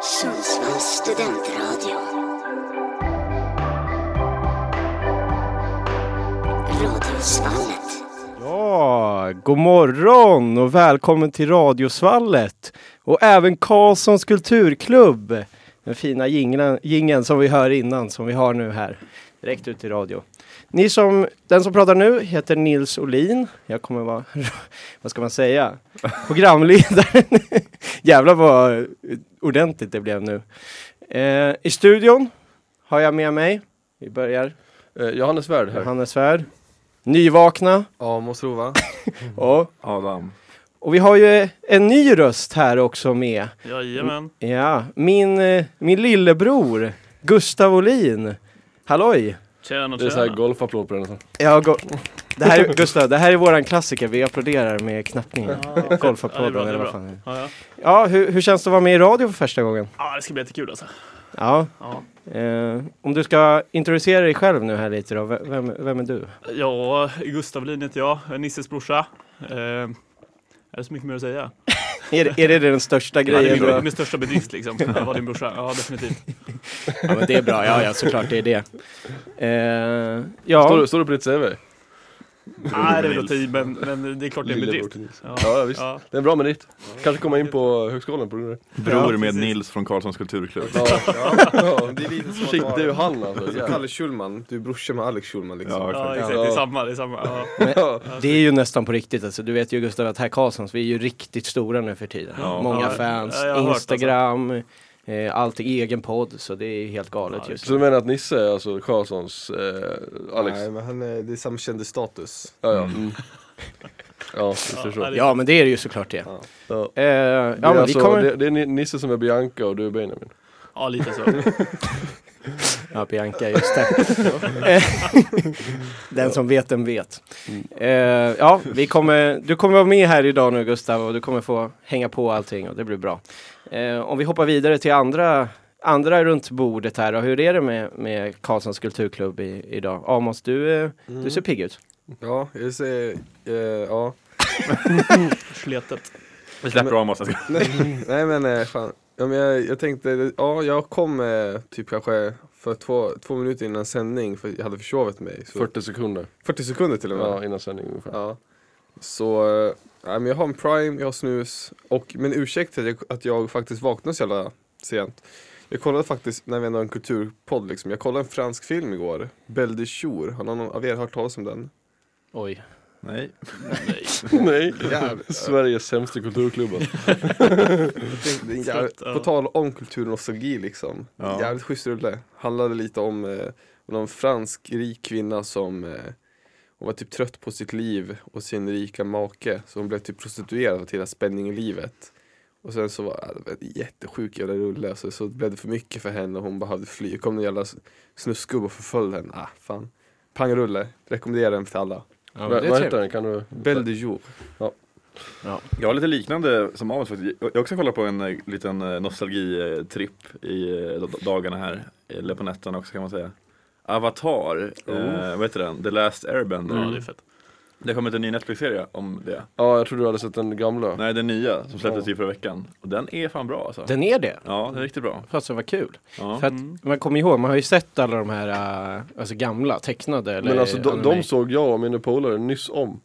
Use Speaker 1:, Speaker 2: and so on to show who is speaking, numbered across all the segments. Speaker 1: Sundsvalls studentradio. Radiosvallet.
Speaker 2: Ja, god morgon och välkommen till Radiosvallet och även Karlssons kulturklubb. Den fina jinglen, jingeln som vi hör innan, som vi har nu här. Direkt ut i radio. Ni som, den som pratar nu heter Nils Olin. Jag kommer vara, vad ska man säga, programledaren. Jävlar vad ordentligt det blev nu. Eh, I studion har jag med mig, vi börjar,
Speaker 3: Eh, Johannes Svärd här.
Speaker 2: Hannes Svärd. Nyvakna.
Speaker 3: Amos Rova.
Speaker 2: Och
Speaker 4: Adam.
Speaker 2: Och vi har ju en ny röst här också med.
Speaker 5: Jajamän.
Speaker 2: Ja, min, eh, min lillebror Gustav Olin. Halloj!
Speaker 5: Tjena,
Speaker 3: Det är såhär
Speaker 5: tjena.
Speaker 3: golfapplåd på den. här.
Speaker 2: Ja, go- det här är, Gustav, det här är våran klassiker. Vi applåderar med knappningen.
Speaker 5: Ja, det är
Speaker 2: Golfapplåden
Speaker 5: bra,
Speaker 2: eller
Speaker 5: det
Speaker 2: vad
Speaker 5: är
Speaker 2: fan det är.
Speaker 5: Ja, ja.
Speaker 2: Ja, hur, hur känns det att vara med i radio för första gången?
Speaker 5: ja, det ska bli jättekul alltså.
Speaker 2: Ja,
Speaker 5: Ja,
Speaker 2: eh, om du ska introducera dig själv nu här lite då. V- Vem, vem är du?
Speaker 5: ja Gustav Lin heter jag, jag är Nisses brorsa. Eh, är det så mycket mer att säga?
Speaker 2: Är, det- är det den största
Speaker 5: Ja, det
Speaker 2: grejen?
Speaker 5: är
Speaker 2: då?
Speaker 5: min, min största bedrift liksom, att vara din brorsa. Ja, definitivt.
Speaker 2: Ja, men det är bra. Ja, ja, såklart det är det. Eh, ja.
Speaker 3: Står, står det på ditt CV?
Speaker 5: Nej, det är väl att ta i, men, men det är klart det är en
Speaker 3: Lillebror
Speaker 5: bedrift.
Speaker 3: till Nils.
Speaker 5: Ja,
Speaker 3: Ja, ja, visst.
Speaker 5: ja.
Speaker 3: Det är en bra merit. Kanske komma in på högskolan på grund av det.
Speaker 4: Bror
Speaker 5: Ja,
Speaker 4: med
Speaker 5: precis.
Speaker 4: Nils från Karlssons kulturklubb.
Speaker 3: Ja, ja.
Speaker 6: Det är lite som att
Speaker 3: Shit,
Speaker 6: vara-
Speaker 3: du han alltså.
Speaker 6: Det är som
Speaker 3: jävlar.
Speaker 6: Kalle Schulman, du är brorsa med Alex Schulman liksom.
Speaker 4: Ja,
Speaker 5: ja,
Speaker 4: exakt.
Speaker 5: exakt. Det är samma, det är samma. Ja.
Speaker 2: Det är ju nästan på riktigt alltså. Du vet ju Gustav att här Karlssons, vi är ju riktigt stora nu för tiden.
Speaker 4: Ja.
Speaker 2: Många
Speaker 5: Ja,
Speaker 2: fans,
Speaker 5: ja, jag har hört alltså.
Speaker 2: Instagram, eh, allt egen podd. Så det är ju helt galet
Speaker 5: Ja,
Speaker 2: just
Speaker 3: Så
Speaker 2: nu.
Speaker 3: du menar att Nisse är alltså Karlssons eh, Alex?
Speaker 6: Nej men han är, det är samma kändisstatus.
Speaker 3: Ja, ja. Mm. Ja, visst är det
Speaker 5: Ja,
Speaker 3: så.
Speaker 5: det-
Speaker 2: Ja men det är det ju såklart det.
Speaker 6: Ja.
Speaker 3: Ja.
Speaker 2: Eh, ja
Speaker 3: Det är,
Speaker 2: men
Speaker 3: alltså,
Speaker 2: vi kommer...
Speaker 3: det, det är Ni- Nisse som är Bianca och du är Benjamin.
Speaker 5: ja, lite så.
Speaker 2: Ja Bianca, just det. Eh, den som vet den vet. Eh, ja, vi kommer... du kommer vara med här idag nu Gustav och du kommer få hänga på allting och det blir bra. Eh, om vi hoppar vidare till andra andra runt bordet här, och hur är det med, med Karlssons kulturklubb i, idag? Amos, du, eh, du ser pigg ut.
Speaker 6: Ja, jag säger, eh, ja.
Speaker 5: Sletet.
Speaker 4: Vi släpper Amos.
Speaker 6: Nej, nej men eh, fan. Ja, men jag, jag tänkte, ja jag kom eh, typ kanske för två, två minuter innan sändning för jag hade försovit mig. Så
Speaker 3: 40 sekunder
Speaker 6: 40 sekunder till och med.
Speaker 3: ja, innan sändning ungefär.
Speaker 6: Ja. Så, eh, nej, men jag har en prime, jag har snus och min ursäkt är att jag, att jag faktiskt vaknade så jävla sent. Jag kollade faktiskt, när vi ändå har en kulturpodd liksom, jag kollade en fransk film igår, Belle de Jour. Har någon av er hört talas om den?
Speaker 2: Oj.
Speaker 4: Nej.
Speaker 5: Nej,
Speaker 3: Nej,
Speaker 6: Jävlar.
Speaker 3: Sveriges sämsta kulturklubba.
Speaker 6: Det är en
Speaker 5: Exakt,
Speaker 6: jävla-
Speaker 5: ja.
Speaker 6: På tal om kultur och nostalgi liksom.
Speaker 4: Ja.
Speaker 6: Jävligt schysst rulle. Handlade lite om eh, om någon fransk rik kvinna som eh, hon var typ trött på sitt liv och sin rika make. Så hon blev typ prostituerad för att hela spänningen i livet. Och sen så var det var en jättesjuk jävla rulle. Så, så blev det för mycket för henne och hon behövde fly. kom en jävla s- snuskgubbe och förföljde henne. Ah, fan. Pangrulle. Rekommenderar den till alla.
Speaker 2: Ja,
Speaker 3: Vad
Speaker 2: det är
Speaker 3: vad heter
Speaker 2: trevligt.
Speaker 3: den? Kan du?
Speaker 6: Belle de jour.
Speaker 4: Jag har lite liknande som Amos faktiskt. Jag jag också kollar på en eh, liten eh, nostalgitripp i eh, d- dagarna här. Eller på nätterna också kan man säga. Avatar, eh, vad heter den? The Last Airbender.
Speaker 5: Oh.
Speaker 4: Mm.
Speaker 5: ja, det är fett.
Speaker 4: Det har kommit en ny Netflix-serie om det.
Speaker 3: Ja, jag tror du hade sett den gamla.
Speaker 4: Nej, den nya som släpptes i förra veckan. Och den är fan bra alltså.
Speaker 2: Den är det?
Speaker 4: Ja, den är riktigt bra.
Speaker 2: Fasen vad kul.
Speaker 4: Ja.
Speaker 2: För att
Speaker 5: Mm.
Speaker 2: man kommer ihåg, man har ju sett alla de här äh, alltså gamla tecknade eller
Speaker 3: Men alltså de, de
Speaker 2: anime.
Speaker 3: såg jag och mina polare nyss om.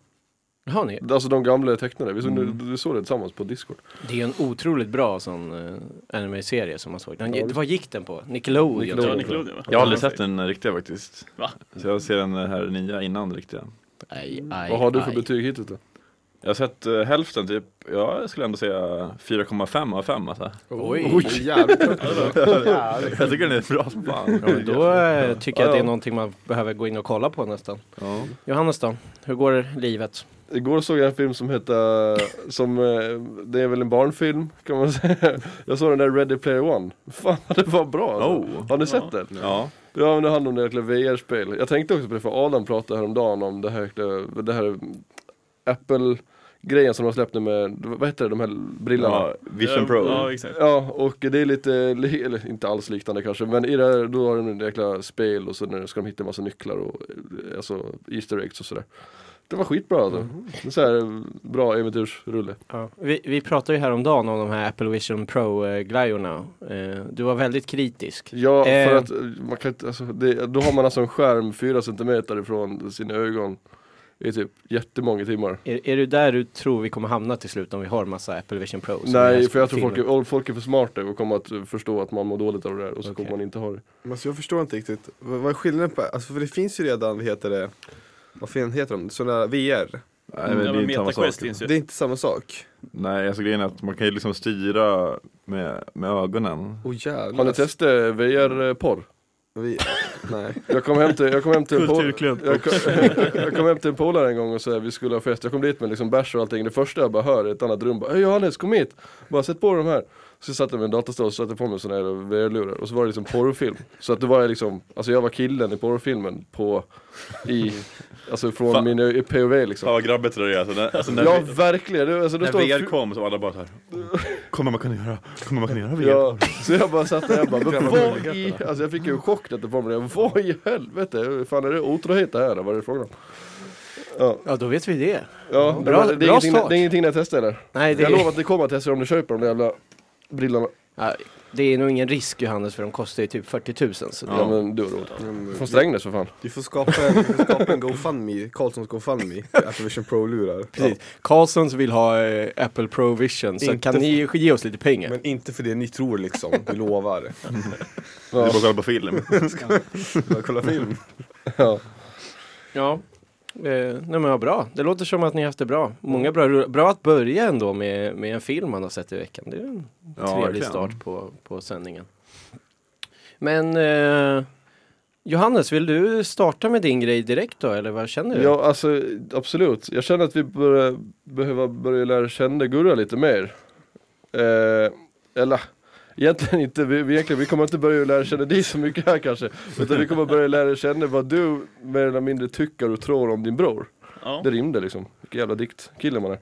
Speaker 2: Har ni?
Speaker 3: Alltså de gamla tecknade, vi, såg,
Speaker 4: Mm.
Speaker 3: vi såg det tillsammans på discord.
Speaker 2: Det är ju en otroligt bra sån uh, anime-serie som man såg. Den, Vad gick den på? Nickelodeon?
Speaker 5: Ja,
Speaker 3: Nickelodeon.
Speaker 5: Nickelodeon va?
Speaker 4: Jag har aldrig sett den riktiga faktiskt.
Speaker 5: Va?
Speaker 4: Så jag ser den här nya innan den riktiga.
Speaker 2: Aj, aj,
Speaker 3: Mm. Vad har du för
Speaker 2: aj.
Speaker 3: betyg hittills då?
Speaker 4: Jag har sett eh, hälften typ, jag skulle ändå säga 4,5 av 5 alltså.
Speaker 2: Oj.
Speaker 6: Jävligt högt.
Speaker 4: Jag tycker den är bra som fan.
Speaker 2: Ja, men då eh, tycker jag att det
Speaker 3: Ja,
Speaker 2: är
Speaker 3: ja.
Speaker 2: någonting man behöver gå in och kolla på nästan.
Speaker 4: Ja.
Speaker 2: Johannes då? Hur går livet?
Speaker 3: Igår såg jag en film som heter, som, eh, det är väl en barnfilm kan man säga. Jag såg den där Ready Player One. Fan det var bra alltså.
Speaker 4: Oh.
Speaker 3: Har ni sett den?
Speaker 4: Ja.
Speaker 3: Ja men det handlar om det jäkla VR-spel. Jag tänkte också på det för Adam pratade häromdagen om det här, jäkla- det här Apple-grejen som de släppte med, vad heter det, de här brillorna?
Speaker 4: ja, Vision Pro.
Speaker 5: Ja, exakt.
Speaker 3: Ja, och det är lite, li- eller inte alls liknande kanske, men i det här, då har de en jäkla spel och så när- ska de hitta en massa nycklar och eh, alltså Easter eggs och sådär. Det var skitbra alltså. Det är så här, bra äventyrsrulle.
Speaker 2: Ja. Vi, vi pratade ju häromdagen om de här Apple Vision Pro-glajjorna. Eh, du var väldigt kritisk.
Speaker 3: Ja, för
Speaker 2: Eh.
Speaker 3: att eh, man kan inte, alltså, det, då har man alltså en skärm 4 centimeter ifrån sina ögon i typ jättemånga timmar.
Speaker 2: Är, är det där du tror vi kommer hamna till slut om vi har massa Apple Vision Pro? som är
Speaker 3: Nej,
Speaker 2: här
Speaker 3: för jag tror
Speaker 2: filmen?
Speaker 3: folk är, folk är för smarta och kommer att förstå att man mår dåligt av det där och så
Speaker 2: Okej.
Speaker 3: kommer man inte ha det.
Speaker 6: Men Alltså jag förstår inte riktigt, vad, vad är skillnaden på, alltså för det finns ju redan, vad heter det, vad fan heter de, sådana där VR?
Speaker 4: Nej, men det är inte samma
Speaker 5: MetaQuest
Speaker 4: sak.
Speaker 5: finns
Speaker 6: Det
Speaker 5: ju.
Speaker 6: är inte samma sak.
Speaker 4: Nej, alltså grejen är att man kan ju liksom styra med, med ögonen.
Speaker 6: Åh jävlar.
Speaker 3: Har ni testat eh, VR-porr?
Speaker 6: Vi, nej.
Speaker 3: Jag kom hem till, jag kom hem till en polare
Speaker 5: Kulturklubb.
Speaker 3: jag, kom- jag kom hem till en polare en gång och så här, vi skulle ha fest, jag kom dit med liksom bärs och allting Det första jag bara hör i ett annat rum, bara "Hej Johannes kom hit! Bara sätt på de här Så jag satte jag med en datorstol och satte på mig sådana här VR-lurar och så var det liksom porrfilm Så att det var jag liksom, alltså jag var killen i porrfilmen på, i, alltså från
Speaker 4: Fan.
Speaker 3: min i POV liksom
Speaker 4: Fan vad grabbigt det där är alltså. När, alltså när,
Speaker 3: Ja
Speaker 4: vi-
Speaker 3: verkligen, det, alltså, det
Speaker 4: när
Speaker 3: står
Speaker 4: VR kom så var alla bara såhär Kommer man kunna göra, kommer man kunna göra VR?
Speaker 3: Ja, så jag bara satt där jag bara, "Men vad i, alltså jag fick ju en chock när det på mig, Jag, vad i helvete, hur fan är det otrohet det här då? Vad är det frågan om? Ja,
Speaker 2: Ja, då vet vi det.
Speaker 3: ja
Speaker 2: Bra-
Speaker 3: det, det,
Speaker 2: bra
Speaker 3: är ingenting,
Speaker 2: start.
Speaker 3: det är ingenting jag testar eller?
Speaker 2: Nej, det,
Speaker 3: Jag lovar att ni kommer att testa om ni köper de där jävla brillorna.
Speaker 2: ja, det är nog ingen risk Johannes för de kostar ju typ 40 000. Så det,
Speaker 3: Ja,
Speaker 2: ja.
Speaker 3: men du har råd.
Speaker 6: Mm,
Speaker 3: Från Strängnäs för fan.
Speaker 6: Du får skapa en, du får skapa en GoFundMe, Karlssons GoFundMe, för Apple Vision Pro-lurar.
Speaker 2: Precis. Carlsons vill ha eh, Apple Pro Vision så
Speaker 6: Inte
Speaker 2: kan ni ge oss lite pengar?
Speaker 6: Men inte för det ni tror liksom, vi lovar.
Speaker 4: Det är bara
Speaker 3: Ja,
Speaker 4: att kolla på film.
Speaker 6: Bara kolla film.
Speaker 3: ja.
Speaker 2: Ja. Eh, nej men vad bra. Det låter som att ni har haft det bra. Många bra rull- Bra att börja ändå med, med en film man har sett i veckan. Det är en trevlig
Speaker 4: verkligen.
Speaker 2: start på, på sändningen. Men eh, Johannes, vill du starta med din grej direkt då? Eller vad känner du?
Speaker 3: ja, alltså absolut. Jag känner att vi börjar behöva börja lära känna Gurra lite mer. Eh, eller, egentligen inte. Vi, vi, egentligen, vi kommer inte börja lära känna dig så mycket här kanske. Utan vi kommer börja lära känna vad du mer eller mindre tycker och tror om din bror.
Speaker 5: Ja.
Speaker 3: Det rymde liksom. Vilken jävla diktkille man är.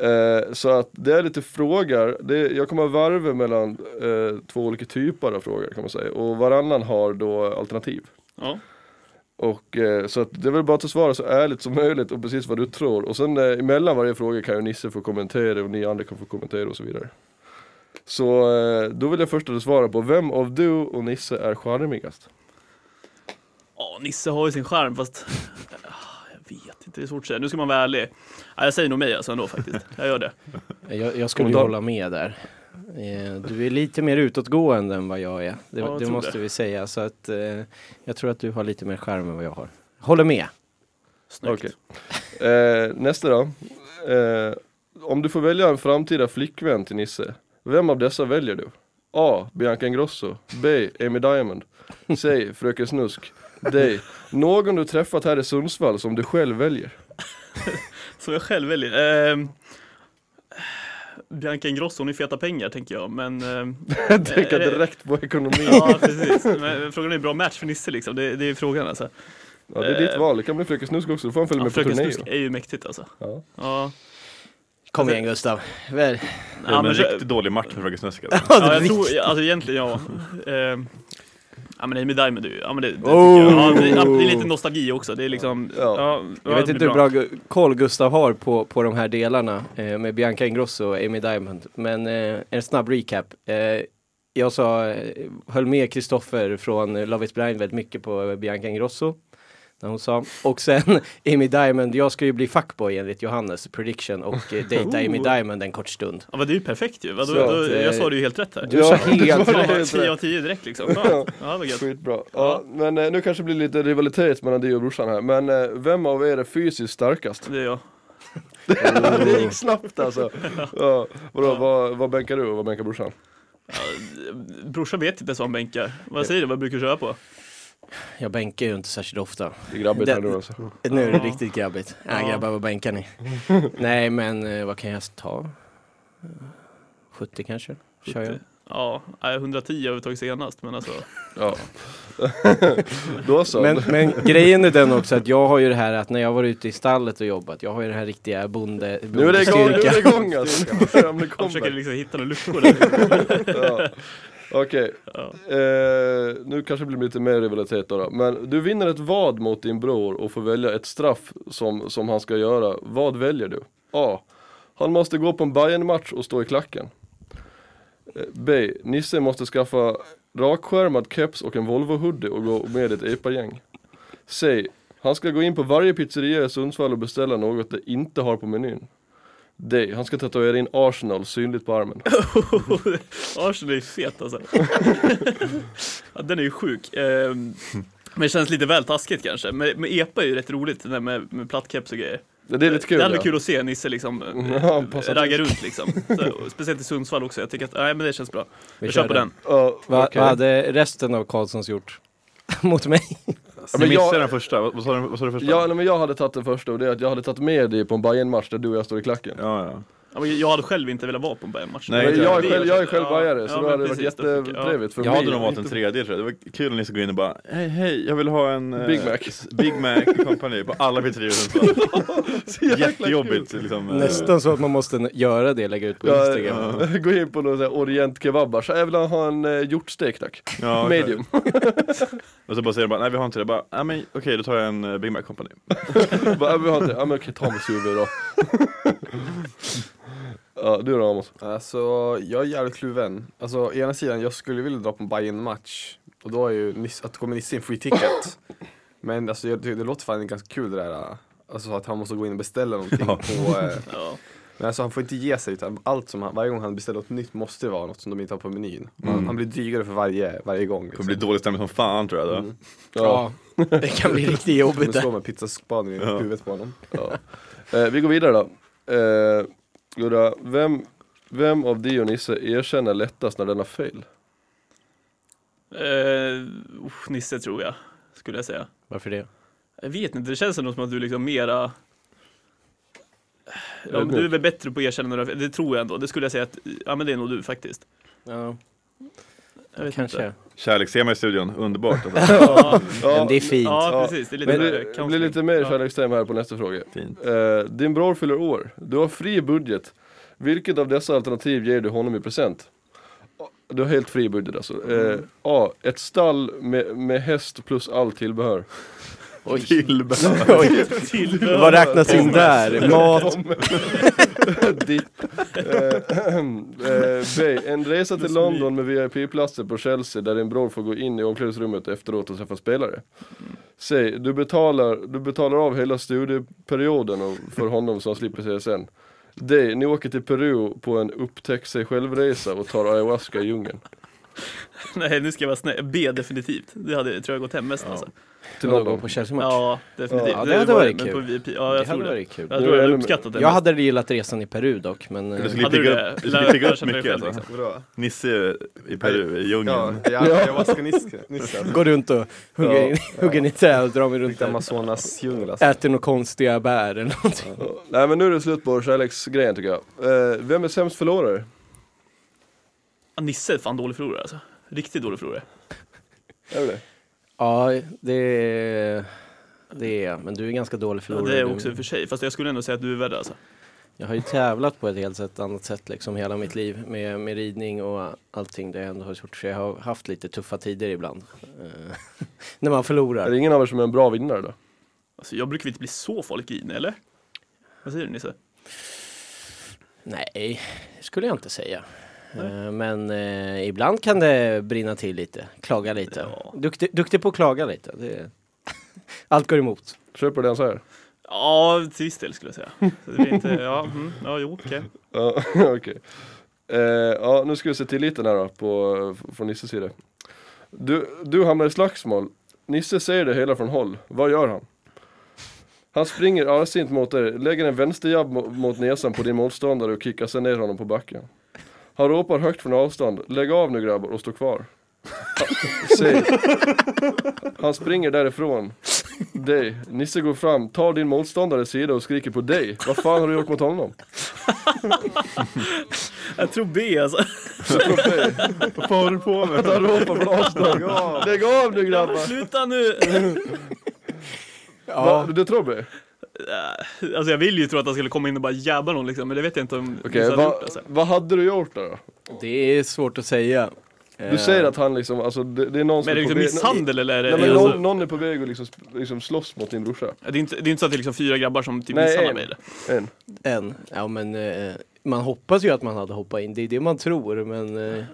Speaker 3: Eh, så att det är lite frågor. Det, jag kommer att varva mellan eh, två olika typer av frågor kan man säga. Och varannan har då alternativ.
Speaker 5: Ja.
Speaker 3: Och, eh, så att det är väl bara att svara så ärligt som möjligt och precis vad du tror. Och sen eh, emellan varje fråga kan ju Nisse få kommentera och ni andra kan få kommentera och så vidare. Så eh, då vill jag först att du svarar på vem av du och Nisse är charmigast?
Speaker 5: ja, Nisse har ju sin skärm fast ah, jag vet inte, det är svårt att säga. Nu ska man vara ärlig. Ja, jag säger nog mig alltså ändå faktiskt. Jag gör det.
Speaker 2: Jag, jag skulle ju
Speaker 3: Kommentar?
Speaker 2: hålla med där. Eh, Du är lite mer utåtgående än vad jag är. Det,
Speaker 5: Ja, jag
Speaker 2: det
Speaker 5: tror
Speaker 2: måste
Speaker 5: det.
Speaker 2: vi säga. Så att, eh, jag tror att du har lite mer charm än vad jag har. Håller med.
Speaker 5: Snyggt.
Speaker 3: Okej. Eh, nästa då. Eh, om du får välja en framtida flickvän till Nisse, vem av dessa väljer du? A. Bianca Ingrosso B. Amy Diamond C. Fröken Snusk D. Någon du träffat här i Sundsvall som du själv väljer?
Speaker 5: Som jag själv väljer. Ehm, Bianca Ingrosso, hon är feta pengar tänker jag, men... ehm,
Speaker 3: Jag tänker
Speaker 5: Eh, eh,
Speaker 3: direkt på ekonomin.
Speaker 5: ja, precis. Men frågan är en bra match för Nisse liksom, det, det är frågan alltså.
Speaker 3: Ja, det är ditt val, det kan bli Fröken Snusk också, då får han följa
Speaker 5: Ja,
Speaker 3: med på
Speaker 5: Fröken
Speaker 3: turné.
Speaker 5: Snusk är ju mäktigt alltså.
Speaker 3: Ja.
Speaker 5: Ja,
Speaker 2: Kom
Speaker 5: Alltså,
Speaker 2: igen Gustav. Väl.
Speaker 4: Det är en
Speaker 5: så-
Speaker 4: riktigt dålig match för Fröken Snusk alltså.
Speaker 5: ja, jag tror, ja, alltså egentligen ja. Ehm, Ja men Amy Diamond du, ja men det, det tycker jag. Ja, det, ja, det är lite nostalgi också, det är liksom,
Speaker 3: Ja.
Speaker 5: ja, ja,
Speaker 2: Jag vet
Speaker 5: det
Speaker 2: inte
Speaker 5: blir
Speaker 2: hur bra gu- koll Gustav har på, på de här delarna eh, med Bianca Ingrosso och Amy Diamond. Men eh, en snabb recap. Eh, jag sa, eh, höll med Kristoffer från eh, Love is blind väldigt mycket på eh, Bianca Ingrosso. När hon sa. Och sen Amy Diamond, jag ska ju bli fuckboy enligt Johannes prediction och eh, dejta Amy Diamond en kort stund.
Speaker 5: Ja men det är ju perfekt ju, Vadå,
Speaker 2: Så att,
Speaker 5: då, jag
Speaker 2: eh,
Speaker 5: sa det ju helt rätt här.
Speaker 2: Du sa
Speaker 3: Ja, det
Speaker 2: helt
Speaker 3: var det.
Speaker 5: Ja, 10 av 10 direkt liksom. Ja, ja vad gött.
Speaker 3: Skitbra. Ja, men eh, nu kanske det blir lite rivalitet mellan dig och brorsan här, men eh, vem av er är fysiskt starkast?
Speaker 5: Det är jag.
Speaker 3: det gick snabbt alltså. Ja. Vadå, vad, vad bänkar du och vad bänkar brorsan?
Speaker 5: Brorsan vet typ inte ens vad han bänkar. Vad säger du, vad brukar du köra på?
Speaker 2: Jag bänkar ju inte särskilt ofta.
Speaker 3: Det är grabbigt
Speaker 2: Det-
Speaker 3: här nu alltså.
Speaker 2: Nu är det
Speaker 5: Ja.
Speaker 2: riktigt grabbigt. Ja,
Speaker 5: Ja.
Speaker 2: grabbar, vad bänkar ni? Nej, men eh, vad kan jag ta? Eh, 70 kanske? Kör jag.
Speaker 5: Ja, nej, 110 har vi tagit senast, men alltså.
Speaker 3: Ja. Då så.
Speaker 2: Men, men grejen är den också att jag har ju det här att när jag var ute i stallet och jobbat, jag har ju den här riktiga bonde,
Speaker 3: nu är det igång, nu är
Speaker 2: bondestyrkan.
Speaker 3: det igång alltså. Nu börjar det bli
Speaker 5: Han försöker
Speaker 3: comeback.
Speaker 5: liksom hitta några luckor där.
Speaker 3: Ja. Okej,
Speaker 5: Ja.
Speaker 3: eh, nu kanske det blir lite mer rivalitet då, då. Men du vinner ett vad mot din bror och får välja ett straff som, som han ska göra. Vad väljer du? A. Han måste gå på en Bayern-match och stå i klacken. Eh, B. Nisse måste skaffa rakskärmad keps och en Volvo-hoodie och gå med i ett epa-gäng. C. Han ska gå in på varje pizzeria i Sundsvall och beställa något de inte har på menyn. D. Han ska tatuera in Arsenal synligt på armen.
Speaker 5: Arsenal är ju fet alltså. ja, den är ju sjuk. Ehm, men det känns lite väl taskigt kanske. Men, men EPA är ju rätt roligt, det där med, med plattkeps och grejer.
Speaker 3: Det är lite kul.
Speaker 5: Det hade
Speaker 3: ja.
Speaker 5: varit kul att se Nisse liksom eh,
Speaker 3: Ja, han passar
Speaker 5: ragga runt liksom. Så, och speciellt i Sundsvall också. Jag tycker att, nej men det känns bra. Jag kör på den.
Speaker 3: Ja,
Speaker 2: Va,
Speaker 3: okej.
Speaker 2: Vad hade resten av Karlssons gjort? Mot mig?
Speaker 3: Ja,
Speaker 4: Ni
Speaker 3: men
Speaker 4: missade
Speaker 3: jag,
Speaker 4: den första, vad vad sa du, vad sa du första?
Speaker 3: ja, nej, men jag hade tagit den första och det är att jag hade tagit med dig på en bayern match där du och jag står i klacken.
Speaker 4: ja, ja.
Speaker 5: Ja, men Jag hade själv inte velat vara på en Bayern-match.
Speaker 4: Nej,
Speaker 3: Men
Speaker 4: inte
Speaker 3: jag,
Speaker 4: jag.
Speaker 3: är själv, jag är själv
Speaker 5: Ja,
Speaker 3: bajare så
Speaker 5: ja,
Speaker 3: då
Speaker 5: men
Speaker 3: hade det varit
Speaker 5: precis, då fick- ja.
Speaker 3: jättetrevligt för
Speaker 4: Jag
Speaker 3: mig.
Speaker 4: hade nog valt den tredje tror jag. Det var kul när ni skulle gå in och bara Hej hej, jag vill ha en eh,
Speaker 3: Big Mac.
Speaker 4: s- Big Mac kompani på alla pizzerior i Sundsvall. Jättejobbigt liksom. eh,
Speaker 2: Nästan så att man måste göra det, lägga ut på
Speaker 3: Ja,
Speaker 2: Instagram.
Speaker 3: eh, Gå in på någon sån här orientkebab bara, så jag vill ha en eh, hjortstek tack.
Speaker 4: Ja, exakt.
Speaker 3: Medium.
Speaker 4: Och så bara säger de bara, nej vi har inte det. Jag Bara, nej men okej då tar jag en eh, Big Mac kompani.
Speaker 3: bara, "Ja, men har inte- ja men okej, ta med suver då. ja, du då Amos?
Speaker 6: Alltså, jag är jävligt kluven. Alltså, å ena sidan, jag skulle vilja dra på en bayern match Och då är ju Nisse- att komma Nisse in free ticket. Men alltså, jag, tycker det låter fan ganska kul det där. Alltså att han måste gå in och beställa någonting
Speaker 4: Ja.
Speaker 6: på... Eh,
Speaker 5: Ja.
Speaker 6: men alltså han får inte ge sig utan allt som han, varje gång han beställer något nytt måste det vara något som de inte har på menyn. Han, han blir drygare för varje, varje gång.
Speaker 4: Det kommer
Speaker 6: Liksom.
Speaker 4: bli dålig stämning som fan tror jag då.
Speaker 5: Mm.
Speaker 2: Ja. Det kan bli riktigt jobbigt.
Speaker 6: Kommer
Speaker 2: där.
Speaker 6: slå med pizzaspaden i huvudet på honom.
Speaker 3: Ja. Eh, vi går vidare då. Eh, Gurra, vem, vem av dig och Nisse erkänner lättast när den har fel?
Speaker 5: Eh, usch, Nisse tror jag, skulle jag säga.
Speaker 2: Varför det?
Speaker 5: Jag vet inte, det känns ändå som att du liksom mera ja, men
Speaker 3: Ödmjuk.
Speaker 5: Du är väl bättre på att erkänna några Det tror jag ändå, det skulle jag säga att Ja men det är nog du faktiskt
Speaker 2: Ja,
Speaker 5: jag vet
Speaker 2: kanske.
Speaker 5: Inte.
Speaker 4: Kärlekstema i studion, underbart. Alltså.
Speaker 5: Ja,
Speaker 3: Ja,
Speaker 2: Men det är fint.
Speaker 5: ja precis, det är lite
Speaker 3: Men
Speaker 5: mer
Speaker 3: det
Speaker 5: counseling.
Speaker 3: blir lite mer
Speaker 5: Ja.
Speaker 3: kärlekstem här på nästa fråga.
Speaker 4: Fint.
Speaker 3: Eh, din bror fyller år. Du har fri budget. Vilket av dessa alternativ ger du honom i present? Du har helt fri budget alltså. Eh, A. Ett stall med, med häst plus allt tillbehör.
Speaker 4: Tillbehör.
Speaker 2: Oj,
Speaker 5: Till-
Speaker 2: vad räknas in där? Mat?
Speaker 3: Dipp. Eh, eh, B. En resa till London med VIP-platser på Chelsea där din bror får gå in i omklädningsrummet efteråt och träffa spelare. C. Du betalar, du betalar av hela studieperioden och- för honom så han slipper CSN. D. Ni åker till Peru på en upptäck sig själv-resa och tar ayahuasca i djungeln.
Speaker 5: Nej nu ska jag vara snäll, B definitivt Det hade tror jag gått hem mest alltså
Speaker 3: Till
Speaker 2: Vadå, gå
Speaker 3: London.
Speaker 2: på Chelsea-match?
Speaker 5: Ja definitivt,
Speaker 2: Ja, det hade varit
Speaker 5: men
Speaker 2: kul.
Speaker 5: på VIP. Ja jag
Speaker 2: det hade
Speaker 5: tror det
Speaker 2: varit kul.
Speaker 5: Jag tror jag
Speaker 3: Jag
Speaker 5: hade
Speaker 3: hade-
Speaker 5: uppskattat det
Speaker 2: Jag
Speaker 5: mest.
Speaker 2: hade gillat resan i Peru dock, men... eh,
Speaker 4: Det skulle
Speaker 5: Hade du
Speaker 4: pigga
Speaker 5: det?
Speaker 4: upp, det skulle
Speaker 5: Lär-
Speaker 4: pigga upp
Speaker 5: lär känna dig
Speaker 4: mycket
Speaker 5: själv, liksom.
Speaker 4: alltså.
Speaker 6: Bra.
Speaker 4: Nisse i Peru, i
Speaker 6: Ja,
Speaker 4: djungeln.
Speaker 6: jag, jag vaskar Nisse. Nisse.
Speaker 2: Går runt och hugger,
Speaker 3: Ja.
Speaker 2: in, hugger i träd och drar mig runt
Speaker 6: Riktig
Speaker 2: där.
Speaker 6: Amazonas djungel alltså.
Speaker 2: Äter några konstiga bär eller någonting.
Speaker 3: Nej men nu är det slut på kärleksgrejen tycker jag. Eh, vem är sämst förlorare?
Speaker 5: Ja, Nisse är fan dålig förlorare alltså Riktigt dålig förlorare
Speaker 3: Är det?
Speaker 2: Ja, det... Det är Men du är ganska dålig
Speaker 5: ja,
Speaker 2: förlorare.
Speaker 5: Det är
Speaker 2: du.
Speaker 5: också i och för sig, fast jag skulle ändå säga att du är värre alltså
Speaker 2: Jag har ju tävlat på ett helt sätt, annat sätt liksom hela mitt liv med, med ridning och allting det jag ändå har gjort. Så jag har haft lite tuffa tider ibland. Eh, när man
Speaker 3: Är det
Speaker 2: förlorar.
Speaker 3: ingen av er som är en bra vinnare då?
Speaker 5: Alltså jag brukar inte bli så farligt grinig eller? Vad säger du Nisse?
Speaker 2: Nej, det skulle jag inte säga. Eh, Men eh, ibland kan det brinna till lite, klaga lite.
Speaker 5: Ja.
Speaker 2: Duktig, duktig på att klaga lite. Det... Allt går emot.
Speaker 3: Köper den så här?
Speaker 5: Ja, till viss del skulle jag säga. Så det blir inte, ja, mm, ja, jo, okej.
Speaker 3: Ja, okej. Eh, ja, nu ska vi se till lite här då, på, från Nisses sida. Du, du hamnar i slagsmål. Nisse ser det hela från håll. Vad gör han? Han springer argsint mot dig, lägger en vänsterjabb mo- mot näsan på din motståndare och kickar sen ner honom på backen. Han ropar högt från avstånd, lägg av nu grabbar och stå kvar. Ha- Säg. Han springer därifrån. Dig. Nisse går fram, tar din motståndares sida och skriker på dig. Vad fan har du gjort mot honom?
Speaker 5: Jag tror B alltså.
Speaker 4: Vad fan har du på med?
Speaker 3: Han ropar från avstånd. Lägg av nu grabbar!
Speaker 5: Sluta nu!
Speaker 3: Va? Du tror mig?
Speaker 5: Alltså jag vill ju tro att han skulle komma in och bara jävla någon liksom, men det vet jag inte om
Speaker 3: Okej,
Speaker 5: Nisse hade
Speaker 3: va,
Speaker 5: gjort, alltså.
Speaker 3: vad hade du gjort då?
Speaker 2: Det är svårt att säga.
Speaker 3: Du säger att han liksom, alltså det, det är någon som
Speaker 5: Eh. Men är det
Speaker 3: på
Speaker 5: liksom
Speaker 3: väg-
Speaker 5: misshandel eller? Är det,
Speaker 3: Nej men
Speaker 5: alltså,
Speaker 3: någon, någon är på väg att liksom, liksom slåss mot din brorsa.
Speaker 5: det, är inte, det är inte så att det är liksom fyra grabbar som typ
Speaker 3: Nej,
Speaker 5: misshandlar
Speaker 3: en.
Speaker 5: mig eller?
Speaker 3: En.
Speaker 2: Än. Ja men eh, man hoppas ju att man hade hoppat in, det är det man tror men eh,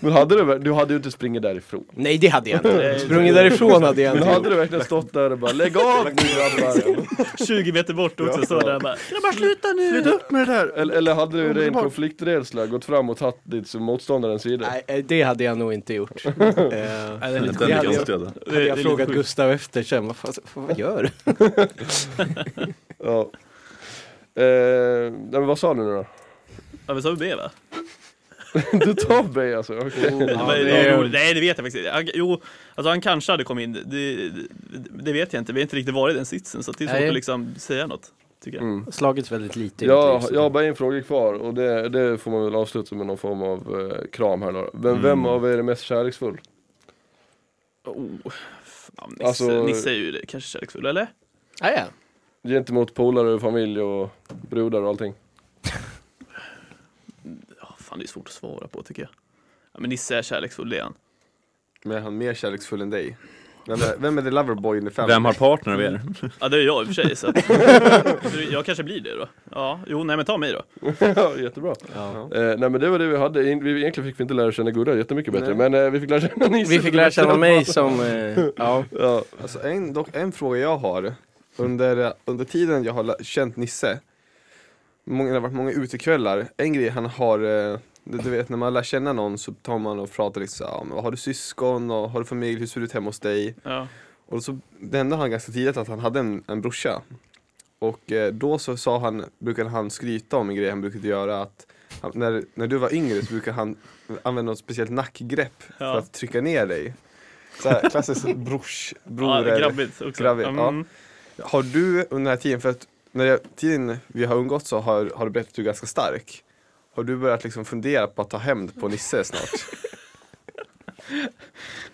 Speaker 3: Men hade du, ver- du hade ju inte springit därifrån.
Speaker 2: nej det hade jag
Speaker 5: Nej.
Speaker 2: inte. Sprungit därifrån hade jag
Speaker 3: Men
Speaker 2: inte
Speaker 3: hade
Speaker 2: gjort.
Speaker 3: du verkligen stått där och bara lägg av nu grabbar!
Speaker 5: 20 meter bort också, står där och bara Grabbar sluta nu!
Speaker 3: Sluta upp med det där! Eller, eller hade du ren
Speaker 2: Omedelbart.
Speaker 3: konflikträdsla, gått fram och tagit ditt som motståndarens sida?
Speaker 2: Nej eh, det hade jag nog inte gjort. Eh, hade
Speaker 5: Nej, det är
Speaker 4: Den
Speaker 5: lite
Speaker 2: Det
Speaker 4: är
Speaker 2: hade jag-
Speaker 4: konstig alltså.
Speaker 5: det- det är
Speaker 2: jag
Speaker 5: lite
Speaker 2: frågat
Speaker 5: sjukt.
Speaker 2: Gustav efter sen, vad, fan, vad gör du?
Speaker 3: Ja. Eh, nej, men vad sa du nu då?
Speaker 5: Ja, men sa vi B va?
Speaker 3: Du tar mig alltså, okej.
Speaker 5: Ja,
Speaker 2: det
Speaker 5: men, Oh, det
Speaker 2: är-
Speaker 5: är... roligt. Nej det vet jag faktiskt inte. Han- Jo, alltså han kanske hade kommit in. Det, det, det vet jag inte. Vi har inte riktigt varit i den sitsen så det är svårt
Speaker 2: Nej.
Speaker 5: att liksom säga något. Tycker jag.
Speaker 3: Mm.
Speaker 2: Slagits väldigt lite.
Speaker 3: Jag,
Speaker 2: utrikes.
Speaker 3: jag har bara en fråga kvar och det, det får man väl avsluta med någon form av eh, kram här då.
Speaker 2: Mm.
Speaker 3: Vem, vem av er är mest kärleksfull?
Speaker 5: Oh, fan, Nisse,
Speaker 3: Alltså-
Speaker 5: Nisse är ju det, kanske kärleksfull eller?
Speaker 2: Ah, ja.
Speaker 3: Gentemot polare och familj och brudar och allting?
Speaker 5: Ja, fan det är svårt att svara på tycker jag. Ja, men Nisse är kärleksfull det är han.
Speaker 6: Men är han mer kärleksfull än dig? Vem är, vem är the loverboy in the family?
Speaker 4: Vem har partner av er?
Speaker 5: Ja det är jag i och för sig så att, Så jag kanske blir det då. Ja, jo nej men ta mig då.
Speaker 3: Ja, Jättebra.
Speaker 2: Ja.
Speaker 3: Eh, nej men det var det vi hade, In, vi, egentligen fick vi inte lära känna Gurra jättemycket bättre
Speaker 6: Nej.
Speaker 3: men eh, vi fick lära känna Nisse.
Speaker 2: Vi fick lära känna mig som, eh, ja.
Speaker 3: Ja,
Speaker 6: Alltså en, dock, en fråga jag har, under, under tiden jag har lä- känt Nisse, många, det har varit många utekvällar, en grej han har, eh, du, du vet när man lär känna någon så tar man och pratar liksom, ja, men har du syskon och har du familj, hur ser det ut hemma hos dig?
Speaker 5: Ja.
Speaker 6: Och så nämnde han ganska tidigt att han hade en, en brorsa. Och eh, då så sa han, brukade han skryta om en grej han brukade göra att han, när, när du var yngre så brukade han använda något speciellt nackgrepp för
Speaker 5: Ja.
Speaker 6: att trycka ner dig. Så här, klassiskt brors,
Speaker 5: Ja,
Speaker 6: broder.
Speaker 5: grabbigt också.
Speaker 6: grabbigt, ja.
Speaker 5: Mm.
Speaker 6: har du under den här tiden, för att när jag, tiden vi har umgått så har, har du berättat att du är ganska stark. Har du börjat liksom fundera på att ta hämnd på Nisse snart?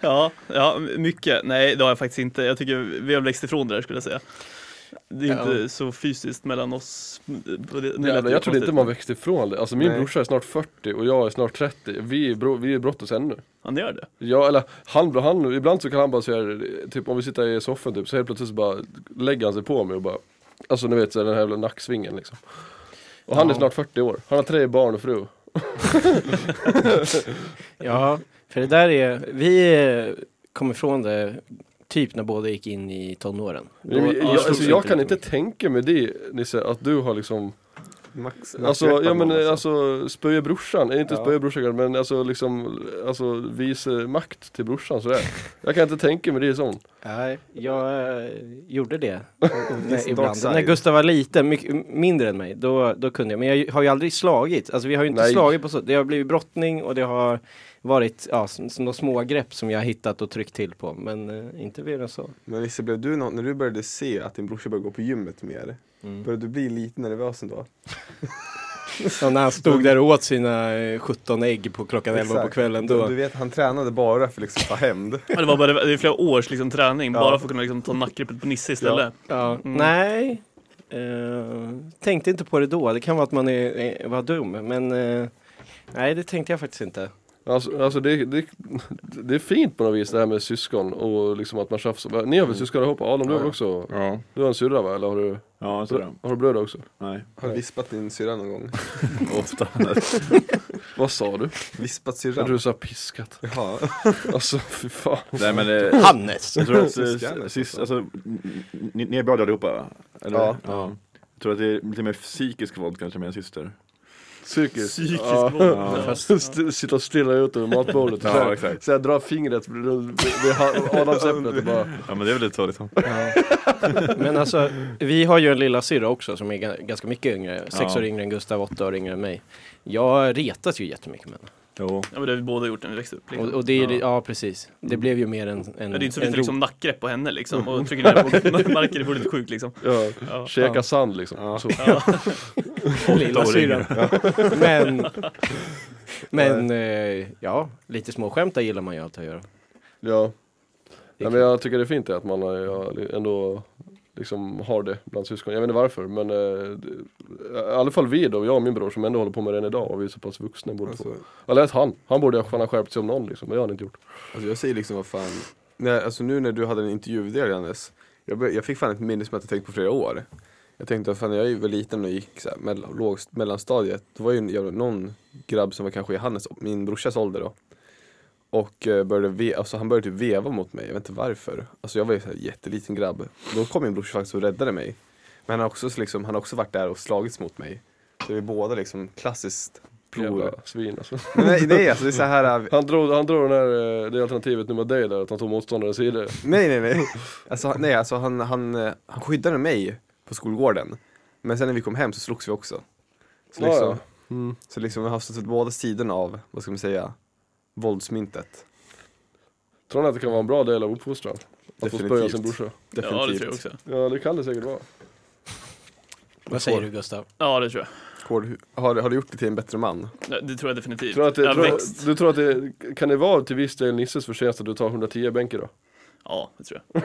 Speaker 5: Ja, ja, mycket. Nej, det har jag faktiskt inte. Jag tycker vi har växt ifrån det där skulle jag säga. Det är
Speaker 2: Ja.
Speaker 5: inte så fysiskt mellan oss. Det- det lät
Speaker 3: jävlar,
Speaker 5: ju
Speaker 3: jag trodde inte
Speaker 5: konstigt.
Speaker 3: man växte ifrån det. Alltså min
Speaker 6: Nej.
Speaker 3: brorsa är snart 40 och jag är snart 30. Vi är, bro, vi är brottas ännu.
Speaker 5: Han gör det?
Speaker 3: Ja, eller han, han, ibland så kan han bara säga, typ om vi sitter i soffan typ, så helt plötsligt så bara lägger han sig på mig och bara Alltså ni vet så här, den här jävla nacksvingen liksom Och han är
Speaker 2: Ja.
Speaker 3: snart 40 år, han har tre barn och fru
Speaker 2: ja, för det där är, vi eh, kom ifrån det typ när båda gick in i tonåren. Då-
Speaker 3: Men jag,
Speaker 2: då slogs
Speaker 3: alltså,
Speaker 2: vi
Speaker 3: jag kan
Speaker 2: lika
Speaker 3: inte tänka mig det Nisse, att du har liksom
Speaker 6: Max,
Speaker 3: Alltså,
Speaker 6: nackgreppar
Speaker 3: ja men
Speaker 6: någon,
Speaker 3: eh, alltså spöja brorsan, Eh, inte
Speaker 6: Ja.
Speaker 3: spöja brorsan kanske, men alltså liksom Alltså visa makt till brorsan sådär Jag kan inte tänka mig det sån
Speaker 2: Nej, jag eh, gjorde det
Speaker 6: Dark
Speaker 2: Nej, ibland.
Speaker 6: side.
Speaker 2: När Gustav var liten, mycket, mindre än mig, då, då kunde jag. Men jag har ju aldrig slagit. Alltså vi har ju inte
Speaker 3: Nej.
Speaker 2: slagit på så. Det har blivit brottning och det har varit ja, s- s- några små grepp som jag har hittat och tryckt till på. Men eh, inte mer än så.
Speaker 6: Men Nisse, blev du nå- när du började se att din brorsa började gå på gymmet mer, började du bli lite nervös ändå?
Speaker 2: Så när han stod där och åt sina eh, 17 ägg på klockan 11 på
Speaker 6: Exakt.
Speaker 2: kvällen
Speaker 6: Du,
Speaker 2: då.
Speaker 6: du vet, han tränade bara för liksom att ta hämnd.
Speaker 5: Ja, Det var bara det är flera års liksom, träning
Speaker 6: Ja.
Speaker 5: bara för att kunna liksom, ta nackgreppet på Nisse istället.
Speaker 2: Ja,
Speaker 5: Mm.
Speaker 2: nej. Eh, tänkte inte på det då. Det kan vara att man är, eh, var dum, men eh, nej, det tänkte jag faktiskt inte.
Speaker 3: Alltså, alltså det, det, det är fint på något vis det här med syskon och liksom att man tjafsar Ni har väl syskon ihop? Adam du har väl också?
Speaker 4: Mm. Ja,
Speaker 3: Du har en syrra va? Eller har du?
Speaker 4: ja sådär.
Speaker 3: Har du bröder också?
Speaker 4: Nej,
Speaker 6: Har du vispat din syrra någon gång?
Speaker 4: ofta.
Speaker 3: Vad sa du?
Speaker 6: Vispat
Speaker 3: Jag tror
Speaker 6: syrran?
Speaker 3: du sa piskat.
Speaker 6: Jaha.
Speaker 3: Alltså fy fan.
Speaker 4: Nej men eh,
Speaker 2: Hannes!
Speaker 4: Jag tror att
Speaker 6: Syskanet,
Speaker 4: eh, sist, alltså, ni, ni är båda allihopa? Eller?
Speaker 6: Ja.
Speaker 4: Jag tror att det är lite mer psykisk våld kanske med en syster.
Speaker 3: Psykiskt.
Speaker 5: Psykisk
Speaker 3: Ja.
Speaker 5: våld. Ja.
Speaker 2: Fast-
Speaker 3: St- Sitta och stirra ut över matbordet.
Speaker 4: Ja,
Speaker 3: så, här,
Speaker 4: exakt.
Speaker 3: så jag drar fingret runt vid vid ha- Adams äpplet och bara
Speaker 4: Ja men det är väl lite så liksom.
Speaker 2: Men alltså, vi har ju en lilla syrra också som är ga- ganska mycket yngre. Sex
Speaker 4: Ja.
Speaker 2: år yngre än Gustav, åtta år yngre än mig. Jag retas ju jättemycket med henne.
Speaker 4: Jo.
Speaker 5: Ja, men det har vi båda gjort när vi växte upp. Liksom.
Speaker 2: Och, och det är, ja. ja, precis. Det blev ju mer en, en,
Speaker 5: ja, det är inte så
Speaker 2: en
Speaker 5: mycket liksom, nackgrepp på henne liksom och trycker ner på marken, det vore lite sjukt liksom.
Speaker 3: ja,
Speaker 5: Ja.
Speaker 3: käka sand liksom. Så.
Speaker 2: rolig lilla
Speaker 4: Åtta år
Speaker 2: syrra.
Speaker 4: yngre.
Speaker 2: Men, men eh, ja, lite småskämt där gillar man ju alltid att göra.
Speaker 3: Ja. Nej, men jag tycker det är fint det, att man har- jag har ändå liksom har det bland syskon. Jag vet inte varför men eh, det, i alla fall vi då, jag och min bror som ändå håller på med det än idag och vi är så pass vuxna båda två.
Speaker 6: Alltså,
Speaker 3: Eller att han, han borde ha fan ha skärpt sig om någon liksom, men det har han inte gjort.
Speaker 6: alltså jag säger liksom vad fan, när, alltså nu när du hade en intervjudel Johannes, jag, bör- jag fick fan ett minne som jag inte tänkt på flera år. Jag tänkte vad fan när jag var liten och gick så här, mellan, låg, mellanstadiet, då var ju en- jag, någon grabb som var kanske i Hannes, min brorsas ålder då. Och eh, började ve, alltså han började typ veva mot mig, jag vet inte varför. Alltså jag var ju en jätteliten grabb. Då kom min brorsa faktiskt och räddade mig. Men han har också, så liksom, han har också varit där och slagits mot mig. Så vi är båda liksom klassiskt blod.
Speaker 3: Jävla svin alltså.
Speaker 6: Nej, nej alltså det är så här, eh,
Speaker 3: Han drog, han drog den här, eh, det alternativet nu med dig där, att han tog motståndarens sida.
Speaker 6: Nej, nej, nej. Alltså, han- nej, alltså han, han, eh, han skyddade mig på skolgården. Men sen när vi kom hem så slogs vi också. Så
Speaker 3: Ja,
Speaker 6: liksom,
Speaker 3: ja. Mm.
Speaker 6: så liksom vi har stått åt båda sidorna av, vad ska man säga, våldsmyntet.
Speaker 3: Tror ni att det kan vara en bra del av uppfostran? Att få spöa
Speaker 6: Definitivt.
Speaker 3: sin brorsa?
Speaker 6: Definitivt.
Speaker 5: Ja, det tror jag också.
Speaker 3: Ja det kan det säkert vara.
Speaker 2: Vad säger du Gustav?
Speaker 5: Ja, det tror jag.
Speaker 6: Hård, har, har du gjort dig till en bättre man?
Speaker 5: Ja, Det tror jag definitivt.
Speaker 3: Tror du, att det,
Speaker 5: jag har växt.
Speaker 3: tror, du tror att det, kan det vara till viss del Nisses förtjänst att du tar 110 bänk idag?
Speaker 5: Ja, det tror jag.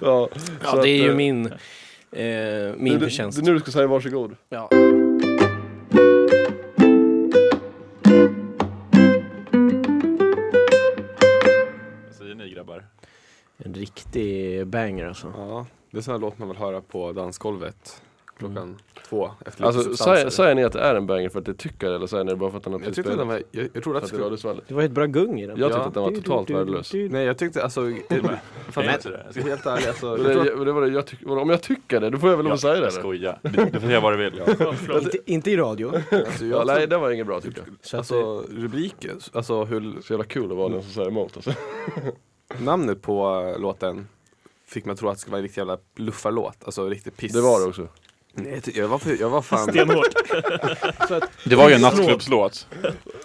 Speaker 3: Ja,
Speaker 2: Ja,
Speaker 3: så
Speaker 2: det är
Speaker 3: att,
Speaker 2: ju
Speaker 3: eh,
Speaker 2: min, eh,
Speaker 3: det-
Speaker 2: min
Speaker 3: det-
Speaker 2: förtjänst.
Speaker 3: Det är nu du ska säga varsågod.
Speaker 2: Ja.
Speaker 4: Vad säger ni grabbar?
Speaker 2: En riktig banger alltså.
Speaker 6: Ja, det är sån här låt man vill höra på dansgolvet klockan två efter
Speaker 3: Alltså
Speaker 6: lite substanser.
Speaker 3: säger, säger ni att det är en banger för att det tycker eller säger ni det bara för att den har
Speaker 6: jag, tyckte att den var, jag, jag trodde att
Speaker 3: att
Speaker 6: det
Speaker 3: det
Speaker 6: skulle...
Speaker 3: var
Speaker 2: Det var ett bra gung i den.
Speaker 3: Jag
Speaker 6: Ja.
Speaker 3: tyckte att den var totalt värdelös.
Speaker 6: Nej, jag tyckte alltså... Jag,
Speaker 4: Fan, jag tror det. Jag ska-
Speaker 6: helt ärligt alltså...
Speaker 3: Det
Speaker 6: Jag tror
Speaker 3: var
Speaker 6: att,
Speaker 3: det- det var det jag tyck- vadå, Om jag tycker det, då får jag väl lov
Speaker 4: Jag
Speaker 3: att säga det?
Speaker 4: jag
Speaker 3: eller?
Speaker 4: skojar. Du, du får säga vad du vill.
Speaker 2: Inte, inte i radio.
Speaker 6: alltså,
Speaker 3: Ja,
Speaker 6: jag
Speaker 3: nej, det var inget bra tyckte jag.
Speaker 2: Så att, eh,
Speaker 6: Alltså rubriken, alltså hur
Speaker 3: Så jävla kul att vara den som säger emot alltså.
Speaker 6: namnet på eh, låten fick man tro att det skulle vara en riktig jävla luffarlåt, alltså riktigt piss.
Speaker 3: Det var det också.
Speaker 6: Nej, jag ty- jag var, för, jag var fan...
Speaker 5: Stenhårt.
Speaker 4: Det var ju en nattklubbslåt.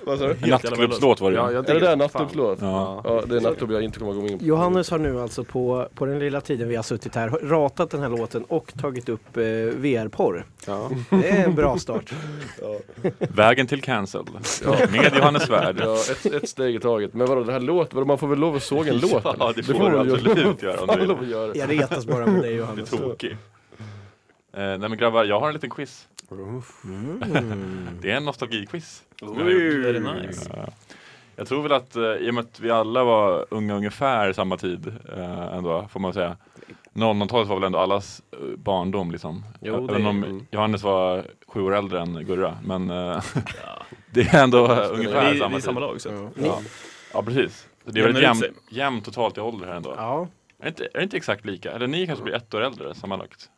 Speaker 3: Vad sa du?
Speaker 4: En nattklubbslåt var det ju.
Speaker 6: jag
Speaker 3: Är det där
Speaker 6: fan.
Speaker 3: nattklubbslåt?
Speaker 4: Ja.
Speaker 3: Ja, det är en nattklubb jag inte kommer att gå in på.
Speaker 2: Johannes har nu alltså på, på den lilla tiden vi har suttit här ratat den här låten och tagit upp eh, VR-porr.
Speaker 6: Ja.
Speaker 2: Det är en bra start.
Speaker 4: Vägen till cancel. Med Johannes Svärd.
Speaker 3: Ja, ett, ett steg i taget. Men vadå, det här låt, vadå, man får väl lov att såga en låt? eller?
Speaker 4: Ja, det får du
Speaker 3: man väl göra.
Speaker 4: absolut göra om
Speaker 3: Man får
Speaker 4: du
Speaker 3: lov
Speaker 4: vill.
Speaker 3: att göra.
Speaker 2: Jag retas bara med dig
Speaker 4: Du är
Speaker 2: Johannes.
Speaker 4: tokig. Eh, nej men grabbar, jag har en liten quiz.
Speaker 2: Mm,
Speaker 4: Det är en nostalgiquiz. som jag har gjort.
Speaker 5: Very nice.
Speaker 4: Ja. Jag tror väl att eh, i och med att vi alla var unga ungefär samma tid eh, ändå, får man säga. 00-talet var väl ändå allas eh, barndom liksom.
Speaker 2: Jo, det
Speaker 4: Även
Speaker 2: är-
Speaker 4: om Johannes var sju år äldre än Gurra, men eh, det är ändå eh, ungefär
Speaker 5: Vi, vi
Speaker 4: samma
Speaker 5: är
Speaker 4: tid.
Speaker 5: samma lag. Så. att-
Speaker 4: Ja. ja, precis. Så det är
Speaker 5: Jämnar
Speaker 4: väl
Speaker 5: ut
Speaker 4: jämnt,
Speaker 5: sig.
Speaker 4: jämnt totalt i ålder här ändå.
Speaker 2: Ja,
Speaker 4: Är, det inte, är det inte exakt lika? Eller ni kanske blir ett år äldre sammanlagt?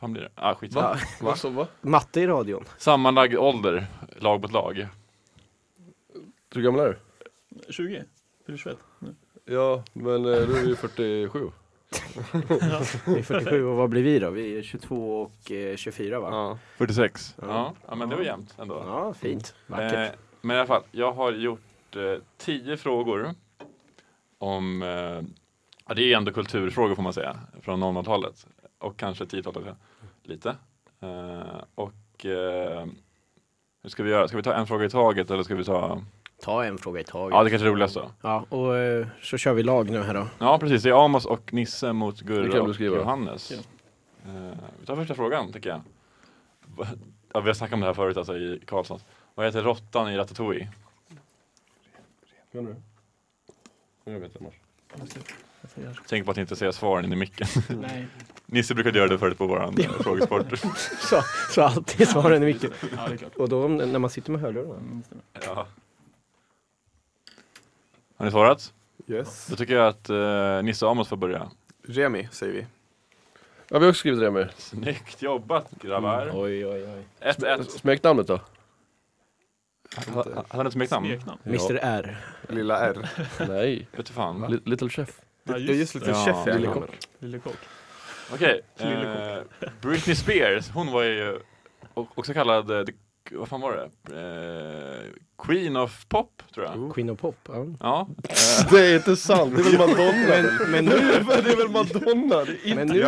Speaker 4: Fan blir det? Ah, skitsamma.
Speaker 3: Va? Så, va?
Speaker 2: matte i radion.
Speaker 4: Sammanlagd ålder, lag mot lag.
Speaker 3: Hur gammal är du?
Speaker 5: 20? Fyller 21? Nu.
Speaker 3: Ja, men eh, du är ju 47.
Speaker 2: Vi är 47 och vad blir vi då? Vi är 22 och eh, 24 va?
Speaker 6: Ja.
Speaker 4: 46. Ja, ja men det var jämnt ändå.
Speaker 2: Ja, fint.
Speaker 4: Eh,
Speaker 2: Vackert.
Speaker 4: men i alla fall, jag har gjort eh, tio frågor om, eh, ja, det är ändå kulturfrågor får man säga, från 00-talet och kanske 10-talet ja, lite. Eh, och eh, hur ska vi göra? Ska vi ta en fråga i taget eller ska vi ta,
Speaker 2: Ta en fråga i taget.
Speaker 4: ja det kanske är roligast då.
Speaker 2: Ja, och eh, så kör vi lag nu här då.
Speaker 4: Ja precis, det är Amos och Nisse mot
Speaker 3: Det kan
Speaker 4: Gurra
Speaker 3: du
Speaker 4: och
Speaker 3: skriva.
Speaker 4: Johannes. Eh, vi tar första frågan tycker jag. Va- Ja, vi har snackat om det här förut alltså i Karlsson. Vad heter råttan i Ratatouille?
Speaker 3: Kan du? Jag vet annars.
Speaker 4: Tänk på att inte säga svaren in i micken.
Speaker 5: Nej.
Speaker 4: Nisse brukade göra det förut på våran eh, frågesport.
Speaker 2: Så, så alltid svaren är viktiga.
Speaker 5: Ja, det är klart.
Speaker 2: Och då om- när man sitter med hörlurarna.
Speaker 5: Mm, det stämmer.
Speaker 4: ja. Har ni svarat?
Speaker 6: Yes.
Speaker 4: Då tycker jag att eh, Nisse och Amos får börja.
Speaker 6: Remi säger vi.
Speaker 3: Ja, vi har också skrivit det med.
Speaker 4: Snyggt jobbat grabbar!
Speaker 2: Oj, oj, oj.
Speaker 4: 1-1.
Speaker 3: Smeknamnet då?
Speaker 4: Hade han ett smeknamn?
Speaker 5: Smeknamn.
Speaker 2: Mr R.
Speaker 6: Lilla R.
Speaker 3: Nej.
Speaker 4: Vete fan.
Speaker 3: Li- Little Chef.
Speaker 5: Ja,
Speaker 6: Jag är just lite
Speaker 4: Ja,
Speaker 6: chef i
Speaker 4: Lille
Speaker 6: alla
Speaker 5: Lillekock.
Speaker 4: Okej, eh,
Speaker 5: Lillekock.
Speaker 4: Britney Spears, hon var ju o- också kallad, eh, the- vad fan var det? Eh, Queen of Pop, tror jag.
Speaker 2: Oh. Queen of Pop. Ja.
Speaker 4: Ja.
Speaker 3: Det är inte sant, det är väl Madonna?
Speaker 2: Men nu,
Speaker 3: det är väl Madonna? Det är inte
Speaker 2: men nu,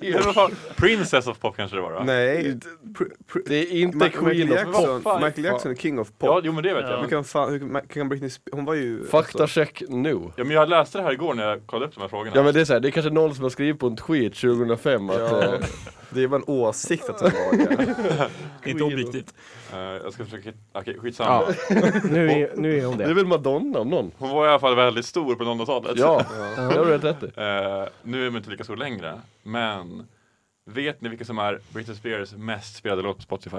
Speaker 4: Det var- Princess of Pop kanske det var då?
Speaker 6: Nej,
Speaker 3: Det är
Speaker 6: Ma-
Speaker 3: inte
Speaker 6: Michael
Speaker 3: Queen of Pop.
Speaker 6: Jackson, Michael Jackson är king of
Speaker 4: Ja,
Speaker 6: pop.
Speaker 4: jo men det vet
Speaker 5: Ja.
Speaker 4: jag.
Speaker 6: Hur
Speaker 4: Men-
Speaker 6: kan, fan, hur, kan- kan Britney Spe- hon var ju... alltså,
Speaker 3: Faktacheck nu.
Speaker 4: Ja, men jag läste det här igår när jag kollade upp de här frågorna.
Speaker 3: Ja men det är så här, det är kanske någon som har skrivit på en tweet 2005 att eh,
Speaker 6: ja,
Speaker 3: ja.
Speaker 6: eh, det var en åsikt att hon var det.
Speaker 5: Inte objektivt.
Speaker 4: Eh, jag ska försöka hitta... Okej, skitsamma.
Speaker 2: nu, är, nu är hon
Speaker 3: det är
Speaker 2: det.
Speaker 3: väl Madonna om någon?
Speaker 4: Hon var i alla fall väldigt stor på 00-talet.
Speaker 3: Ja, det har du rätt rätt i.
Speaker 4: Eh, nu är man inte lika stor längre, men vet ni vilka som är Britney Spears mest spelade låt på Spotify?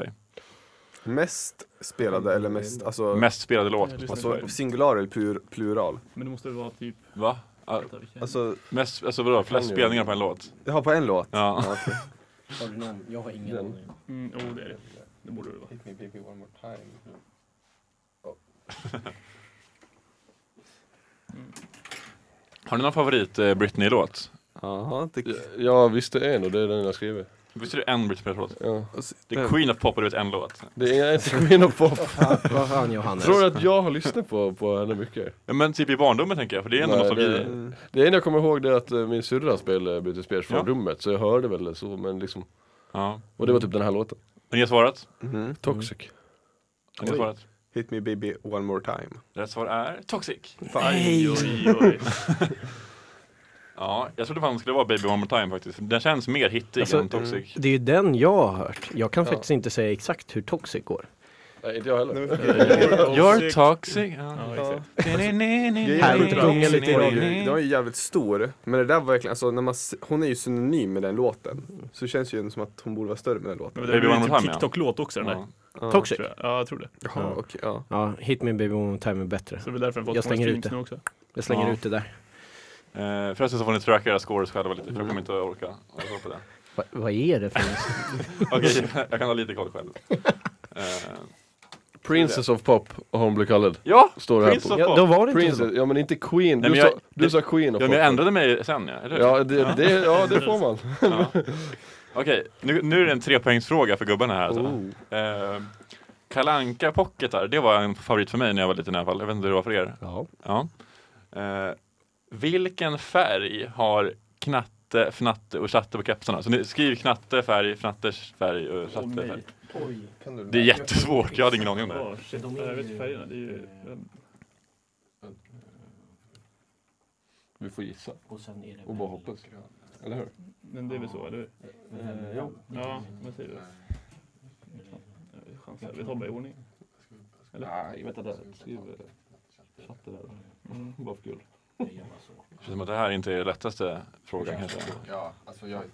Speaker 6: Mest spelade eller mest, alltså,
Speaker 4: Mest spelade låt på
Speaker 6: alltså
Speaker 4: Spotify?
Speaker 6: singular eller plur, plural?
Speaker 5: Men det måste vara typ...
Speaker 4: Va? Ah,
Speaker 6: Alltså,
Speaker 4: mest, alltså vadå, flest
Speaker 3: ju.
Speaker 4: spelningar på en låt?
Speaker 6: jag har på en låt.
Speaker 4: Ja.
Speaker 2: Har du någon? Jag har ingen aning.
Speaker 5: Mm, oh, det är det. Det borde det vara.
Speaker 4: Har ni någon favorit eh, Britney-låt?
Speaker 6: Jaha, det,
Speaker 3: Ja, Ja visst det är nog, det är den jag skriver.
Speaker 4: Visst är det en Britney Spears-låt?
Speaker 3: Ja.
Speaker 6: alltså,
Speaker 4: Det är Queen of Pop och du vet en låt.
Speaker 3: Det är inte Queen of Pop.
Speaker 2: Vad fan Johannes?
Speaker 3: Tror du att jag har lyssnat på, på henne mycket?
Speaker 4: Ja, Men typ i barndomen tänker jag, för det är ändå
Speaker 3: Nej,
Speaker 4: nostalgi.
Speaker 3: det- Det enda jag kommer ihåg det är att eh, min syrra spelade Britney Spears från
Speaker 4: Ja.
Speaker 3: rummet, så jag hörde väl det så, men liksom
Speaker 4: Ja.
Speaker 3: Och det var typ den här låten,
Speaker 4: Har ni svarat?
Speaker 6: mhm.
Speaker 3: Toxic
Speaker 4: Har ni
Speaker 6: Oj.
Speaker 4: svarat?
Speaker 6: Hit me baby one more time.
Speaker 4: Rätt svar är Toxic.
Speaker 5: Oj, oj, oj.
Speaker 4: Ja, jag trodde fan det skulle vara Baby One More Time faktiskt. för Den känns mer hittig
Speaker 2: Alltså,
Speaker 4: än Toxic.
Speaker 2: Det är ju den jag har hört. Jag kan faktiskt inte säga exakt hur Toxic går.
Speaker 3: Nej inte jag heller
Speaker 4: You're toxic.
Speaker 5: Ja, exakt.
Speaker 2: Härligt att sjunga lite i radio.
Speaker 6: Den var ju jävligt stor, men det där var verkligen, alltså, när man, s- hon är ju synonym med den låten. Så det känns ju som att hon borde vara större med den låten.
Speaker 5: Men det
Speaker 4: Baby One
Speaker 5: var
Speaker 4: More
Speaker 5: ju
Speaker 4: Time,
Speaker 5: typ
Speaker 4: ja.
Speaker 5: TikTok-låt också den där.
Speaker 4: Ja.
Speaker 2: Toxic?
Speaker 5: Tror jag. Ja, jag tror det.
Speaker 6: Jaha, okej, ja.
Speaker 2: Ja, Hit Me Baby One More Time är bättre.
Speaker 5: Så det är väl därför den fått
Speaker 2: Jag
Speaker 5: så många
Speaker 2: stänger ut
Speaker 5: streams
Speaker 2: det.
Speaker 5: nu också.
Speaker 2: Jag slänger
Speaker 4: Ja.
Speaker 2: ut det där.
Speaker 4: Eh, förresten så får ni tracka era scores själva lite, för jag kommer inte att orka. Jag tror på det.
Speaker 2: Va, vad är det för något?
Speaker 4: Okej, jag kan ha lite koll själv. Eh,
Speaker 3: Princess of Pop har hon blivit kallad
Speaker 4: ja,
Speaker 3: Står det här
Speaker 4: Prince
Speaker 3: på
Speaker 4: of
Speaker 2: ja, då
Speaker 4: Pop.
Speaker 2: var det inte
Speaker 3: Princess,
Speaker 2: så.
Speaker 3: ja men inte Queen, du,
Speaker 4: Nej, men jag-
Speaker 3: sa, du
Speaker 4: det-
Speaker 3: sa Queen of
Speaker 4: Ja, men
Speaker 3: Pop
Speaker 4: jag ändrade mig sen ja, eller hur?
Speaker 3: Ja det, det, ja det får man
Speaker 4: Ja. Okej, nu, nu är det en trepoängsfråga för gubbarna här alltså. Eh, Kalanka pocketar, det var en favorit för mig när jag var liten i alla fall. Jag vet inte hur det var för er.
Speaker 2: Ja.
Speaker 4: Ja. Eh, vilken färg har knatte, fnatte och chatte på kepsarna? Så nu, skriv knatte, färg, fnatters färg och chatte
Speaker 5: Åh, nej.
Speaker 4: färg. Det är jättesvårt, jag hade ingen aning om det.
Speaker 5: Ja, shit. Jag vet ju färgerna. Det är ju... ehm,
Speaker 3: Vi får gissa
Speaker 2: Och sen är
Speaker 3: och bara hoppas Eller hur?
Speaker 5: Men det är väl så, eller hur?
Speaker 3: Ja
Speaker 5: Ja, vad säger du? Jag chansar. Vi tar bara i ordning.
Speaker 3: Nej vänta där, skriv chatten där
Speaker 5: Mm.
Speaker 3: Bara för kul
Speaker 4: Det känns som att det här inte är den lättaste frågan kanske.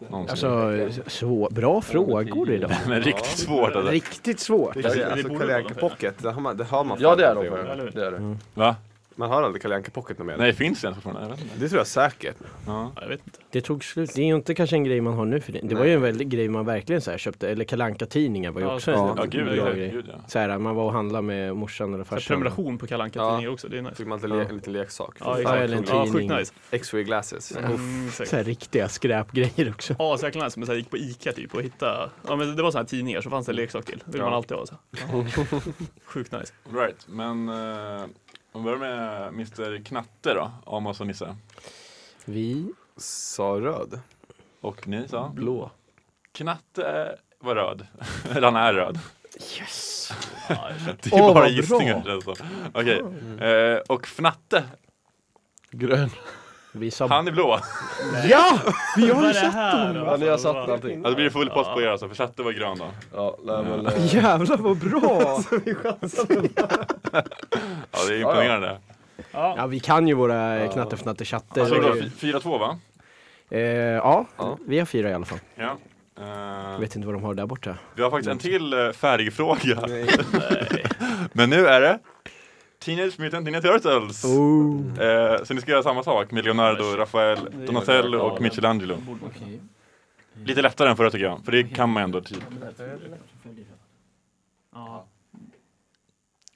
Speaker 4: Någonsin.
Speaker 2: Alltså, svår. bra frågor idag.
Speaker 4: Men riktigt svårt alltså.
Speaker 2: Riktigt svårt.
Speaker 6: Det är,
Speaker 5: det
Speaker 6: alltså
Speaker 5: borde
Speaker 6: Kalle
Speaker 5: vara
Speaker 6: Anka
Speaker 5: de pengarna.
Speaker 6: Pocket, det har man, det har man
Speaker 3: Ja
Speaker 6: fan
Speaker 3: det är
Speaker 6: aldrig
Speaker 3: de
Speaker 6: gjort.
Speaker 5: eller hur?
Speaker 3: det är det
Speaker 4: Va?
Speaker 6: Man har aldrig Kalle Anka Pocket något mer.
Speaker 4: Nej, finns det ens fortfarande? Jag vet inte.
Speaker 6: Det tror jag säkert.
Speaker 4: Ja.
Speaker 5: Ja, jag vet inte.
Speaker 2: Det tog slut. Det är ju inte kanske en grej man har nu för tiden. Det var ju en väldig grej man verkligen så här köpte. Eller kalanka tidningar var ju
Speaker 5: Ja,
Speaker 2: också
Speaker 5: så-
Speaker 2: en
Speaker 4: Ja, gud,
Speaker 2: bra
Speaker 4: ja,
Speaker 2: grej.
Speaker 4: gud ja.
Speaker 2: Så här, man var och handlade med morsan eller
Speaker 5: Så här,
Speaker 2: farsan.
Speaker 5: prenumeration på Kalle Anka-tidningar också. Det är nice.
Speaker 6: Fick man inte le- en liten leksak.
Speaker 5: Ja,
Speaker 6: Fy
Speaker 5: exakt.
Speaker 6: fan,
Speaker 2: eller en
Speaker 6: vad
Speaker 5: Ja,
Speaker 6: coolt.
Speaker 5: sjukt
Speaker 2: tidning.
Speaker 5: nice.
Speaker 6: X-ray glasses.
Speaker 5: Mm,
Speaker 2: Så
Speaker 5: säkert.
Speaker 2: här riktiga skräpgrejer också.
Speaker 5: Ja, så jäkla nice. Men så här, gick på Ica typ och hittade... Ja, men det var så här tidningar så fanns det en leksak till. Det vill
Speaker 6: Ja.
Speaker 5: man alltid ha. Så. här. Sjukt nice.
Speaker 4: All Right, men eh, om vi börjar med Mr Knatte då, Amos och Nisse.
Speaker 2: Vi
Speaker 6: Sa röd.
Speaker 4: Och ni sa?
Speaker 3: Blå
Speaker 4: Knatte eh, var röd. Eller han är röd.
Speaker 2: Yes!
Speaker 5: Ja, jag känner-
Speaker 4: Det är
Speaker 2: Åh,
Speaker 4: bara
Speaker 2: vad
Speaker 4: gissningar
Speaker 2: bra.
Speaker 4: känns det som. Okej, eh, och Fnatte,
Speaker 3: Grön
Speaker 2: Vi sa...
Speaker 4: han är blå.
Speaker 2: Ja! Vi
Speaker 5: Vad
Speaker 2: har
Speaker 5: är
Speaker 2: ju
Speaker 5: det
Speaker 2: satt...
Speaker 5: här? Alltså,
Speaker 3: Ja ni har satt allting
Speaker 4: Ja, det blir full post på er alltså, för Chatte var grön då.
Speaker 3: Ja, nej, men, eh,
Speaker 2: Jävlar vad bra!
Speaker 4: Ja, det är imponerande.
Speaker 2: Ja, vi kan ju våra knattefnattechatter.
Speaker 4: Så bra, fy- 4-2 va?
Speaker 2: Eh, ja, vi har fyra i alla fall.
Speaker 4: Ja. Eh,
Speaker 2: Jag vet inte vad de har där borta.
Speaker 4: vi har faktiskt en till eh, färgfråga. Men nu är det Teenage Mutant Ninja Turtles. Eh, så ni ska göra samma sak med Leonardo, Rafael, Donatello och Michelangelo. Lite lättare än förra tycker jag, för det kan man ändå typ.
Speaker 5: Ja,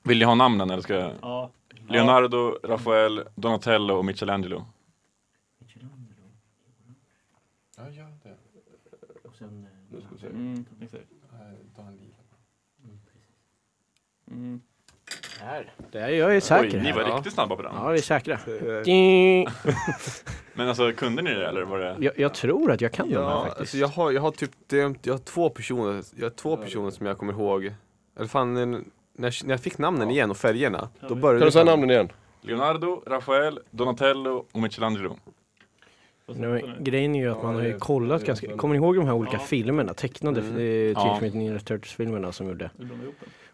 Speaker 4: Vill ni ha namnen eller ska jag?
Speaker 5: ja.
Speaker 4: Leonardo, Rafael, Donatello och Michelangelo.
Speaker 5: Mm, exakt. Mm.
Speaker 2: Där. Där, jag är säker.
Speaker 4: Oj, ni var
Speaker 2: ja.
Speaker 4: riktigt snabba på den.
Speaker 2: ja, vi är säkra.
Speaker 6: Eh,
Speaker 2: Ding.
Speaker 4: Men alltså kunde ni det eller var det?
Speaker 2: Jag, jag tror att jag kan den här
Speaker 6: Ja,
Speaker 2: faktiskt.
Speaker 6: alltså jag har, jag har typ dömt, jag har två personer, jag har två personer som jag kommer ihåg. Eller fan, när, när jag fick namnen igen och färgerna, då började
Speaker 3: Kan du säga namnen igen?
Speaker 4: Leonardo, Rafael, Donatello och Michelangelo.
Speaker 2: Nej, men grejen är ju att man har ju kollat ganska... Kommer ni ihåg de här olika filmerna? Tecknade mm. Teenage
Speaker 4: Ja.
Speaker 2: Mutant Ninja Turtles-filmerna som gjorde.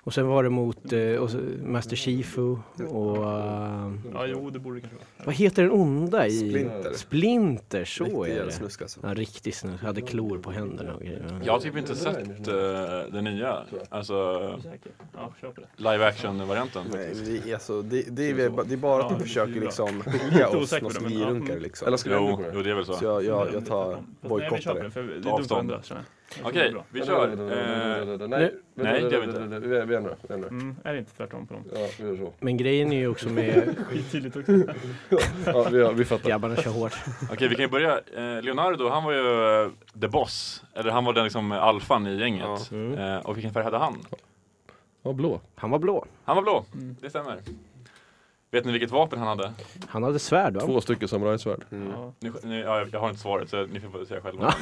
Speaker 2: Och sen var det mot eh, och så, Master Shifu och... eh,
Speaker 5: Ja, jo, det borde det kanske vara.
Speaker 2: vad heter den onda i...
Speaker 6: Splinter.
Speaker 2: Splinter, så
Speaker 6: Riktig
Speaker 2: är
Speaker 6: jävla
Speaker 2: det.
Speaker 6: snusk alltså.
Speaker 2: Ja, riktigt snus. Hade klor på händerna och grejer.
Speaker 4: Jag har typ inte sett eh, den nya, alltså
Speaker 5: Ja, kör på det.
Speaker 4: live action-varianten.
Speaker 6: Nej, det, är alltså, det, det, är, väl ba- det är bara att
Speaker 5: Ja,
Speaker 6: de försöker
Speaker 5: det är bra.
Speaker 6: liksom skilja
Speaker 5: Lite
Speaker 6: oss
Speaker 5: osäker på det, men ja.
Speaker 6: nostalgirunkare
Speaker 5: Mm.
Speaker 6: liksom.
Speaker 3: Eller ska vi ändra
Speaker 4: Jo,
Speaker 3: på det?
Speaker 4: jo, det är väl
Speaker 6: Så
Speaker 4: så.
Speaker 6: jag, jag, jag tar bojkottar det.
Speaker 5: det. För det är
Speaker 4: Ta
Speaker 5: dumt att
Speaker 4: avstånd.
Speaker 5: ändra, känner jag. Jag tror det är
Speaker 4: Okej,
Speaker 5: bra.
Speaker 4: vi kör. Eh,
Speaker 3: Nej,
Speaker 4: Nej, det gör vi inte.
Speaker 3: Vi vi ändrar, vi ändrar.
Speaker 5: Mm, är det inte tvärtom på dem?
Speaker 3: Ja, vi gör så.
Speaker 2: Men grejen är ju också med...
Speaker 5: Skittydligt också.
Speaker 3: Ja, vi, vi fattar.
Speaker 2: Grabbarna kör hårt.
Speaker 4: Okej, vi kan ju börja. Eh, Leonardo, han var ju eh, the boss. Eller han var den liksom eh, alfan i gänget.
Speaker 2: Mm.
Speaker 4: Eh, och vilken färg hade han?
Speaker 3: Ja, blå.
Speaker 2: Han var blå.
Speaker 4: Han var blå, det stämmer. Vet ni vilket vapen han hade?
Speaker 2: Han hade svärd va?
Speaker 3: Två stycken samurajsvärd.
Speaker 5: Ja.
Speaker 4: Ni, ni, ja, jag- jag har inte svaret så ni får bara säga själva.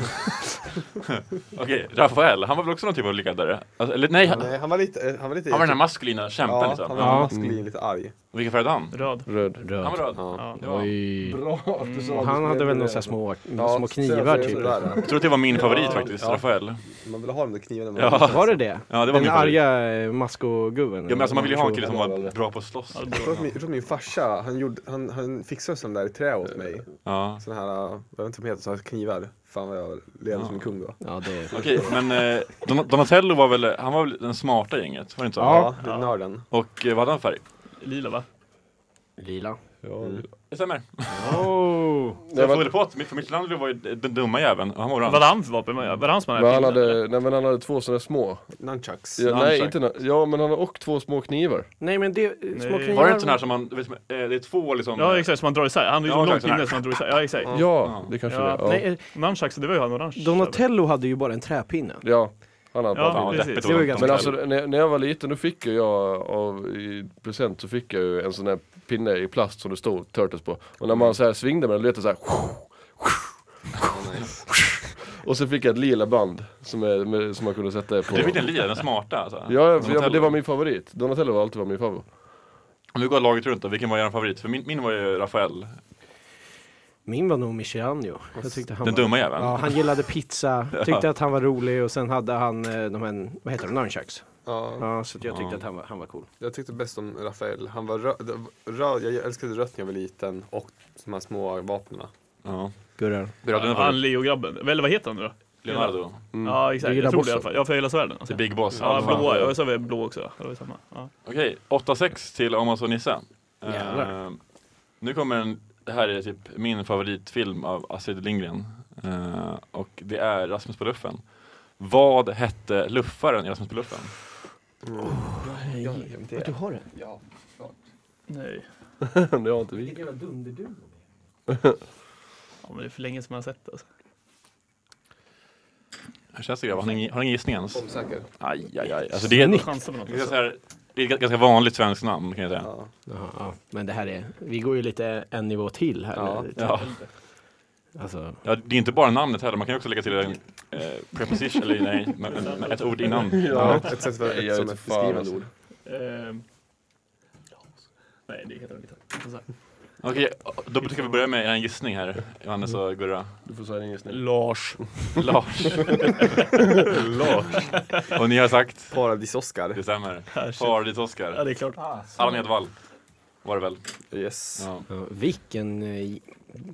Speaker 4: Okej, Rafael, han var väl också någon typ av ledare? Alltså, eller nej, han,
Speaker 6: Nej, han var lite, eh, han var lite
Speaker 4: han var den här maskulina kämpen
Speaker 6: ja,
Speaker 4: liksom.
Speaker 6: han
Speaker 4: Ja.
Speaker 6: var maskulin, lite arg.
Speaker 4: Vilken färg hade han?
Speaker 5: Röd.
Speaker 3: Röd.
Speaker 4: Han var
Speaker 2: Röd.
Speaker 4: röd.
Speaker 5: Ja.
Speaker 4: Det var,
Speaker 2: Oj.
Speaker 3: Bra att du sa
Speaker 2: Och
Speaker 3: det.
Speaker 2: han hade väl några så här små, små knivar
Speaker 6: sen- sen-
Speaker 2: typ.
Speaker 6: sådär.
Speaker 4: jag tror att det var min favorit faktiskt, Rafael.
Speaker 6: Man vill ha de där knivarna. man-
Speaker 4: Ja,
Speaker 2: Var det det?
Speaker 4: ja det var
Speaker 2: Den
Speaker 4: min favorit. Ja,
Speaker 2: arga eh, maskogubben?
Speaker 4: men alltså, man ville ju ha en kille som
Speaker 3: Jag
Speaker 4: var
Speaker 3: tror-
Speaker 4: bra på att slåss.
Speaker 5: Ja, det
Speaker 6: Jag
Speaker 5: är
Speaker 6: tror att
Speaker 5: bra.
Speaker 6: min, jag tror att min farsa, han, gjorde, han, han fixade sån där i trä åt mig.
Speaker 4: Ja.
Speaker 6: Sån här, äh, jag vet inte vad de heter, sån här knivar. Fan vad jag levde som en kung då.
Speaker 2: Ja, det...
Speaker 4: Okej, men eh, Don- Donatello var väl, han var väl den smarta i gänget? Var det inte så?
Speaker 6: Ja,
Speaker 5: Ja.
Speaker 6: ja. nörden.
Speaker 4: Och eh, vad hade han för färg?
Speaker 5: Lila va?
Speaker 2: Lila.
Speaker 3: Mm.
Speaker 4: Det stämmer.
Speaker 2: Oh.
Speaker 4: Så jag får väl på att mitt- för Michelangelo var ju d- den dumma jäveln och han var
Speaker 5: Vad
Speaker 4: orange.
Speaker 5: hade han för vapen? Var det han som
Speaker 3: Men han,
Speaker 5: bilden, eller?
Speaker 3: hade, nej, men han hade två sådana små.
Speaker 6: Nunchucks.
Speaker 3: Ja,
Speaker 4: Nunchuck.
Speaker 3: nej, inte, na- ja, men han har och två små knivar.
Speaker 2: Nej men det, eh, små
Speaker 5: Nej.
Speaker 2: knivar.
Speaker 4: Var det inte sån här som man, vet, eh, det är två liksom
Speaker 5: Ja exakt, som han drar isär. Han är ju
Speaker 4: Ja,
Speaker 5: så långt
Speaker 4: exakt,
Speaker 5: inne
Speaker 4: sådär.
Speaker 5: som han drar isär. Ja exakt.
Speaker 3: Ja, det kanske
Speaker 5: Ja.
Speaker 3: det är. Ja.
Speaker 2: Nej, eh,
Speaker 5: Nunchucks, det var ju han orange.
Speaker 2: Donatello hade ju bara en träpinne.
Speaker 3: ja, han hade
Speaker 5: Ja,
Speaker 3: bara-
Speaker 4: Ja,
Speaker 5: precis.
Speaker 4: deppigt
Speaker 2: Det var ju
Speaker 4: var
Speaker 2: ganska-
Speaker 3: Men alltså när, när jag var liten då fick ju jag av, i present så fick jag ju en sån där pinne i plast som det stod Turtles på. Och när man så här svingde med den lät det så här. Och så fick jag ett lila band som, är, med, som man kunde sätta på.
Speaker 4: Du fick den lila, den smarta alltså.
Speaker 3: Ja, för, ja, men det
Speaker 4: Donatello.
Speaker 3: var min favorit. Donatello var alltid var min favorit.
Speaker 4: Om vi går laget runt då, vilken var er favorit? För min, min var ju Rafael,
Speaker 2: Min var nog Michelangelo. Jag tyckte han
Speaker 4: den
Speaker 2: var...
Speaker 4: dumma jäveln.
Speaker 2: Ja, han gillade pizza, tyckte att han var rolig och sen hade han eh, de här, vad heter de, nunchucks.
Speaker 6: Ja,
Speaker 2: Ja, så att jag tyckte att han var, han var cool.
Speaker 6: jag tyckte bäst om Rafael. Han var röd, röd, jag älskade rött när jag var liten och de här små vapnen.
Speaker 4: Ja.
Speaker 2: Gurrar.
Speaker 4: Hur hade du den
Speaker 5: Han
Speaker 4: favorit?
Speaker 5: Leo-grabben. Eller vad heter han nu då?
Speaker 4: Leonardo,
Speaker 5: Ja exakt,
Speaker 2: Du
Speaker 5: jag
Speaker 2: gillar
Speaker 5: tror det i alla
Speaker 2: bossen.
Speaker 5: fall. Ja för jag gillar svärden.
Speaker 4: the
Speaker 5: Alltså.
Speaker 4: big boss.
Speaker 5: Ja,
Speaker 4: alfa.
Speaker 5: blå. Jag sa väl blå också. va? Det var ju samma. Ja.
Speaker 4: Okej, 8-6 till Amos och Nisse. Eh,
Speaker 2: Jävlar.
Speaker 4: nu kommer en, det här är typ min favoritfilm av Astrid Lindgren. Eh, och det är Rasmus på luffen. Vad hette luffaren i Rasmus på luffen?
Speaker 2: Du har den?
Speaker 5: Nej.
Speaker 3: det har inte vi.
Speaker 5: Ja, men det är för länge som man har sett alltså.
Speaker 4: Hur känns det grabbar? Har ni, har ni ingen gissning ens?
Speaker 6: Omsäker.
Speaker 4: Aj, aj, aj. Alltså det är,
Speaker 5: Chansa på något.
Speaker 4: det är,
Speaker 5: Alltså.
Speaker 4: så här, det är ett ganska vanligt svenskt namn kan jag säga.
Speaker 6: Ja.
Speaker 2: Jaha, ja. Men det här är, vi går ju lite en nivå till här.
Speaker 6: Ja.
Speaker 4: Ja.
Speaker 2: Alltså,
Speaker 4: Ja, det är inte bara namnet heller, man kan ju också lägga till en eh, preposition, eller nej, men, men, men ett ord innan.
Speaker 6: Ja. Ett sätt för
Speaker 3: Nej,
Speaker 6: ett,
Speaker 3: jag
Speaker 6: som
Speaker 3: vet
Speaker 6: ett
Speaker 3: fan,
Speaker 6: beskrivande
Speaker 3: alltså.
Speaker 6: ord.
Speaker 5: Ehm. Nej, det heter den inte. Så här.
Speaker 4: Okej, då ska vi börja med en gissning här, Johannes och Gurra.
Speaker 3: Du får säga din gissning.
Speaker 5: Lars.
Speaker 4: Lars. Lars. Och ni har sagt, det
Speaker 6: Paradis-Oskar.
Speaker 4: stämmer.
Speaker 5: Här, shit. Ja,
Speaker 4: Paradis-Oskar.
Speaker 5: det är klart.
Speaker 4: Allan Edwall var det väl?
Speaker 6: Yes.
Speaker 4: Ja.
Speaker 2: ja, vilken eh,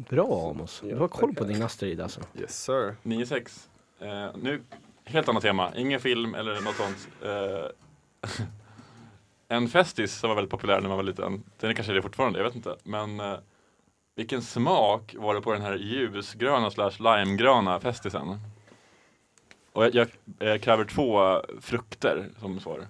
Speaker 2: bra Amos. Du har koll på din Astrid alltså.
Speaker 6: Yes sir.
Speaker 4: 9-6. Eh, nu, helt annat tema. Ingen film eller något sånt. Eh, en festis som var väldigt populär när man var liten. Den är kanske det fortfarande, jag vet inte. Men eh, vilken smak var det på den här ljusgröna slash limegröna festisen? Och jag, jag eh, kräver två frukter som svar.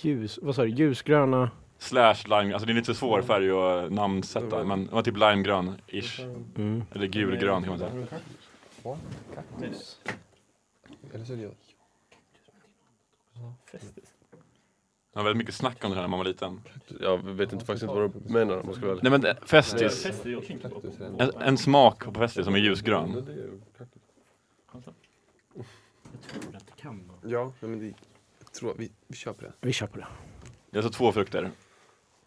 Speaker 2: Ljus, vad sa du, ljusgröna?
Speaker 4: Slash lime, alltså det är lite
Speaker 2: Mm.
Speaker 4: svår färg att namnsätta, men det var typ limegrön-ish.
Speaker 2: Mm.
Speaker 4: Eller gulgrön kan man säga. Det var väldigt mycket snack om det här när man var liten.
Speaker 3: Jag vet inte faktiskt inte vad du menar om man ska vara ärlig.
Speaker 4: Nej men eh, Festis. En, en smak på Festis som är ljusgrön.
Speaker 6: Ja, nej, men det, jag tror vi, vi köper det.
Speaker 2: Vi kör på det.
Speaker 4: Det är alltså två frukter.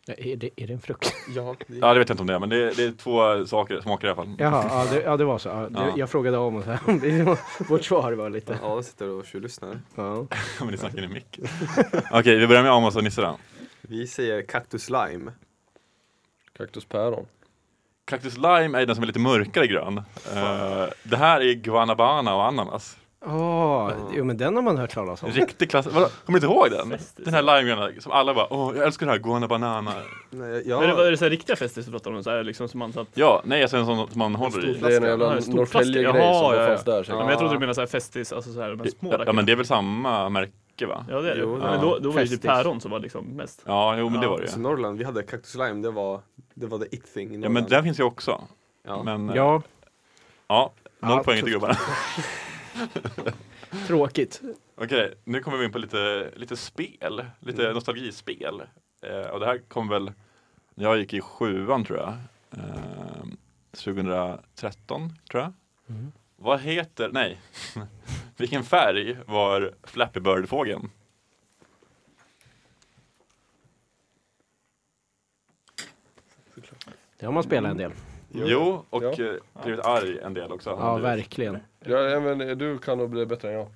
Speaker 2: Är det, är det en frukt?
Speaker 6: Ja, det,
Speaker 4: Ja, det vet jag inte om det är, men det är, det är två saker, smaker i alla fall.
Speaker 2: Jaha, ja det, ja, det var så. Ja, det,
Speaker 4: Ja.
Speaker 2: Jag frågade om och så här. Det var- Vårt svar var lite...
Speaker 6: ja, jag sitter och tjuvlyssnar.
Speaker 2: Ja.
Speaker 4: Men ni snackar i mick. Okej, vi börjar med Amos och Nisse då.
Speaker 6: Vi säger cactus lime.
Speaker 3: Kaktus päron.
Speaker 4: Cactus lime är den som är lite mörkare grön. Eh, det här är guanabana och ananas.
Speaker 2: Åh, jo men den har man hört talas om.
Speaker 4: Riktig klass. Vadå? Kommer du inte ihåg den? Den här limegröna som alla bara åh, jag älskar det här, guanabanana.
Speaker 6: Nej,
Speaker 5: Är det, är
Speaker 6: ja,
Speaker 5: det så här riktiga fester som pratar om? Så här, liksom, som man satt...
Speaker 4: Ja, nej, alltså en sån som man håller i.
Speaker 5: Flaska.
Speaker 3: Det är en
Speaker 5: Ja,
Speaker 3: jävla
Speaker 5: en stor
Speaker 3: Norrtälje-grej som
Speaker 5: flaska. Jaha, ja,
Speaker 3: bara
Speaker 5: ja.
Speaker 3: fanns där
Speaker 5: Ja,
Speaker 3: säkert.
Speaker 5: men jag trodde du menade så här festis, alltså så här, de här små
Speaker 4: Ja,
Speaker 5: rackarna.
Speaker 4: men det är väl samma märke va?
Speaker 5: Ja det är det.
Speaker 6: Jo,
Speaker 5: men
Speaker 4: ja.
Speaker 5: då, då var det ju typ
Speaker 2: Festis.
Speaker 5: päron som var liksom mest.
Speaker 4: Ja, jo men det var det
Speaker 6: så
Speaker 4: ju.
Speaker 6: Alltså, Norrland, vi hade cactus lime, det var, det var the it thing i
Speaker 4: Ja, men
Speaker 6: Norrland.
Speaker 4: den finns ju också.
Speaker 6: Ja.
Speaker 4: Men, eh,
Speaker 2: Ja,
Speaker 4: ja noll
Speaker 2: Ja,
Speaker 4: poäng till gubbarna.
Speaker 2: tråkigt.
Speaker 4: Okej, nu kommer vi in på lite, lite spel, lite nostalgispel. Eh, och det här kom väl, när jag gick i sjuan tror jag, eh, 2013 tror jag. Vad heter, nej, vilken färg var Flappy Bird-fågeln?
Speaker 2: Det har man spelat en del.
Speaker 4: Jo, och
Speaker 3: Ja.
Speaker 4: eh, blivit arg en del också.
Speaker 2: Ja, verkligen.
Speaker 3: Ja, ja, men du kan nog bli bättre än jag.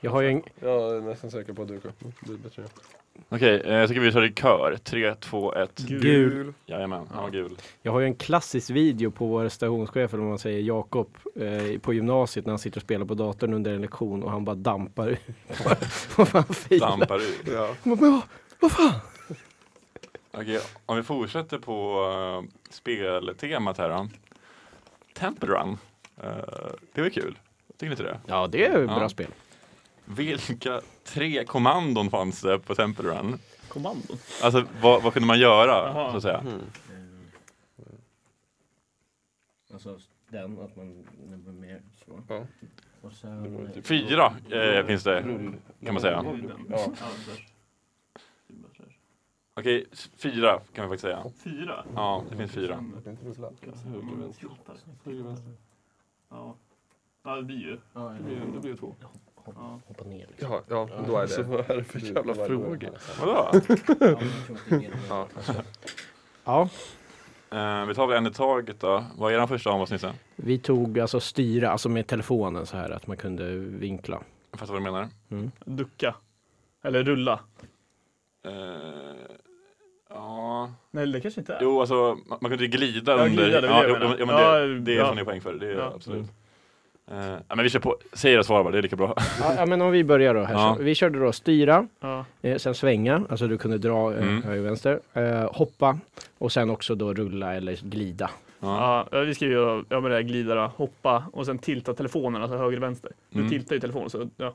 Speaker 2: Jag har ju en...
Speaker 3: Jag är nästan säker på att du kan bli bättre än jag.
Speaker 4: Okej, eh, jag tycker vi kör i kör. Tre, två, ett.
Speaker 2: Gul.
Speaker 4: Jajamän, han var gul.
Speaker 2: Jag har ju en klassisk video på vår stationschef, eller om man säger Jakob, eh, på gymnasiet när han sitter och spelar på datorn under en lektion och han bara dampar ut. Vad fan filar.
Speaker 4: Dampar ut.
Speaker 6: Ja.
Speaker 2: Men vad- Vad fan?
Speaker 4: Okej, om vi fortsätter på eh, speltemat här då. Temple Run. Eh, det var kul. Tycker ni inte det?
Speaker 2: Ja, det är ju bra
Speaker 4: Ja.
Speaker 2: spel.
Speaker 4: Vilka tre kommandon fanns det på Temple Run?
Speaker 5: Kommandon.
Speaker 4: Alltså vad, vad kunde man göra
Speaker 5: Jaha.
Speaker 4: så att säga?
Speaker 2: Alltså den, att man... Mer så.
Speaker 6: Ja.
Speaker 2: Och sen...
Speaker 4: Fyra eh, finns det kan man säga.
Speaker 5: Mm.
Speaker 4: Okej, s- fyra kan vi faktiskt säga.
Speaker 5: Fyra?
Speaker 4: Ja, det finns fyra.
Speaker 5: Ja. Ja det blir ju.
Speaker 4: Det blir två.
Speaker 2: Hoppa ner. liksom.
Speaker 6: Ja, ja, då är
Speaker 3: Så
Speaker 6: det.
Speaker 3: vad är det för jävla frågor?
Speaker 4: Vadå?
Speaker 2: Alltså. Ja,
Speaker 4: Eh, vi tar väl en i taget då. Vad är den första omvasnisse?
Speaker 2: vi tog alltså styra, alltså med telefonen så här att man kunde vinkla.
Speaker 4: Jag fattar vad du menar.
Speaker 5: Ducka. Eller rulla.
Speaker 4: Eh, ja.
Speaker 5: Nej det kanske inte är.
Speaker 4: Jo, alltså man, man kunde ju glida
Speaker 5: Ja,
Speaker 4: under.
Speaker 5: glida, det var
Speaker 4: ja,
Speaker 5: det jag
Speaker 4: jo,
Speaker 5: menade.
Speaker 4: ja, men det,
Speaker 5: Ja,
Speaker 4: det är
Speaker 5: ja.
Speaker 4: som ni har poäng för. Det är
Speaker 5: Ja. Mm.
Speaker 4: absolut. Eh, ja, men vi kör på. Säg era svar bara, det är lika bra.
Speaker 2: Ja, ja, men om vi börjar då. Här,
Speaker 4: Ja.
Speaker 2: så, vi körde då styra,
Speaker 5: Ja.
Speaker 2: eh, sen svänga, alltså du kunde dra eh,
Speaker 4: Mm.
Speaker 2: höger och vänster, eh, hoppa och sen också då rulla eller glida.
Speaker 4: Ja.
Speaker 5: Ja, vi skrev ju ja, men det här glida, då, hoppa och sen tilta telefonen, alltså höger och vänster. Du
Speaker 4: Mm.
Speaker 5: tiltar ju telefonen så ja.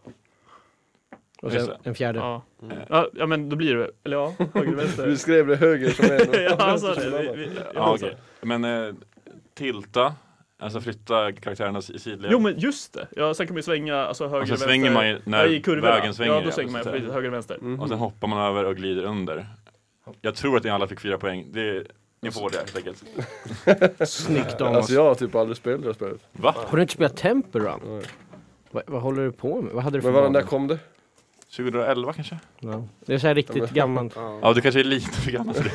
Speaker 2: Och
Speaker 4: Just
Speaker 2: sen en fjärde.
Speaker 5: Ja.
Speaker 4: Mm.
Speaker 5: Ja, ja men då blir det eller ja, höger och
Speaker 3: Du
Speaker 5: vänster.
Speaker 3: skrev det höger som en
Speaker 5: ja,
Speaker 3: och
Speaker 5: han sa
Speaker 3: vänster som en
Speaker 5: det.
Speaker 3: annan.
Speaker 5: Vi, vi,
Speaker 4: Ja,
Speaker 5: ja,
Speaker 4: okej. Men eh, tilta, alltså flytta karaktärerna i sidled.
Speaker 5: Jo men just det, ja, sen kan man ju svänga alltså höger
Speaker 4: och sen
Speaker 5: vänster.
Speaker 4: svänger man ju när
Speaker 5: ja, i kurvorna.
Speaker 4: vägen svänger. alltså,
Speaker 5: Ja, då svänger man
Speaker 4: så
Speaker 5: ju
Speaker 4: att säga.
Speaker 5: precis, höger och vänster.
Speaker 6: Mm.
Speaker 4: Och sen hoppar man över och glider under. Jag tror att ni alla fick fyra poäng. Det, ni får det helt enkelt.
Speaker 2: Snyggt Amos.
Speaker 3: Alltså jag har typ aldrig spelat det här spelet.
Speaker 4: Va?
Speaker 2: Har du inte spelat Temple Run?
Speaker 3: Nej.
Speaker 2: Vad- vad håller du på med? Vad hade du för
Speaker 3: Men var den där
Speaker 2: vanor?
Speaker 3: kom det?
Speaker 4: 2011 kanske?
Speaker 2: Ja. Det är så här riktigt gammalt.
Speaker 4: Ja, du kanske är lite för gammal för det.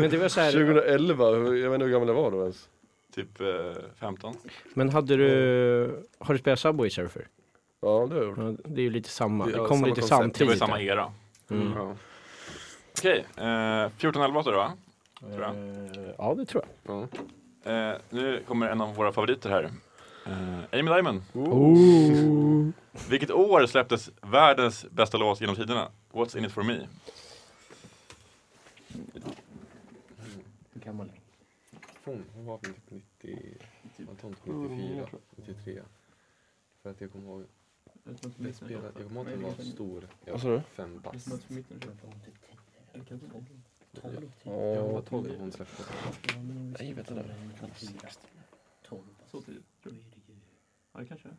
Speaker 2: Men det var så här,
Speaker 3: 2011, hur- jag vet inte hur gammal jag var då ens.
Speaker 4: Typ eh, 15.
Speaker 2: men hade du, har du spelat Subway Surfer?
Speaker 3: Ja det har jag gjort.
Speaker 2: Ja, det är ju lite samma,
Speaker 6: Det- ja,
Speaker 2: Mm. det kom
Speaker 6: samma
Speaker 2: lite
Speaker 6: koncept.
Speaker 4: Det var
Speaker 2: samtidigt.
Speaker 4: ju samma
Speaker 2: där.
Speaker 4: era.
Speaker 2: Mm.
Speaker 6: Ja.
Speaker 4: Okej, eh, 14-11 åter va? Tror jag.
Speaker 2: Eh, Ja, det tror jag.
Speaker 6: Ja.
Speaker 4: Eh, nu kommer en av våra favoriter här. Eh, Amy Diamond.
Speaker 2: Oh.
Speaker 4: Vilket år släpptes världens bästa låt genom tiderna? What's in it for me?
Speaker 6: Hon hon var väl typ 90, man tog typ 94, 93. För att jag kommer ihåg, jag spelade, jag kommer ihåg att den var stor. Jag var fem bast. Jag var 12 när hon släppte den.
Speaker 5: Ja, det kanske är.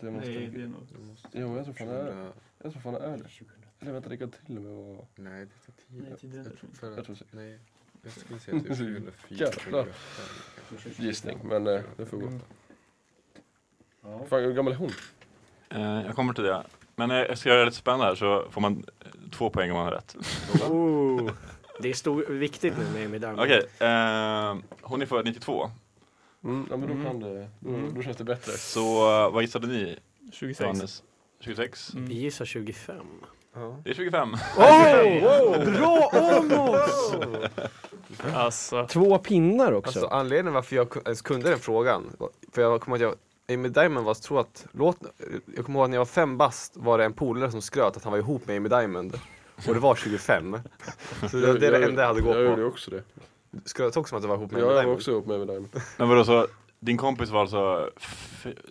Speaker 3: Det måste... Jo jag tror fan det är, jag tror fan det är det. Eller vänta, det kan till och med vara...
Speaker 6: Nej, det tar tio.
Speaker 5: Nej, tidigare.
Speaker 6: Jag tror förra...
Speaker 3: Jag tror säkert.
Speaker 6: Nej, jag skulle säga typ 2004.
Speaker 3: Jävlar.
Speaker 6: 2005.
Speaker 3: Gissning, men eh, det får gå. Fan, hur gammal är hon?
Speaker 4: Eh, jag kommer till det. Men eh, jag ska göra det lite spännande här så får man eh, två poäng om man har rätt.
Speaker 2: Oh. Det är stor, viktigt nu med Amy Diamond.
Speaker 4: Okej, eh, hon är född 92.
Speaker 3: Mm, ja men då kan det, då, då känns det bättre.
Speaker 4: Så eh, vad gissade ni?
Speaker 5: 26.
Speaker 4: Johannes? 26?
Speaker 2: Vi gissar 25.
Speaker 4: Det är 25.
Speaker 2: Oj! Bra om oss!
Speaker 5: Alltså.
Speaker 2: Två pinnar också.
Speaker 6: Alltså anledningen varför jag ku- ens kunde den frågan, var- för jag kommer ihåg att jag, Amy Diamond var, tror att, låt, jag kommer ihåg att när jag var fem bast var det en polare som skröt att han var ihop med Amy Diamond. Och det var 25. Så det, det är det enda jag hade att gå
Speaker 3: Jag gjorde
Speaker 6: på.
Speaker 3: också det.
Speaker 6: Skröt också om att jag var ihop med Amy
Speaker 3: Jag var
Speaker 6: Diamond.
Speaker 3: också ihop med Amy Diamond.
Speaker 4: Men vadå så, din kompis var alltså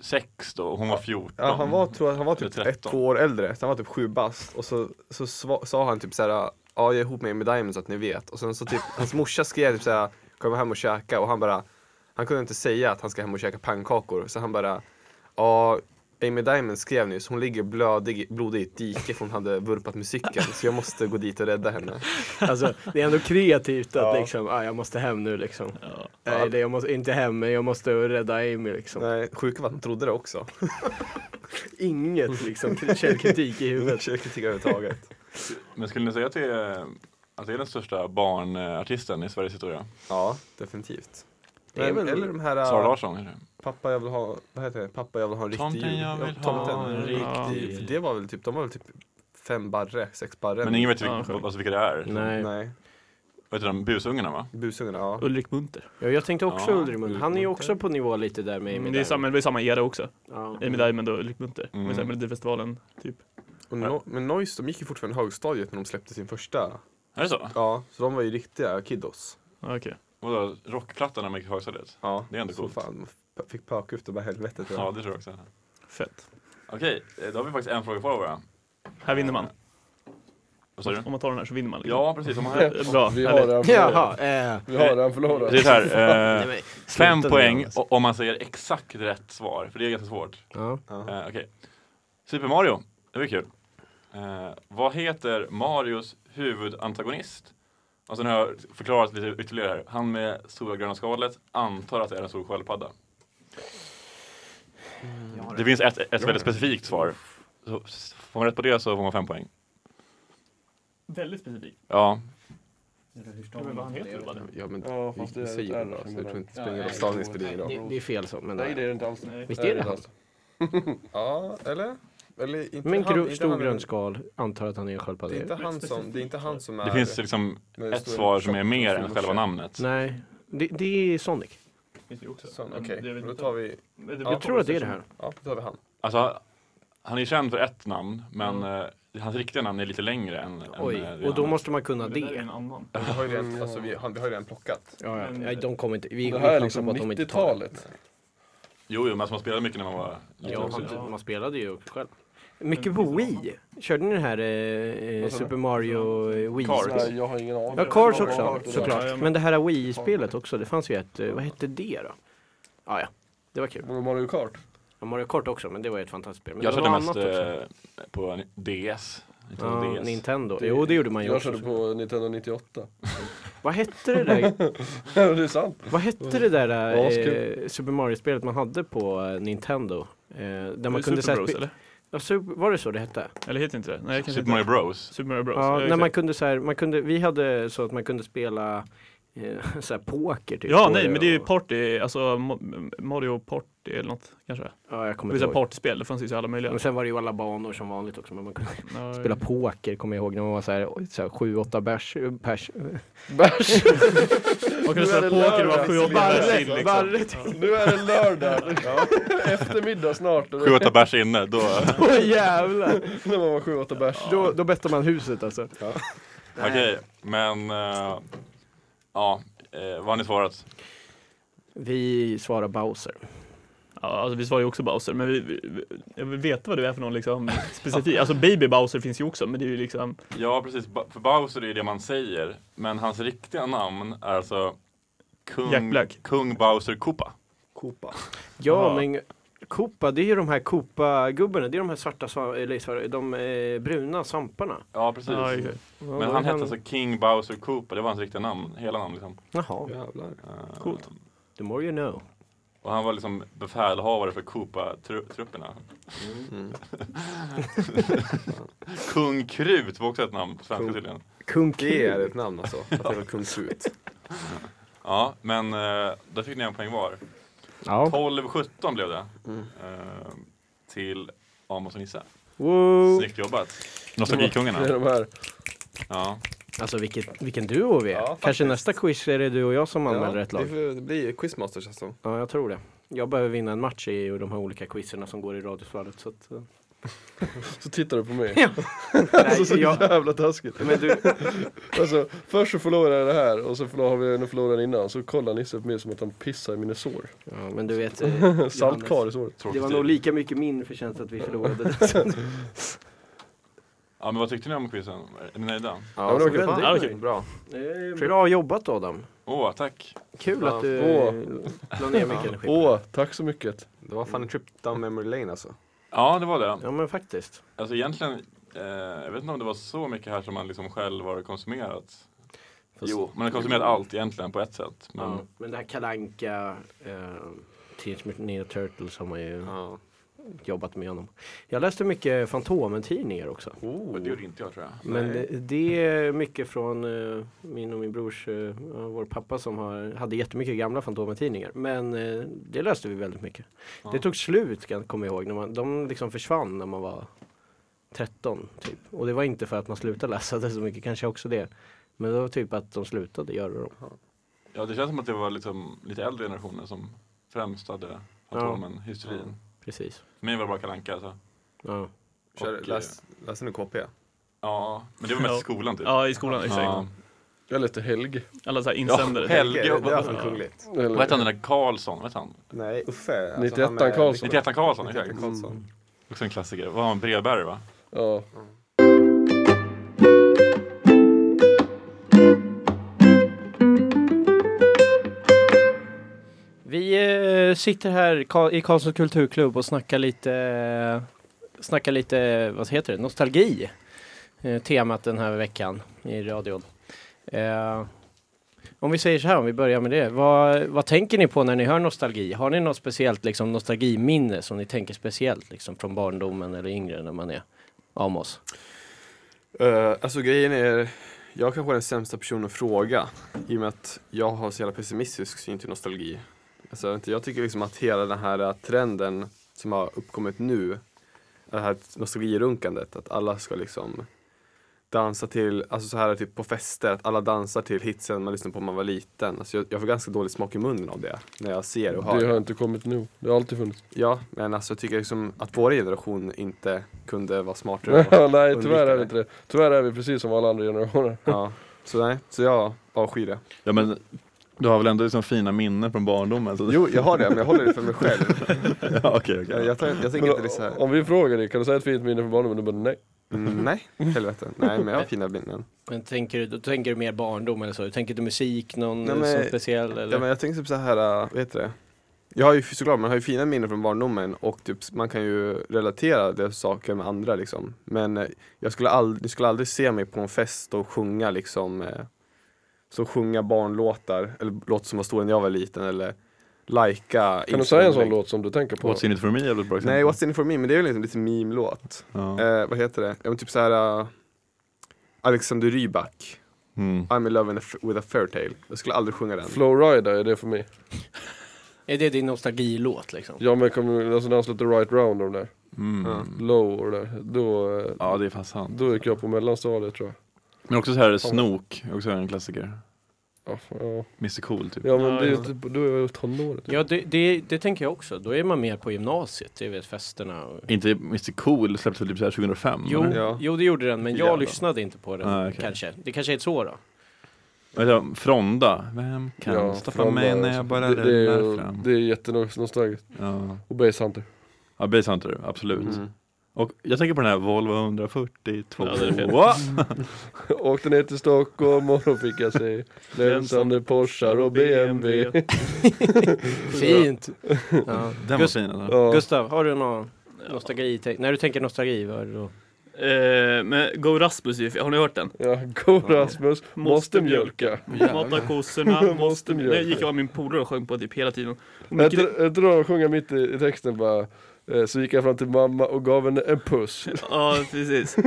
Speaker 4: 6 då och hon var 14?
Speaker 6: Ja, han var, tror jag, han var typ
Speaker 4: Eller
Speaker 6: ett,
Speaker 4: 13.
Speaker 6: två år äldre, så han var typ sju bast. Och så, så sva, sa han typ såhär, ja jag är ihop med Amy Diamond så att ni vet. Och sen så typ, hans morsa skrev typ såhär, kom hem och käka. Och han bara, han kunde inte säga att han ska hem och käka pannkakor. Så han bara, ja Amy Diamond skrev nyss, hon ligger blödig, blodig i ett dike för hon hade vurpat med cykeln. Så jag måste gå dit och rädda henne.
Speaker 2: Alltså, det är ändå kreativt att
Speaker 6: Ja.
Speaker 2: liksom, ah, jag måste hem nu liksom.
Speaker 5: Ja.
Speaker 2: Nej, det, jag måste, inte hem, men jag måste rädda Amy liksom.
Speaker 6: Nej, sjuka var att han trodde det också.
Speaker 2: Inget liksom källkritik i huvudet.
Speaker 6: Källkritik överhuvudtaget.
Speaker 4: Men skulle ni säga att det är, att det är den största barnartisten i Sveriges historia?
Speaker 6: Ja, definitivt.
Speaker 2: Det är väl-
Speaker 6: Eller de här...
Speaker 4: Sara Larsson kanske?
Speaker 6: Pappa jag vill ha, vad heter det? Pappa jag vill ha en riktig
Speaker 4: Tomten,
Speaker 6: jul.
Speaker 4: jag
Speaker 6: Ja,
Speaker 4: vill ha
Speaker 6: tomten.
Speaker 4: en
Speaker 5: Ja.
Speaker 4: riktig
Speaker 6: Det- för Det var väl typ, de var väl typ fem barre, sex barre.
Speaker 4: Men ingen vet
Speaker 5: Ja,
Speaker 4: vilka,
Speaker 5: sjukt.
Speaker 4: alltså vilka det är?
Speaker 2: Nej.
Speaker 6: Nej,
Speaker 4: Vad heter de? Busungarna va?
Speaker 6: busungarna, ja.
Speaker 5: Ulrik Munter.
Speaker 2: Ja, jag tänkte också
Speaker 4: Ja,
Speaker 2: Ulrimund. Han är ju också på nivå lite där med Amy
Speaker 5: Mm,
Speaker 2: Diamond.
Speaker 5: det är samma, det är samma era också.
Speaker 2: Ja.
Speaker 5: Amy Diamond och Ulrik Munter.
Speaker 4: Mm.
Speaker 5: Mm. Melodifestivalen, typ.
Speaker 6: Och no, men Noise, de gick ju fortfarande högstadiet när de släppte sin första.
Speaker 4: Är det så?
Speaker 6: Ja, så de var ju riktiga kiddos.
Speaker 5: Ja, Okej.
Speaker 4: Vadå, rockplattan när man gick i högstadiet?
Speaker 6: Ja,
Speaker 4: Det är ändå
Speaker 6: så
Speaker 4: coolt.
Speaker 6: fan, de fick pöka efter bara helvetet.
Speaker 4: Ja, det tror jag också.
Speaker 5: Fett.
Speaker 4: Okej, eh, då har vi faktiskt en fråga kvar bara.
Speaker 5: Här vinner man.
Speaker 4: Vad säger du?
Speaker 5: Om man tar den här så vinner man. liksom.
Speaker 4: Ja, precis. Om man har...
Speaker 5: Bra,
Speaker 3: Vi har
Speaker 5: härligt.
Speaker 3: den
Speaker 2: Jaha,
Speaker 3: förlorad.
Speaker 2: eh.
Speaker 3: Vi har den förlorad.
Speaker 4: Precis här. Eh,
Speaker 2: Nej,
Speaker 4: fem
Speaker 2: Sluta nu,
Speaker 4: poäng
Speaker 2: Johannes.
Speaker 4: o- om man säger exakt rätt svar, för det är ganska svårt.
Speaker 2: Ja.
Speaker 6: Ja.
Speaker 4: Eh, Okej. Super Mario, det var kul. Eh, vad heter Marios huvudantagonist? Och sen har jag förklarat lite ytterligare här. Han med stora gröna skalet antar att det är en stor sköldpadda. Det finns ett, ett väldigt specifikt svar. Så s- får man rätt på det så får man fem poäng.
Speaker 5: Väldigt specifikt.
Speaker 4: Ja,
Speaker 5: Men vad han heter bara det.
Speaker 6: Ja, men
Speaker 3: Ja,
Speaker 6: vi,
Speaker 3: fast det
Speaker 6: vi
Speaker 3: är ett
Speaker 6: säger
Speaker 3: R
Speaker 6: det då,
Speaker 3: som
Speaker 6: så jag
Speaker 3: är
Speaker 6: tror
Speaker 3: där.
Speaker 6: inte det spelar någon stavningsspelning idag.
Speaker 2: Det, det är fel så, men
Speaker 3: Nej det är det inte alls. Nej.
Speaker 2: visst är det han?
Speaker 6: Ja, eller? eller inte
Speaker 2: Men
Speaker 6: han-
Speaker 2: gro-
Speaker 6: inte
Speaker 2: stor
Speaker 6: han-
Speaker 2: grön skal antar att han är en
Speaker 6: Det är inte
Speaker 2: sköldpadda.
Speaker 6: han som, det är inte han som är...
Speaker 4: det finns liksom
Speaker 6: med det
Speaker 4: ett
Speaker 6: stora-
Speaker 4: svar som är mer än
Speaker 6: stora-
Speaker 4: själva namnet.
Speaker 2: Nej, det, det är Sonic.
Speaker 6: Sån, Okej, då tar vi,
Speaker 2: Jag tror att det är det här.
Speaker 6: ja, då tar vi han.
Speaker 4: Alltså, han är känd för ett namn, men eh, hans riktiga namn är lite längre än... än, eh,
Speaker 2: Oj,
Speaker 4: det
Speaker 2: och då
Speaker 4: andra.
Speaker 2: måste man kunna
Speaker 5: Det där är
Speaker 2: det.
Speaker 5: en annan.
Speaker 6: Vi har ju
Speaker 4: Mm,
Speaker 6: redan, alltså, vi, han- vi har ju redan plockat.
Speaker 2: Ja, ja. Nej, de kommer inte, vi
Speaker 3: Det här är
Speaker 2: chansar
Speaker 3: liksom
Speaker 2: på att de inte tar det.
Speaker 3: 90-talet.
Speaker 4: Jo, jo, men alltså man spelade mycket när man var liten
Speaker 2: Ja,
Speaker 4: också.
Speaker 2: man, man spelade ju också själv. Mycket på Wii. Körde ni det här eh, eh, Super Mario eh, Wii?
Speaker 4: Cars.
Speaker 3: Nej, jag har ingen aning.
Speaker 2: Ja, Cars
Speaker 3: Ja,
Speaker 2: också
Speaker 3: det där.
Speaker 2: såklart. Men det här Wii-spelet också, det fanns ju ett, eh, vad hette det då? Ah, ja, det var kul.
Speaker 3: Var det Mario Kart?
Speaker 2: Ja, Mario Kart också, men det var ju ett fantastiskt spel. Men
Speaker 4: Jag
Speaker 2: det
Speaker 4: körde
Speaker 2: var
Speaker 4: mest
Speaker 2: annat också.
Speaker 4: eh, på ni- DS. Inte
Speaker 5: eh,
Speaker 2: Ja,
Speaker 4: DS.
Speaker 2: Nintendo. Jo, det gjorde man ju
Speaker 3: Jag
Speaker 2: också.
Speaker 3: körde på Nintendo 98.
Speaker 2: Vad hette det där,
Speaker 3: det är sant.
Speaker 2: vad hette det där
Speaker 3: Ja,
Speaker 2: eh, Super Mario-spelet man hade på eh, Nintendo? Eh, där man
Speaker 5: Man
Speaker 2: kunde
Speaker 5: kunde
Speaker 2: så här
Speaker 5: Super Bros
Speaker 2: spe-
Speaker 5: eller?
Speaker 2: ja, super, var det så det hette?
Speaker 5: Eller heter inte det? Nej, kanske
Speaker 4: Super
Speaker 5: inte.
Speaker 4: Mario Bros.
Speaker 5: Super Mario Bros.
Speaker 2: Ja, när
Speaker 5: exakt.
Speaker 2: man kunde så här, man kunde, vi hade så att man kunde spela eh, så här poker typ.
Speaker 5: Ja,
Speaker 2: på
Speaker 5: nej, men det är ju
Speaker 2: och-
Speaker 5: party, alltså Ma- Mario Party eller något kanske.
Speaker 2: Ja, jag
Speaker 5: Det
Speaker 2: kommer
Speaker 5: vill
Speaker 2: inte
Speaker 5: säga
Speaker 2: ihåg.
Speaker 5: partyspel, det fanns ju så alla möjliga.
Speaker 2: Men sen var det ju alla banor som vanligt också, men man kunde
Speaker 5: Ja,
Speaker 2: spela poker kommer jag ihåg när man var så här, så här 7-8 bärs, eh, pers.
Speaker 3: Bärs!
Speaker 5: Man kunde spela poker och vara sju, åtta
Speaker 3: Barre,
Speaker 5: bärs in liksom.
Speaker 2: Barre
Speaker 3: Nu är det lördag! Eftermiddag snart.
Speaker 4: Sju, åtta bärs inne, då...
Speaker 2: Åh jävlar!
Speaker 3: När man var 7-8 bärs.
Speaker 2: Då, då bettar man huset alltså.
Speaker 4: Okej, men... eh, ja, eh, vad har ni svarat?
Speaker 2: Vi svarar Bowser.
Speaker 5: Ja, alltså vi svarar ju också Bowser, men vi, vi, vi- jag vill veta vad du är för någon liksom specifik. Alltså Baby Bowser finns ju också, men det är ju liksom
Speaker 4: Ja, precis. Ba- För Bowser är ju det man säger, men hans riktiga namn är alltså... Kung,
Speaker 5: Jack Black.
Speaker 4: Kung Bowser Koopa.
Speaker 2: Ja,
Speaker 5: Jaha.
Speaker 2: men Koopa, det är ju de här Koopa-gubbarna. Det är de här svarta, sva- eller svarta, de eh, bruna svamparna.
Speaker 7: Ja, precis.
Speaker 5: Ja, okej.
Speaker 7: Men han hette alltså King Bowser Cooper, det var hans riktiga namn, hela namn liksom.
Speaker 2: Jaha,
Speaker 6: Jävlar.
Speaker 7: Eh,
Speaker 5: Coolt.
Speaker 2: the more you know.
Speaker 7: Och han var liksom befälhavare för Koopa-trupperna.
Speaker 2: Mm.
Speaker 7: Kung Krut var också ett namn på svenska
Speaker 6: Kung-
Speaker 7: tydligen.
Speaker 2: Kung
Speaker 6: Det är
Speaker 2: Kid.
Speaker 6: ett namn alltså. Att det var kung Krut.
Speaker 7: Ja, men eh, där fick ni en poäng var.
Speaker 2: Ja.
Speaker 7: 12-17 blev det.
Speaker 3: Mm.
Speaker 7: Eh, till Amos och Nisse.
Speaker 2: Wow.
Speaker 7: Snyggt jobbat. Nostalgikungarna.
Speaker 3: Mm. Det är de här.
Speaker 7: Ja.
Speaker 2: Alltså vilket, vilken duo vi är.
Speaker 6: Ja,
Speaker 2: Kanske nästa quiz är det du och jag som anmäler ett lag.
Speaker 6: det får- det blir quizmaster känns det som.
Speaker 2: Ja, jag tror det. Jag behöver vinna en match i de här olika quizerna som går i Radiosvallet. Så att, eh.
Speaker 3: Så tittar du på mig.
Speaker 2: Ja.
Speaker 3: Alltså så
Speaker 2: Nej, jag,
Speaker 3: jävla taskigt.
Speaker 2: men du,
Speaker 3: Alltså först så förlorar jag det här och så förlorar har vi en förlorare innan. Så kollar Nisse på mig som att han pissar i mina sår.
Speaker 2: ja, men du vet, eh, Johannes,
Speaker 3: Saltkar i såret.
Speaker 2: det
Speaker 7: Tråkigt typ.
Speaker 2: var
Speaker 7: liv.
Speaker 2: nog lika mycket min förtjänst att vi förlorade. Alltså, den.
Speaker 7: Ja, men vad tyckte ni om quizen? Är ni nöjda?
Speaker 6: Ja,
Speaker 3: men det var
Speaker 6: så
Speaker 3: kul.
Speaker 6: fan,
Speaker 5: Ja, det var kul.
Speaker 6: Bra.
Speaker 2: Eh, Bra jobbat Adam.
Speaker 7: Åh, tack.
Speaker 2: Kul
Speaker 6: Ja.
Speaker 2: att du
Speaker 3: Åh.
Speaker 2: eh, la ner mycket energi. på
Speaker 3: Åh,
Speaker 2: det.
Speaker 3: tack så mycket.
Speaker 6: Det var fan en trip down memory lane alltså.
Speaker 7: Ja, det var det.
Speaker 2: Ja men faktiskt.
Speaker 7: Alltså egentligen, eh, jag vet inte om det var så mycket här som man liksom själv har konsumerat.
Speaker 2: Fast-
Speaker 7: Jo, man har konsumerat allt egentligen på ett sätt. Men
Speaker 2: Ja. Men det här Kalanka, eh, Teenage Mutant Ninja Turtles har man ju
Speaker 6: Ja.
Speaker 2: jobbat med honom. Jag läste mycket Fantomen-tidningar också.
Speaker 6: Oh,
Speaker 7: och det gjorde inte jag tror jag.
Speaker 2: Men det- det är mycket från eh, min och min brors, eh, ja, vår pappa som har, hade jättemycket gamla Fantomen-tidningar. Men eh, det läste vi väldigt mycket. Det tog slut kan jag komma ihåg. När man, de liksom försvann när man var 13 typ. Och det var inte för att man slutade läsa det så mycket, kanske också det. Men det var typ att de slutade göra dem.
Speaker 7: Ja, det känns som att det var liksom lite äldre generationer som främst hade Fantomen, hysterin.
Speaker 2: Precis.
Speaker 7: För mig var det bara Kalle Anka, alltså.
Speaker 2: Ja.
Speaker 6: Kör,
Speaker 7: Och, eh,
Speaker 6: läs, läser du KP?
Speaker 7: Ja, men det var mest i skolan typ.
Speaker 5: Ja, i skolan exakt.
Speaker 7: Ja.
Speaker 3: Jag läste Helg.
Speaker 5: Alla så här insändare.
Speaker 7: Ja, Helge,
Speaker 6: Det är- det är
Speaker 7: vad-
Speaker 6: fan kungligt.
Speaker 7: Vad hette han den där Karlsson? Vad hette han?
Speaker 6: Nej, Uffe. alltså,
Speaker 3: 91
Speaker 6: han med-
Speaker 3: Karlsson.
Speaker 7: 91 Karlsson,
Speaker 6: 91
Speaker 7: exakt.
Speaker 6: Karlsson.
Speaker 7: Också en klassiker. Var han brevbärare va?
Speaker 3: Ja.
Speaker 2: Vi eh, sitter här Ka- i Karlssons kulturklubb och snackar lite, eh, snackar lite, vad heter det, nostalgi. Eh, temat den här veckan i radion. Eh, om vi säger så här, om vi börjar med det. Vad, vad tänker ni på när ni hör nostalgi? Har ni något speciellt liksom, nostalgiminne som ni tänker speciellt liksom, från barndomen eller yngre när man är Amos?
Speaker 6: Eh, alltså grejen är, jag kanske är den sämsta personen att fråga i och med att jag har så jävla pessimistisk syn till nostalgi. Alltså, jag vet inte, jag tycker liksom att hela den här eh, trenden som har uppkommit nu, det här nostalgirunkandet, att alla ska liksom dansa till, alltså så här typ på fester, att alla dansar till hitsen man lyssnade på när man var liten. Alltså jag, jag får ganska dålig smak i munnen av det när jag ser och hör.
Speaker 3: Det har inte kommit nu. Det har alltid funnits.
Speaker 6: Ja, men alltså jag tycker liksom att vår generation inte kunde vara smartare. och-
Speaker 3: Nej, tyvärr är
Speaker 6: Undvika
Speaker 3: vi
Speaker 6: det.
Speaker 3: inte det. Tyvärr är vi precis som alla andra generationer.
Speaker 6: ja, så nej, så jag avskyr det.
Speaker 4: Ja men du har väl ändå liksom fina minnen från barndomen? Så...
Speaker 6: Jo, jag har det, men jag håller det för mig själv.
Speaker 4: ja, okej, okej.
Speaker 6: Jag, jag, tar, jag tänker inte
Speaker 3: Men,
Speaker 6: liksom...
Speaker 3: om vi frågar dig, kan du säga ett fint minne från barndomen? Du bara nej.
Speaker 6: Mm, nej, helvete. Nej, men jag har fina minnen.
Speaker 2: Men tänker, du, då tänker du mer barndom eller så? Tänker du musik, någon
Speaker 6: Nej,
Speaker 2: eh,
Speaker 6: men-
Speaker 2: som speciell? Eller?
Speaker 6: Ja, men jag tänker typ så här, äh, vad heter det? Jag har ju såklart, man har ju fina minnen från barndomen och typ, man kan ju relatera det saker med andra liksom. Men eh, jag skulle aldrig, ni skulle aldrig se mig på en fest och sjunga liksom, eh, så sjunga barnlåtar, eller låtar som var stora när jag var liten eller lika.
Speaker 3: Kan du säga en sån låt som du tänker på?
Speaker 4: What's in it for me är väl ett bra exempel?
Speaker 6: Nej, What's in it for me, men det är ju liksom lite meme-låt.
Speaker 4: ja.
Speaker 6: Eh, vad heter det? Ja, men typ så här äh, Alexander Rybak.
Speaker 4: mm.
Speaker 6: I'm in love in a f- with a fairytale. Jag skulle aldrig sjunga den.
Speaker 3: Flowrida är det för mig.
Speaker 2: Är det din nostalgilåt liksom?
Speaker 3: Ja men kommer, alltså när han släppte Right Round och de där,
Speaker 7: Mm.
Speaker 6: Ja.
Speaker 3: Low och det där, då, eh,
Speaker 4: ja, det är fan sant.
Speaker 3: då gick jag på mellanstadiet tror jag.
Speaker 4: Men också så här Snook, också en klassiker.
Speaker 3: Ja, fan, ja.
Speaker 4: Mr Cool typ.
Speaker 3: ja men
Speaker 5: Ja,
Speaker 3: det är ju
Speaker 5: ja.
Speaker 3: typ, då är jag ju tonåret.
Speaker 2: Ja, det, det, det tänker jag också. Då är man mer på gymnasiet, det vet festerna. Och...
Speaker 4: Inte Mr Cool släpptes typ så här 2005?
Speaker 2: Jo,
Speaker 4: eller?
Speaker 6: Ja.
Speaker 2: jo, det gjorde den, men
Speaker 4: Jävlar.
Speaker 2: jag lyssnade inte på den
Speaker 4: Ah, okej.
Speaker 2: kanske. Det kanske är ett så då.
Speaker 4: Vad heter han? Fronda? Vem kan
Speaker 3: Ja,
Speaker 4: stoppa
Speaker 3: från
Speaker 4: mig
Speaker 3: där,
Speaker 4: när
Speaker 3: alltså.
Speaker 4: jag bara
Speaker 3: det, det är
Speaker 4: rullar
Speaker 3: ju-
Speaker 4: fram?
Speaker 3: Det är jättenostalgiskt.
Speaker 4: Ja,
Speaker 3: Och Base Hunter.
Speaker 4: ja Basehunter, absolut.
Speaker 6: Mm.
Speaker 7: Och jag tänker på den här Volvo 142.
Speaker 5: Ja, det är fel.
Speaker 7: Wow!
Speaker 3: Åkte ner till Stockholm och då fick jag se lönsamma Porschar och BMW.
Speaker 2: Fint! Ja.
Speaker 7: Den var
Speaker 2: Gust-
Speaker 7: fin.
Speaker 4: alltså.
Speaker 7: Eller?
Speaker 3: Ja.
Speaker 2: Gustav, har du någon nostalgi? tänk- När du tänker nostalgi, vad är det då?
Speaker 5: Eh, men Go Rasmus, är ju- har ni hört den?
Speaker 3: Ja, go Rasmus, måste mjölka.
Speaker 5: Mata kossorna, måste...
Speaker 3: Måste mjölka.
Speaker 5: Nej, gick jag med min polare och sjöng på typ hela tiden.
Speaker 3: Jag tror- jag tror de sjunger mitt i, i texten bara eh, så gick jag fram till mamma och gav henne en puss.
Speaker 5: Ja, precis.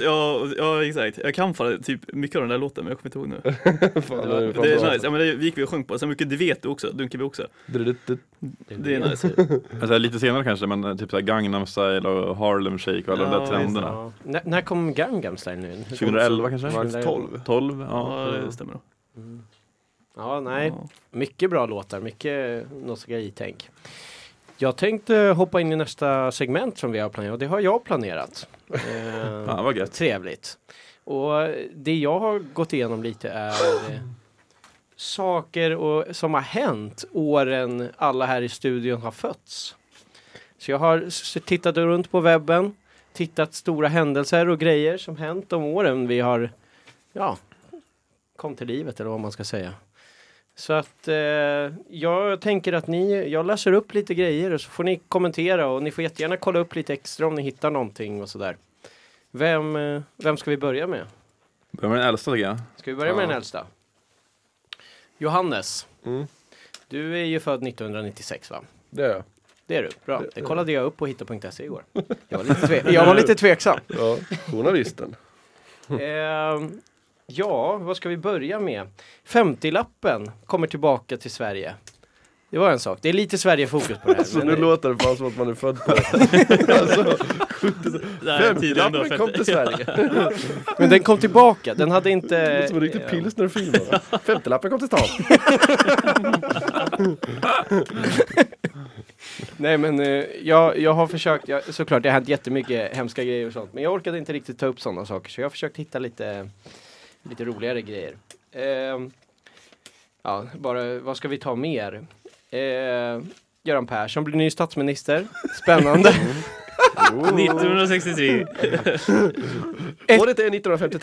Speaker 5: Ja, ja, exakt. Jag kan fan typ mycket av den där låten, men jag kommer inte ihåg nu.
Speaker 3: Fan,
Speaker 5: Det,
Speaker 3: ju
Speaker 5: var, det är nice. Ja, men det gick vi och sjöng på. Sen mycket Det vet du också, Dunkeby också.
Speaker 3: fantastiskt.
Speaker 5: Det är nice.
Speaker 7: Alltså, lite senare kanske, men eh, typ så här Gangnam style och Harlem shake och alla de
Speaker 5: Ja,
Speaker 7: där
Speaker 5: visst.
Speaker 7: trenderna.
Speaker 2: Ja. När, när kom Gangnam Style nu? Hur kom
Speaker 7: 2011
Speaker 2: det sig?
Speaker 7: kanske?
Speaker 2: 2012.
Speaker 7: 12, ja.
Speaker 5: Ja, det stämmer nog.
Speaker 2: Mm. Ja, nej.
Speaker 5: Ja.
Speaker 2: Mycket bra låtar, mycket nostalgitänk. Jag tänkte hoppa in i nästa segment som vi har planerat. Det har jag planerat. Eh,
Speaker 7: Fan vad gött.
Speaker 2: Trevligt. Och det jag har gått igenom lite är eh, saker och, som har hänt åren alla här i studion har fötts. Så jag har s- tittat runt på webben, tittat stora händelser och grejer som hänt de åren vi har, ja, kom till livet eller vad man ska säga. Så att eh, jag tänker att ni, jag läser upp lite grejer och så får ni kommentera och ni får jättegärna kolla upp lite extra om ni hittar någonting och sådär. Vem, eh, vem ska vi börja med?
Speaker 7: Börjar med den äldsta tycker jag.
Speaker 2: Ska vi börja med den äldsta? Johannes. Du är ju född 1996 va?
Speaker 3: Det är jag.
Speaker 2: Det är du. Bra. Det kollade jag upp på hitta.se igår. Jag var lite, tve- jag var lite tveksam.
Speaker 3: Ja, journalisten.
Speaker 2: Ehm, ja, vad ska vi börja med? 50-lappen kommer tillbaka till Sverige. Det var en sak. Det är lite Sverige-fokus på det här.
Speaker 3: Så
Speaker 2: men
Speaker 3: nu
Speaker 2: det-
Speaker 3: låter det fan som att man är född på
Speaker 5: Det här är tidigare ändå, för
Speaker 3: Femtiolappen
Speaker 5: att-
Speaker 3: kom till Sverige. Det
Speaker 2: Men den kom tillbaka. Den hade inte...
Speaker 3: låter som en riktig
Speaker 2: eh,
Speaker 3: pilsnerfilm. bara. Femtiolappen kom till stan.
Speaker 2: Nej men eh, jag, jag har försökt, jag, såklart det har hänt jättemycket hemska grejer och sånt. Men jag orkade inte riktigt ta upp sådana saker så jag har försökt hitta lite, lite roligare grejer. Ehm, ja, bara vad ska vi ta mer? Eh, Göran Persson blir ny statsminister. Spännande.
Speaker 5: 1963.
Speaker 3: Året är 1953.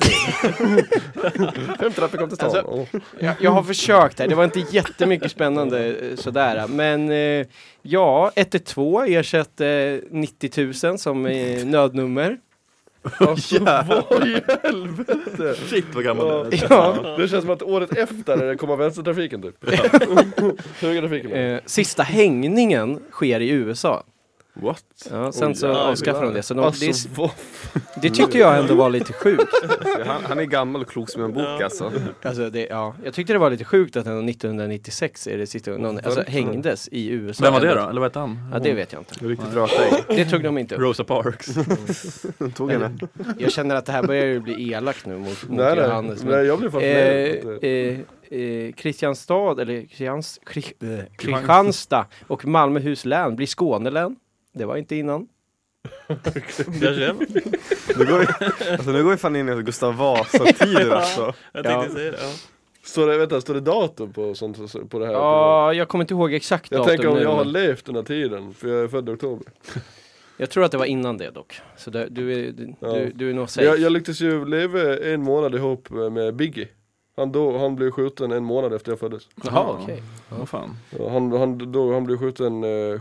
Speaker 3: Femtiolappen kom till stan.
Speaker 2: Alltså-
Speaker 3: Åh.
Speaker 2: jag, jag har försökt här, det var inte jättemycket spännande eh, sådär. Men eh, ja, 112 ersatte eh, 90 000 som eh, nödnummer.
Speaker 7: Shit vad gammal du är.
Speaker 2: Ja.
Speaker 3: Det känns som att året efter är det komma vänstertrafiken typ. Högertrafiken. menar jag.
Speaker 2: Eh, sista hängningen sker i USA.
Speaker 7: What?
Speaker 2: Ja, sen så
Speaker 5: jävlar.
Speaker 2: avskaffade de det. Så de,
Speaker 3: Alltså
Speaker 2: det,
Speaker 3: vad
Speaker 2: det tyckte jag ändå var lite sjukt.
Speaker 6: Han, han är gammal och klok som en bok alltså.
Speaker 2: Alltså det, ja, jag tyckte det var lite sjukt att ändå 1996 är det sista gången någon alltså, hängdes i USA.
Speaker 7: Vem var det då? Eller vad hette han?
Speaker 2: Ja, det vet jag inte.
Speaker 6: Riktigt bra dig.
Speaker 2: Det tog de inte upp.
Speaker 7: Rosa Parks.
Speaker 6: Tog henne.
Speaker 2: Jag känner att det här börjar ju bli elakt nu mot, mot
Speaker 3: Nej nej,
Speaker 2: Johannes. men-
Speaker 3: nej jag blir
Speaker 2: Eh,
Speaker 3: fascinerad.
Speaker 2: eh, eh, Kristianstad, eller Kristians, Kri, eh, Kristianstad och Malmöhus län blir Skånelän. Det var inte innan.
Speaker 5: Kanske.
Speaker 6: Nu går, vi- alltså, nu går vi fan in i Gustav Vasa-tider alltså.
Speaker 5: Jag tänkte säga det. Ja.
Speaker 3: Står det, vänta, står det datum på, sånt, på det här?
Speaker 2: Ja, jag kommer inte ihåg exakt
Speaker 3: jag
Speaker 2: datum
Speaker 3: tänker om
Speaker 2: nu,
Speaker 3: jag har
Speaker 2: men-
Speaker 3: levt den här tiden, för jag är född i oktober.
Speaker 2: Jag tror att det var innan det dock. Så där, du, är, du,
Speaker 3: Ja.
Speaker 2: du, du är nog safe.
Speaker 3: Jag, jag lyckades ju leva en månad ihop med Biggie. Han, då, han blev skjuten en månad efter jag föddes.
Speaker 2: Jaha, okej.
Speaker 7: Vad fan.
Speaker 3: Ja, Han, han, då, han blev skjuten eh,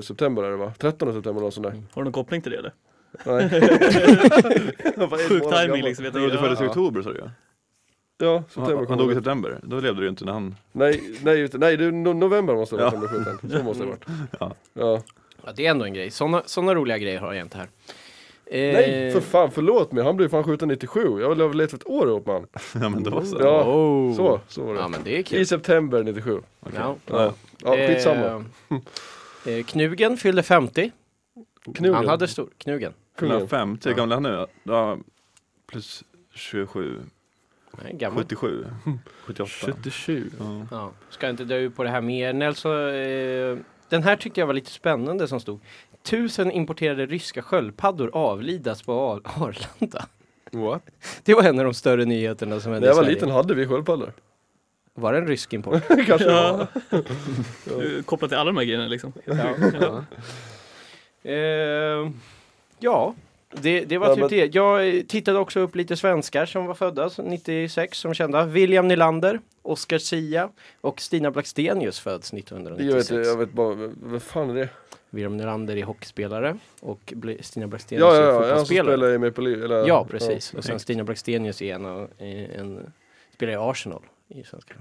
Speaker 3: 7 september är det va? 13 september något sånt där.
Speaker 5: Har du någon koppling till det eller?
Speaker 3: Nej. Han var en
Speaker 5: Sjuk
Speaker 3: månad
Speaker 5: timing
Speaker 3: gammal.
Speaker 5: liksom. Jag
Speaker 7: Du
Speaker 5: tänker,
Speaker 7: föddes i
Speaker 5: ja.
Speaker 7: oktober sa du
Speaker 3: Ja, september
Speaker 7: ja.
Speaker 3: kom
Speaker 7: Han dog i
Speaker 3: det.
Speaker 7: september. Då levde du ju inte när han...
Speaker 3: Nej, nej, just det. nej det är no november måste det ha
Speaker 7: Ja. Mm.
Speaker 3: varit han blev skjuten. Så måste det ha varit.
Speaker 7: Ja.
Speaker 3: Ja.
Speaker 2: Ja, det är ändå en grej. Såna, såna roliga grejer har jag inte här. Eh,
Speaker 3: Nej, för fan förlåt mig. Han blev fan skjuten 97. Jag har levt ett år ihop med han.
Speaker 7: Ja men då så.
Speaker 3: Ja,
Speaker 2: oh.
Speaker 3: så, så var det.
Speaker 2: Ja, men det är
Speaker 3: I
Speaker 2: kul.
Speaker 3: september 97.
Speaker 2: Ja.
Speaker 3: Ja, ja skitsamma.
Speaker 2: Eh, eh, Knugen fyllde 50.
Speaker 3: Knugen.
Speaker 2: Han hade stor... Knugen?
Speaker 7: Kungen.
Speaker 3: Kungen.
Speaker 7: 50, hur gammal är han nu? Ja, plus 27,
Speaker 2: Nej, gammal.
Speaker 7: 77, 78.
Speaker 3: 77.
Speaker 7: Ja.
Speaker 2: Ja. Ska inte dö ut på det här mer. Nelson, eh, den här tyckte jag var lite spännande som stod. Tusen importerade ryska sköldpaddor avlidas på Ar- Arlanda.
Speaker 6: What?
Speaker 2: Det var en av de större nyheterna som hände
Speaker 3: När jag
Speaker 2: i
Speaker 3: var
Speaker 2: Sverige.
Speaker 3: liten hade vi sköldpaddor.
Speaker 2: Var det en rysk import?
Speaker 3: Kanske det var.
Speaker 5: Kopplat till alla de här grejerna liksom.
Speaker 2: Ja. Eh, Ja, det, det var
Speaker 3: Ja,
Speaker 2: typ
Speaker 3: men-
Speaker 2: det. Jag eh, tittade också upp lite svenskar som var födda så 96 som kända. William Nylander, Oscar Sia och Stina Blackstenius föds
Speaker 3: Jag vet,
Speaker 2: 1996.
Speaker 3: jag vet bara, vad fan är det?
Speaker 2: William Nylander är hockeyspelare och Bla- Stina Blackstenius
Speaker 3: Ja, ja,
Speaker 2: är
Speaker 3: ja, han som
Speaker 2: fotbollsspelare.
Speaker 3: spelar i Maple Leaf, eller?
Speaker 2: Ja, precis. Och sen Stina Blackstenius är en, av- eh, en spelar i Arsenal i svenska.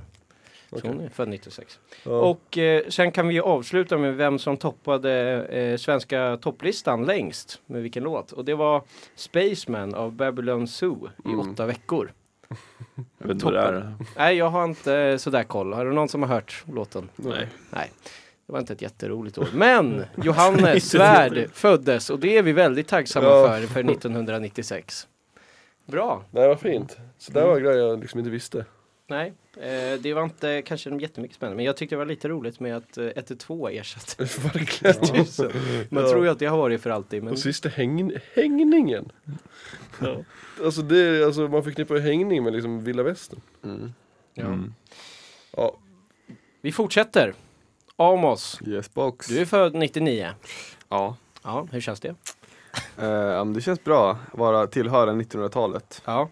Speaker 2: Så hon är född 96.
Speaker 3: Ja.
Speaker 2: Och eh, sen kan vi ju avsluta med vem som toppade eh, svenska topplistan längst med vilken låt. Och det var Spaceman av Babylon Zoo i
Speaker 3: Mm.
Speaker 2: åtta veckor.
Speaker 4: Jag vet inte vad det är.
Speaker 2: Nej, jag har inte eh, sådär koll. Har det någon som har hört låten?
Speaker 5: Nej.
Speaker 2: Nej. Det var inte ett jätteroligt år. Men Johannes Svärd föddes och det är vi väldigt tacksamma
Speaker 3: Ja.
Speaker 2: för, för 1996. Bra.
Speaker 3: Nej, vad fint. Så
Speaker 2: Mm.
Speaker 3: där var grejer jag liksom inte visste.
Speaker 2: Nej, eh, det var inte kanske jättemycket spännande, men jag tyckte det var lite roligt med att eh, 112 ersatte
Speaker 3: Verkligen.
Speaker 2: 1000. Man
Speaker 3: Ja.
Speaker 2: tror ju att det har varit för alltid, men
Speaker 3: Och sista häng, hängningen.
Speaker 5: Ja.
Speaker 3: Alltså, det, är- alltså man förknippar ju hängning med liksom vilda västern.
Speaker 2: ja.
Speaker 4: Mm.
Speaker 3: Ja,
Speaker 2: vi fortsätter. Amos,
Speaker 6: Yes box.
Speaker 2: du är född 99.
Speaker 6: Ja.
Speaker 2: Ja, hur känns det?
Speaker 6: Eh, ja, men det känns bra. Vara tillhöra 1900-talet.
Speaker 2: Ja.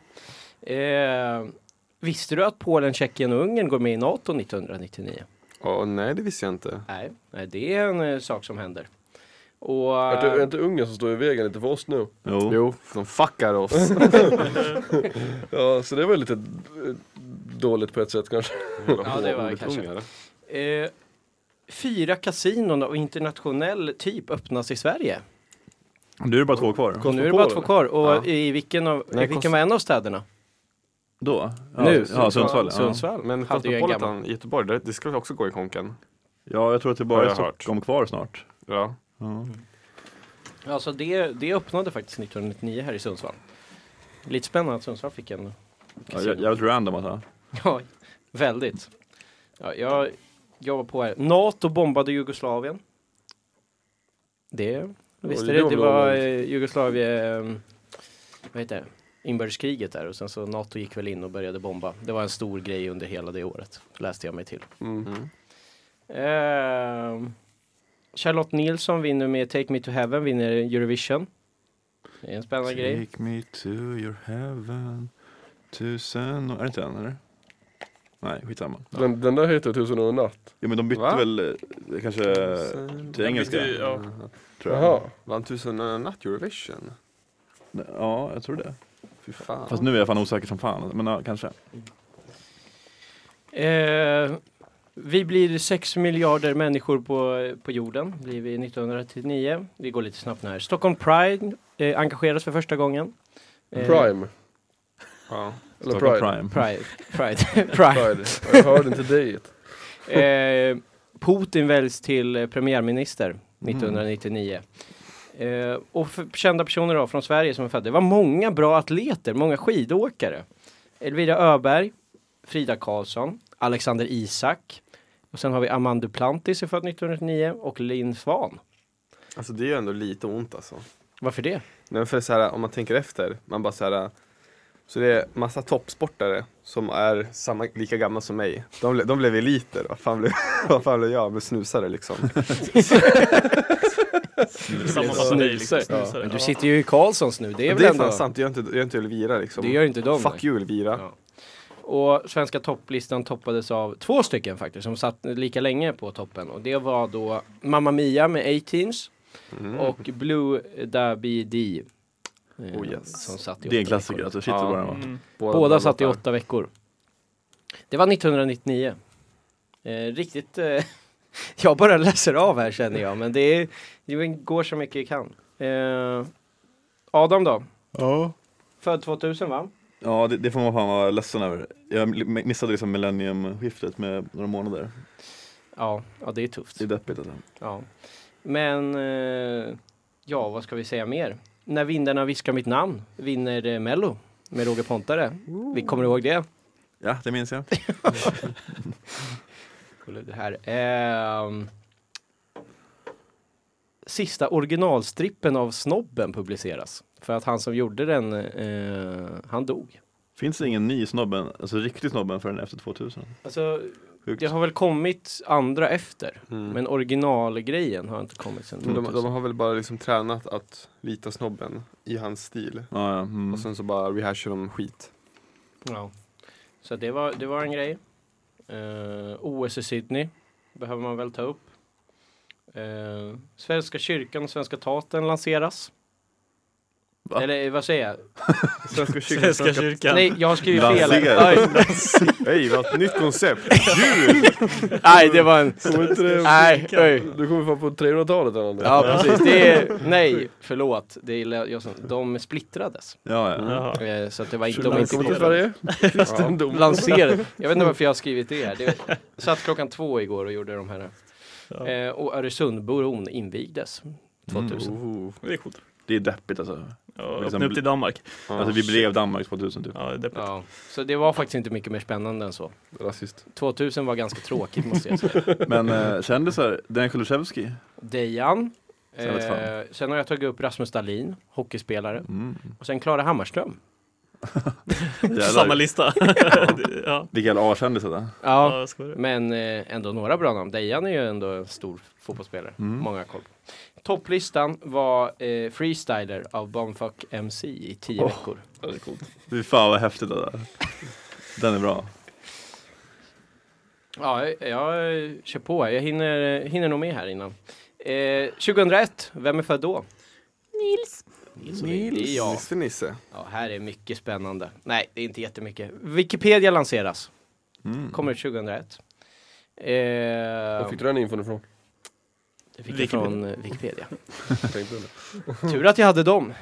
Speaker 2: Eh, visste du att Polen, Tjeckien och Ungern går med i NATO 1999?
Speaker 6: Ja, nej det visste jag inte.
Speaker 2: Nej, nej det är en eh, sak som händer. Och,
Speaker 3: är det är det inte ungen som står i vägen lite för oss nu?
Speaker 4: Jo.
Speaker 6: Jo, för de fuckar oss.
Speaker 3: Ja, så det var lite eh, dåligt på ett sätt kanske.
Speaker 2: Ja, det var det kanske. Eh, fyra kasinon av internationell typ öppnas i Sverige.
Speaker 4: Nu är det bara två kvar.
Speaker 2: Och nu är det bara
Speaker 3: Cosmopol,
Speaker 2: två kvar. Och
Speaker 6: Ja.
Speaker 2: i vilken, av,
Speaker 6: Nej,
Speaker 2: i vilken
Speaker 6: Cos-
Speaker 2: var en av städerna?
Speaker 4: Då? Ja,
Speaker 2: Nu.
Speaker 4: Ja, Sundsvall. Ja.
Speaker 2: Sundsvall.
Speaker 6: Men
Speaker 2: hade ju en gammal.
Speaker 6: Cosmopolitan i Göteborg, det, det ska också gå i konken.
Speaker 4: ja, jag tror att det
Speaker 6: Har
Speaker 4: bara är
Speaker 6: jag hört.
Speaker 4: Stockholm kvar snart.
Speaker 6: Ja.
Speaker 4: Ja.
Speaker 2: Alltså det, det öppnade faktiskt 1999 här i Sundsvall. Lite spännande att Sundsvall fick en.
Speaker 4: Ja, jä- jävligt random alltså.
Speaker 2: Ja, väldigt. Ja, jag, jag var på här. Nato bombade Jugoslavien. Det visste
Speaker 3: det
Speaker 2: det.
Speaker 3: var
Speaker 2: Det
Speaker 3: väl
Speaker 2: var eh, Jugoslavien, eh, vad heter det? Inbördeskriget där och sen så Nato gick väl in och började bomba. Det var en stor grej under hela det året, läste jag mig till.
Speaker 6: Mm.
Speaker 2: Ehm, Charlotte Nilsson vinner med Take Me To Heaven, vinner Eurovision. Det är en spännande grej.
Speaker 4: Take me to your heaven. Tusen och... Är det inte den eller? Nej, skitsamma.
Speaker 3: Den, den där heter Tusen och en natt.
Speaker 4: Ja men de bytte
Speaker 6: Va?
Speaker 4: väl eh, kanske till engelska
Speaker 5: Visst, Ja.
Speaker 4: tror jag.
Speaker 3: Jaha.
Speaker 6: Vann tusen och en natt Eurovision?
Speaker 4: Ja, jag tror det.
Speaker 6: Fy fan.
Speaker 4: Fast nu är jag fan osäker som fan. Men ja, kanske.
Speaker 2: Eh, vi blir 6 miljarder människor på, på jorden, blir vi 1939. Vi går lite snabbt nu här. Stockholm Pride eh, engageras för första gången. Eh,
Speaker 3: Prime.
Speaker 6: Ja.
Speaker 3: Eller
Speaker 4: Stockholm
Speaker 2: Pride.
Speaker 3: Pride.
Speaker 2: Pride. Pride.
Speaker 3: Pride. Jag hörde inte dig.
Speaker 2: Eh, Putin väljs till eh, premiärminister 1999. Eh, och för, kända personer då från Sverige som är födda. Det var många bra atleter, många skidåkare. Elvira Öberg, Frida Karlsson, Alexander Isak. Och sen har vi Amanda Duplantis är född 1999 och Linn Svan.
Speaker 6: Alltså det gör ändå lite ont alltså.
Speaker 2: Varför det?
Speaker 6: Nej, men för så här, om man tänker efter, man bara så här. Så det är massa toppsportare som är samma, lika gamla som mig. De, ble, de blev eliter, vad fan blev, vad fan blev jag? Jag blev snusare liksom.
Speaker 5: Sammanfattar dig liksom.
Speaker 2: Ja.
Speaker 5: Snusare.
Speaker 2: Men du sitter ju i Karlssons nu, det är
Speaker 6: Det
Speaker 2: väl
Speaker 6: är,
Speaker 2: ändå...
Speaker 6: fan sant, det gör inte, det gör inte Elvira liksom.
Speaker 2: Det gör inte de, nej.
Speaker 6: Fuck you Elvira.
Speaker 2: Ja. Och svenska topplistan toppades av två stycken faktiskt som satt lika länge på toppen. Och det var då Mamma Mia med 18s och Blue Dabby D. eh,
Speaker 6: Oh, yes.
Speaker 2: Som satt i
Speaker 4: Det är en
Speaker 2: åtta
Speaker 4: klassiker
Speaker 2: veckor.
Speaker 4: alltså. Shit så
Speaker 6: Ja. Mm.
Speaker 4: bra den var.
Speaker 2: Båda satt i
Speaker 6: låtar.
Speaker 2: åtta veckor. Det var 1999. Eh, riktigt... Eh, jag bara läser av här känner jag, men det, är, det går så mycket jag kan. Eh, Adam då?
Speaker 4: Ja.
Speaker 2: Född 2000 va?
Speaker 4: Ja, det, det får man fan vara ledsen över. Jag m- missade liksom millenniumskiftet med några månader.
Speaker 2: Ja, ja det är tufft.
Speaker 4: Det är deppigt alltså.
Speaker 2: Ja. Men, eh, ja vad ska vi säga mer? När vindarna viskar mitt namn vinner eh, Mello med Roger Pontare. Vi kommer ihåg det.
Speaker 4: Ja, det minns jag.
Speaker 2: Kolla det här. Ehm, sista originalstrippen av Snobben publiceras. För att han som gjorde den, eh, han dog.
Speaker 4: Finns det ingen ny snobben, alltså riktig snobben förrän efter 2000?
Speaker 2: Alltså,
Speaker 7: Sjukt.
Speaker 2: Det har väl kommit andra efter.
Speaker 6: Mm.
Speaker 2: Men originalgrejen har inte kommit sen
Speaker 6: Men de,
Speaker 2: 2000.
Speaker 6: de har väl bara liksom tränat att rita snobben i hans stil.
Speaker 7: Ja, ja. Mm.
Speaker 6: Och sen så bara rehashar de skit.
Speaker 2: Ja. Så det var, det var en grej. Eh, OS i Sydney behöver man väl ta upp. Eh, Svenska kyrkan och Svenska Taten lanseras.
Speaker 7: Va?
Speaker 2: Eller vad säger jag?
Speaker 6: Svenska kyrkan.
Speaker 5: Svenska kyrkan.
Speaker 2: Nej, jag har skrivit fel.
Speaker 7: Lanseras.
Speaker 2: Aj,
Speaker 6: Hej, vad ett nytt koncept!
Speaker 2: nej, det var en...
Speaker 3: Kommer inte det-
Speaker 2: Nej, oj.
Speaker 3: Du kommer fan på 300-talet eller nåt.
Speaker 2: Ja, precis. Det är, nej, förlåt. Det är, jag som, de splittrades.
Speaker 7: Ja, ja.
Speaker 5: Jaha.
Speaker 2: Eh, Så att det var inte... De
Speaker 3: Välkommen
Speaker 2: inte
Speaker 3: till Sverige. Kristendom.
Speaker 2: lanserade. Jag vet inte varför jag har skrivit det här. Det satt klockan två igår och gjorde de här.
Speaker 5: Ja.
Speaker 2: Eh, och Öresundbron invigdes 2000.
Speaker 5: Det är coolt.
Speaker 4: Det är deppigt alltså.
Speaker 5: Ja,
Speaker 4: Liksom-
Speaker 5: öppna upp till Danmark.
Speaker 4: Alltså vi blev Danmark 2000 typ.
Speaker 5: Ja, det är deppigt.
Speaker 2: Ja, så det var faktiskt inte mycket mer spännande än så.
Speaker 6: Rasist.
Speaker 2: 2000 var ganska tråkigt måste jag säga.
Speaker 4: Men eh, kändisar, Dejan Kulusevski.
Speaker 2: Dejan.
Speaker 4: Sen vet
Speaker 2: Eh, sen har jag tagit upp Rasmus Dahlin, hockeyspelare.
Speaker 4: Mm.
Speaker 2: Och sen Klara Hammarström.
Speaker 4: Jävlar.
Speaker 5: Samma lista. Det- ja.
Speaker 4: Vilka jävla A-kändis detta.
Speaker 2: Ja,
Speaker 5: Ja, jag skojar.
Speaker 2: men eh, ändå några bra namn. Dejan är ju ändå en stor fotbollsspelare. Många har koll på. Topplistan var eh, Freestyler av Bonfuck MC i tio
Speaker 4: Oh.
Speaker 2: veckor.
Speaker 4: Fy fan vad häftigt det där. Den är bra.
Speaker 2: Ja, jag, jag eh, kör på. Jag hinner, hinner nog med här innan. Eh, 2001, vem är född då? Nils. Nils. Det är jag.
Speaker 6: Nisse Nisse.
Speaker 2: Ja, här är mycket spännande. Nej, det är inte jättemycket. Wikipedia lanseras.
Speaker 4: Mm.
Speaker 2: Kommer 2001. Eh,
Speaker 3: Var fick du den infon ifrån?
Speaker 2: det fick jag från eh, Wikipedia.
Speaker 6: Tänkte du?
Speaker 2: Tur att jag hade dem.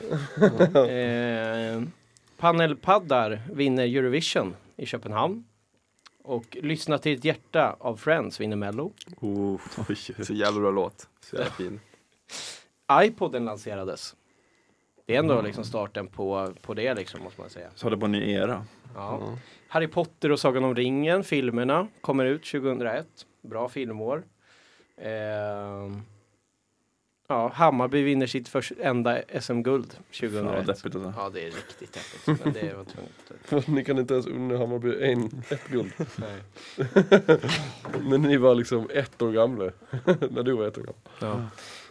Speaker 2: eh, panelpaddar vinner Eurovision i Köpenhamn. Och Lyssna till ett hjärta av Friends vinner Mello.
Speaker 4: Oh, oj, oj.
Speaker 6: Så jävla bra låt. Så jävla fin.
Speaker 2: iPoden lanserades. Det är ändå
Speaker 4: Mm.
Speaker 2: liksom starten på, på det liksom måste man säga.
Speaker 4: Så har det på en ny era.
Speaker 2: Ja. Harry Potter och Sagan om ringen, filmerna, kommer ut 2001. Bra filmår. Ehm, ja, Hammarby vinner sitt först, enda SM-guld
Speaker 4: Fan
Speaker 2: 2001.
Speaker 4: vad
Speaker 2: Ja,
Speaker 4: deppigt alltså.
Speaker 2: det är riktigt häftigt. Men det var tungt.
Speaker 3: Ni kan inte ens unna Hammarby en, ett guld.
Speaker 2: Nej.
Speaker 3: När ni var liksom ett år gamla. När du var ett år gammal.
Speaker 2: Ja.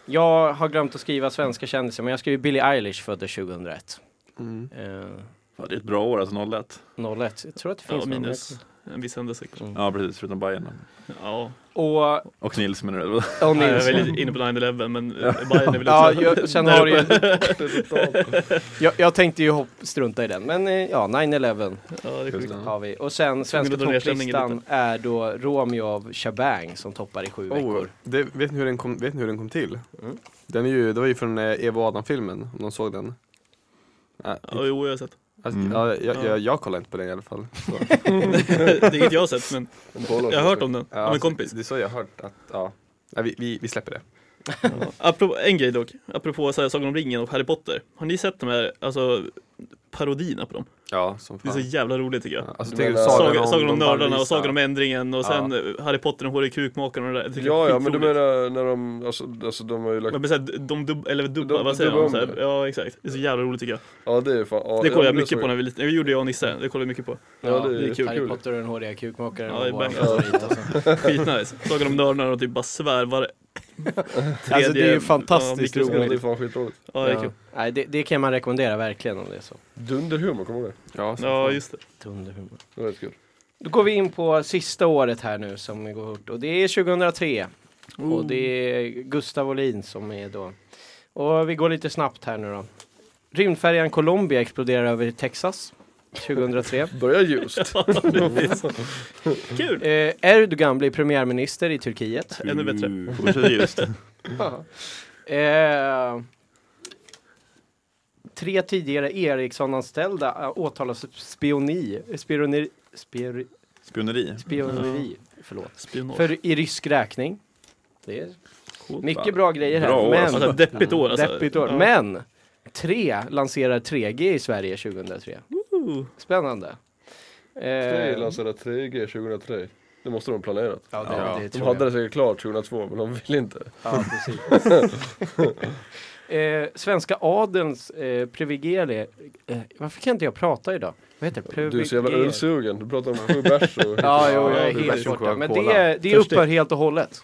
Speaker 2: Jag har glömt att skriva svenska kändisar, men jag skrev Billie Eilish föddes 2001.
Speaker 6: Mm.
Speaker 2: Eh,
Speaker 4: Fan, det är ett bra år alltså 01.
Speaker 2: 01. Jag tror att det finns
Speaker 5: Ja,
Speaker 2: någon
Speaker 5: minus
Speaker 2: mer.
Speaker 5: en viss händelse kanske.
Speaker 2: Mm.
Speaker 4: Ja precis, förutom Bayern.
Speaker 5: Ja.
Speaker 2: Och,
Speaker 4: Och Nils menar du?
Speaker 2: och
Speaker 5: Nej,
Speaker 2: Nils.
Speaker 5: jag är väl inne på 9-11 men eh, Bayern är väl
Speaker 2: Ja,
Speaker 5: också-
Speaker 2: jag, sen
Speaker 5: där
Speaker 2: har du ju,
Speaker 5: uppe.
Speaker 2: jag, jag tänkte ju hopp, strunta i den, men eh, ja, 9-11
Speaker 5: Ja, det är sjukt.
Speaker 2: har vi. Och sen
Speaker 5: Tvungen
Speaker 2: svenska
Speaker 5: att dra ner stämningen
Speaker 2: topplistan är då Romeo av Chabang som toppar i sju
Speaker 6: Oh,
Speaker 2: veckor.
Speaker 6: det, vet, ni hur den kom, vet ni hur den kom till?
Speaker 2: Mm.
Speaker 6: Den är ju, det var ju från eh, Eva och Adam-filmen, om någon såg den. Ja,
Speaker 5: Ja, jo, jag har sett.
Speaker 6: alltså,
Speaker 4: Mm.
Speaker 6: ja, jag,
Speaker 5: Ja.
Speaker 6: jag, jag kollar inte på den i alla fall. Så,
Speaker 5: Det är inget jag har sett men jag har hört om den
Speaker 6: ja,
Speaker 5: av en kompis.
Speaker 6: Alltså, Det är så jag har hört att, ja. Nej, vi, vi, vi släpper det.
Speaker 5: Apropå, en grej dock, apropå så här, Sagan om ringen och Harry Potter. Har ni sett de här, alltså parodierna på dem?
Speaker 6: Ja, som
Speaker 5: Det är
Speaker 6: fan.
Speaker 5: så jävla roligt tycker jag.
Speaker 6: Ja, alltså,
Speaker 3: Du
Speaker 6: tänk
Speaker 3: menar-
Speaker 6: dig
Speaker 5: Sagan, Sagan om
Speaker 6: de
Speaker 5: nördarna
Speaker 6: bannlysta.
Speaker 5: och Sagan om ändringen och
Speaker 6: Ja.
Speaker 5: sen eh, Harry Potter och Hårde Krukmakaren och det där. Jag tycker det
Speaker 3: Ja,
Speaker 5: är
Speaker 3: ja, men du
Speaker 5: skitroligt.
Speaker 3: menar när de, alltså, alltså de har ju lagt,
Speaker 5: Men så här, de dub, eller dubbar,
Speaker 3: De-
Speaker 5: vad säger
Speaker 3: dubbar
Speaker 5: man?
Speaker 3: om
Speaker 5: Så här,
Speaker 3: det.
Speaker 5: ja exakt, det är så jävla roligt tycker jag.
Speaker 3: ja det är fan, ja,
Speaker 5: Det kollade
Speaker 3: ja,
Speaker 5: jag
Speaker 3: men
Speaker 5: mycket på
Speaker 3: såg
Speaker 5: när vi var liten. Det gjorde jag och Nisse, det kollade jag mycket på.
Speaker 3: jag. Ja,
Speaker 2: Ja,
Speaker 3: det är
Speaker 5: kul,
Speaker 2: Harry
Speaker 3: kul.
Speaker 2: Potter och den håriga kukmakaren
Speaker 5: Ja,
Speaker 2: var
Speaker 5: det är
Speaker 2: vår
Speaker 5: bang.
Speaker 2: favorit alltså.
Speaker 5: Skitnice. Sagan om nördarna och typ bara svärvar.
Speaker 2: alltså det är ju fantastiskt
Speaker 5: Ja, mycket
Speaker 3: Ja, det är
Speaker 2: roligt.
Speaker 3: fan skitroligt.
Speaker 5: Ja, det är kul.
Speaker 2: Ja. Nej, det, det kan man rekommendera verkligen om det är så.
Speaker 3: Dunderhumor, kommer du ihåg det?
Speaker 6: Ja, som
Speaker 5: Ja,
Speaker 6: fan.
Speaker 5: just det.
Speaker 2: Dunderhumor.
Speaker 3: Det var rätt kul.
Speaker 2: Då går vi in på sista året här nu som går ut och det är 2003. Och det är Gustav Olin som är då. Och vi går lite snabbt här nu då. Rymdfärjan Columbia exploderar över Texas 2003.
Speaker 3: Börja ljust.
Speaker 5: Kul!
Speaker 2: Eh, Erdogan blir premiärminister i Turkiet.
Speaker 5: Ännu bättre.
Speaker 4: Kanske just.
Speaker 2: Eh, tre tidigare Ericsson-anställda eh, åtalas för spioni, spioneri, spiori-
Speaker 4: Spioneri.
Speaker 2: spioneri förlåt,
Speaker 5: Spionage.
Speaker 2: för i rysk räkning. Det är
Speaker 5: Coolt.
Speaker 2: mycket bra grejer här.
Speaker 4: Bra år,
Speaker 2: men,
Speaker 5: Alltså deppigt år alltså.
Speaker 2: deppigt år.
Speaker 5: Ja.
Speaker 2: Men tre lanserar 3G i Sverige 2003.
Speaker 5: Ooh.
Speaker 2: Spännande. Eh,
Speaker 3: Det lanserade 3G 2003. Det måste de ha planerat.
Speaker 2: ja, det,
Speaker 6: Ja.
Speaker 2: det
Speaker 3: De
Speaker 2: tror
Speaker 3: hade
Speaker 2: jag.
Speaker 3: det säkert klart 2002, men de vill inte.
Speaker 2: Ja, precis. eh, svenska adelns eh, privilegier. Eh, varför kan inte jag prata idag? Vad heter det?
Speaker 3: Du är så jävla
Speaker 2: Privilegier.
Speaker 3: ölsugen, du pratar om sju bärs och...
Speaker 2: Ja, jo, jag
Speaker 6: det är
Speaker 2: är
Speaker 6: bärs
Speaker 2: helt
Speaker 6: och
Speaker 2: borta. Men
Speaker 6: Coca-Cola.
Speaker 2: det, är- det
Speaker 8: Törstig.
Speaker 2: upphör helt och hållet.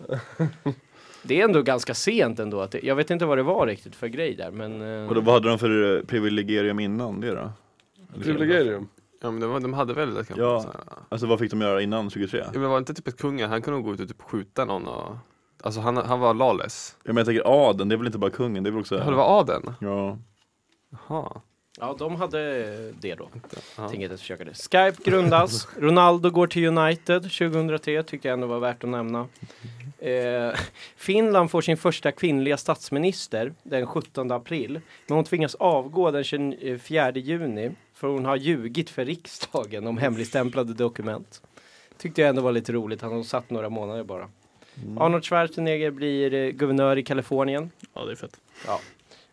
Speaker 2: Det är ändå ganska sent ändå. Att det, jag vet inte vad det var riktigt för grej där, men... eh,
Speaker 4: Och då, vad hade de för eh, privilegium innan det då?
Speaker 3: Privilegium.
Speaker 6: Ja men de, var- de hade väl det kanske?
Speaker 4: Ja.
Speaker 6: Så här.
Speaker 4: Alltså vad fick de göra innan 23?
Speaker 6: Ja, men var det inte typ ett kungar, han kunde nog gå ut och typ skjuta någon och Alltså han, han var lawless.
Speaker 4: Ja, men jag tänker adeln, det är väl inte bara kungen, det är väl också...
Speaker 6: Ja. Det var adeln?
Speaker 4: Ja.
Speaker 6: Jaha.
Speaker 2: Ja, de hade eh, det då.
Speaker 6: Ja.
Speaker 2: Tänker inte ens försöka det. Skype grundas. Ronaldo går till United 2003. Tyckte jag ändå var värt att nämna. Eh, Finland får sin första kvinnliga statsminister den 17 april. Men hon tvingas avgå den 24 juni. För hon har ljugit för riksdagen om hemligstämplade dokument. Tyckte jag ändå var lite roligt. Han har satt några månader bara. Arnold Schwarzenegger blir eh, guvernör i Kalifornien.
Speaker 5: Ja, det är fett.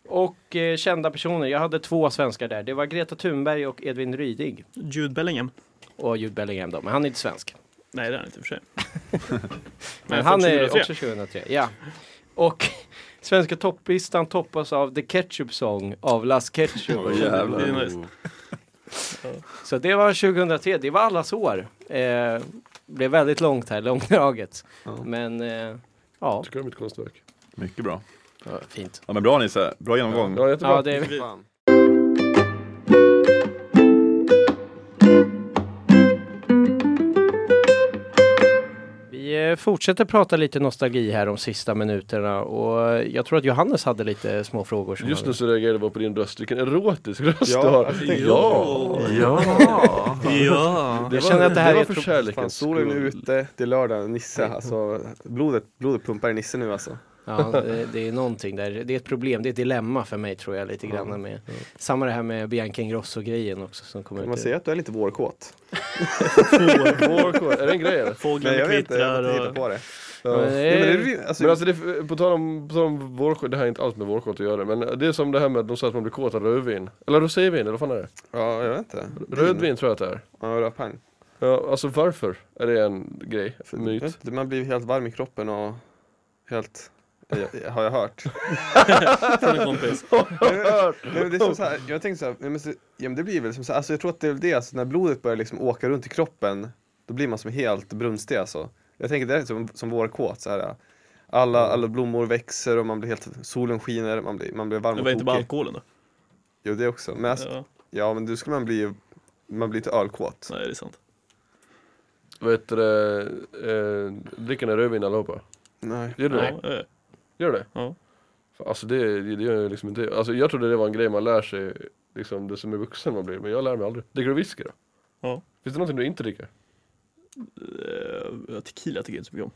Speaker 2: Och eh, kända personer. Jag hade två svenskar där. Det var Greta Thunberg och Edvin Ryding.
Speaker 5: Jude Bellingham.
Speaker 2: Och Jude Bellingham då, men han är inte svensk.
Speaker 5: Nej, det är han inte i och för sig.
Speaker 2: Men
Speaker 5: Nej,
Speaker 2: han
Speaker 5: från
Speaker 2: är
Speaker 5: 2003.
Speaker 2: också 2003. Ja. Och svenska topplistan toppas av The Ketchup Song av Las Ketchup.
Speaker 4: Åh, jävlar.
Speaker 5: Det är nice.
Speaker 2: Så det var 2003, det var allas år. Eh, blev väldigt långt här, långdraget.
Speaker 6: Ja.
Speaker 2: Men eh, ja,
Speaker 3: Tycker du om mitt konstverk?
Speaker 4: Mycket bra.
Speaker 2: fint.
Speaker 4: Ja men bra Nisse, bra genomgång.
Speaker 3: Ja, jättebra.
Speaker 2: Ja, det är,
Speaker 6: Fan.
Speaker 2: vi eh, fortsätter prata lite nostalgi här de sista minuterna och eh, jag tror att Johannes hade lite små frågor. Som
Speaker 3: Just
Speaker 2: han-
Speaker 3: nu så reagerade jag bara på din röst, vilken erotisk röst
Speaker 6: Ja,
Speaker 3: du har!
Speaker 6: alltså, det-
Speaker 3: ja!
Speaker 5: Ja! ja!
Speaker 2: jag känner att det här är
Speaker 3: det var
Speaker 2: ett
Speaker 3: för
Speaker 2: pro-
Speaker 6: Fan,
Speaker 3: kärlekens
Speaker 6: solen är
Speaker 3: skull.
Speaker 6: ute, det är lördag, Nisse alltså. Blodet, blodet pumpar i Nisse nu alltså.
Speaker 2: Ja, det, det är någonting där. Det är ett problem, det är ett dilemma för mig tror jag lite grann. Med. Samma det här med Bianca Ingrosso-grejen också som kommer
Speaker 6: Kan man
Speaker 2: ut.
Speaker 6: säga att du är lite vårkåt?
Speaker 3: Vår- Är det en grej eller?
Speaker 6: Nej
Speaker 5: Fåglarna
Speaker 6: jag vet inte, jag har inte
Speaker 5: kvittrar
Speaker 6: hittat
Speaker 5: och...
Speaker 6: på det.
Speaker 2: Ja, men det
Speaker 6: Nej, men
Speaker 2: är-
Speaker 6: det, är- alltså,
Speaker 3: Men alltså det, på tal om, på tal om vårskott, det här är inte allt med vårskott att göra men det är som det här med att de sa att man blir kåt av rödvin. Eller rosévin, eller vad fan är det?
Speaker 6: ja, jag vet inte.
Speaker 3: Rödvin tror jag att det är.
Speaker 6: Ja, rödpang.
Speaker 3: Ja, alltså varför är det en grej?
Speaker 6: För- jag
Speaker 3: Myt?
Speaker 6: vet inte, Man blir helt varm i kroppen och helt, jag- jag- har jag hört.
Speaker 5: Från en kompis.
Speaker 6: Nej, men det är som så här, jag tänkte så här, nej, men så, ja, men det blir väl som så här, alltså jag tror att det är väl det, alltså, när blodet börjar liksom åka runt i kroppen, då blir man som helt brunstig alltså. Jag tänker det är som, som vårkåt, så här, alla, alla blommor växer och man blir helt, solen skiner, man blir, man blir varm
Speaker 5: Det
Speaker 6: och
Speaker 5: var inte bara
Speaker 6: tokig.
Speaker 5: alkoholen då?
Speaker 6: Jo det också, men alltså, ja.
Speaker 5: Ja,
Speaker 6: men då skulle man bli, man blir lite ölkåt.
Speaker 5: nej, det är sant.
Speaker 3: Vet du det, eh, dricker ni rödvin allihopa?
Speaker 6: Nej.
Speaker 3: Gör du det?
Speaker 5: Ja, eh,
Speaker 3: Gör det?
Speaker 5: Ja.
Speaker 3: Fan, Alltså det, det gör jag liksom inte. Alltså jag trodde det var en grej man lär sig, liksom det som är vuxen man blir, men jag lär mig aldrig. Dricker du whisky då?
Speaker 5: Ja.
Speaker 3: Finns det någonting du inte dricker?
Speaker 5: eh, Tequila tycker jag inte så mycket om.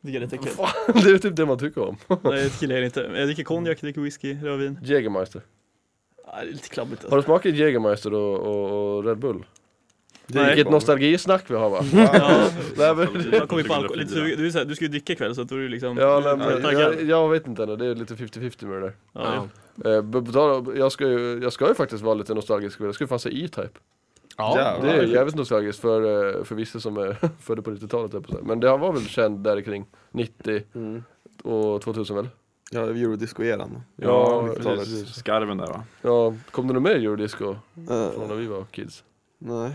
Speaker 5: Det är rätt äckligt.
Speaker 3: det är typ det man tycker om.
Speaker 5: Nej, tequila är det inte. Jag dricker konjak, dricker whisky, rödvin.
Speaker 3: Jägermeister.
Speaker 5: Nej, det är lite klabbigt
Speaker 3: Har du
Speaker 5: alltså.
Speaker 3: smakat Jägermeister och, och, och Red Bull?
Speaker 5: Nej. Mm.
Speaker 3: Vilket nostalgisnack vi har va?
Speaker 5: Ja,
Speaker 3: nej, men,
Speaker 5: man kommer ju på alkohol. Lite, sugen- du, är så här, du ska ju dricka ikväll så att då är du liksom
Speaker 3: ja,
Speaker 5: du är
Speaker 3: nej, men,
Speaker 5: taggad.
Speaker 3: jag, jag vet inte ännu, det är lite 50-50 med det där.
Speaker 5: Ja, ja.
Speaker 3: Eh, på- på tal om- jag, ska ju, jag ska ju faktiskt vara lite nostalgisk, jag ska ju fan säga E-Type.
Speaker 6: Jävlar.
Speaker 3: Det är jävligt nostalgiskt för, eh, för vissa som är födda på 90-talet höll jag på att säga. Men det var väl känd där kring 90
Speaker 6: Mm.
Speaker 3: och 2000 väl?
Speaker 6: Ja, eurodisco-eran.
Speaker 3: Ja,
Speaker 4: Precis. Skarven där va?
Speaker 3: Ja, kom det nog mer eurodisco från
Speaker 6: Eh,
Speaker 3: när vi var kids?
Speaker 6: nej.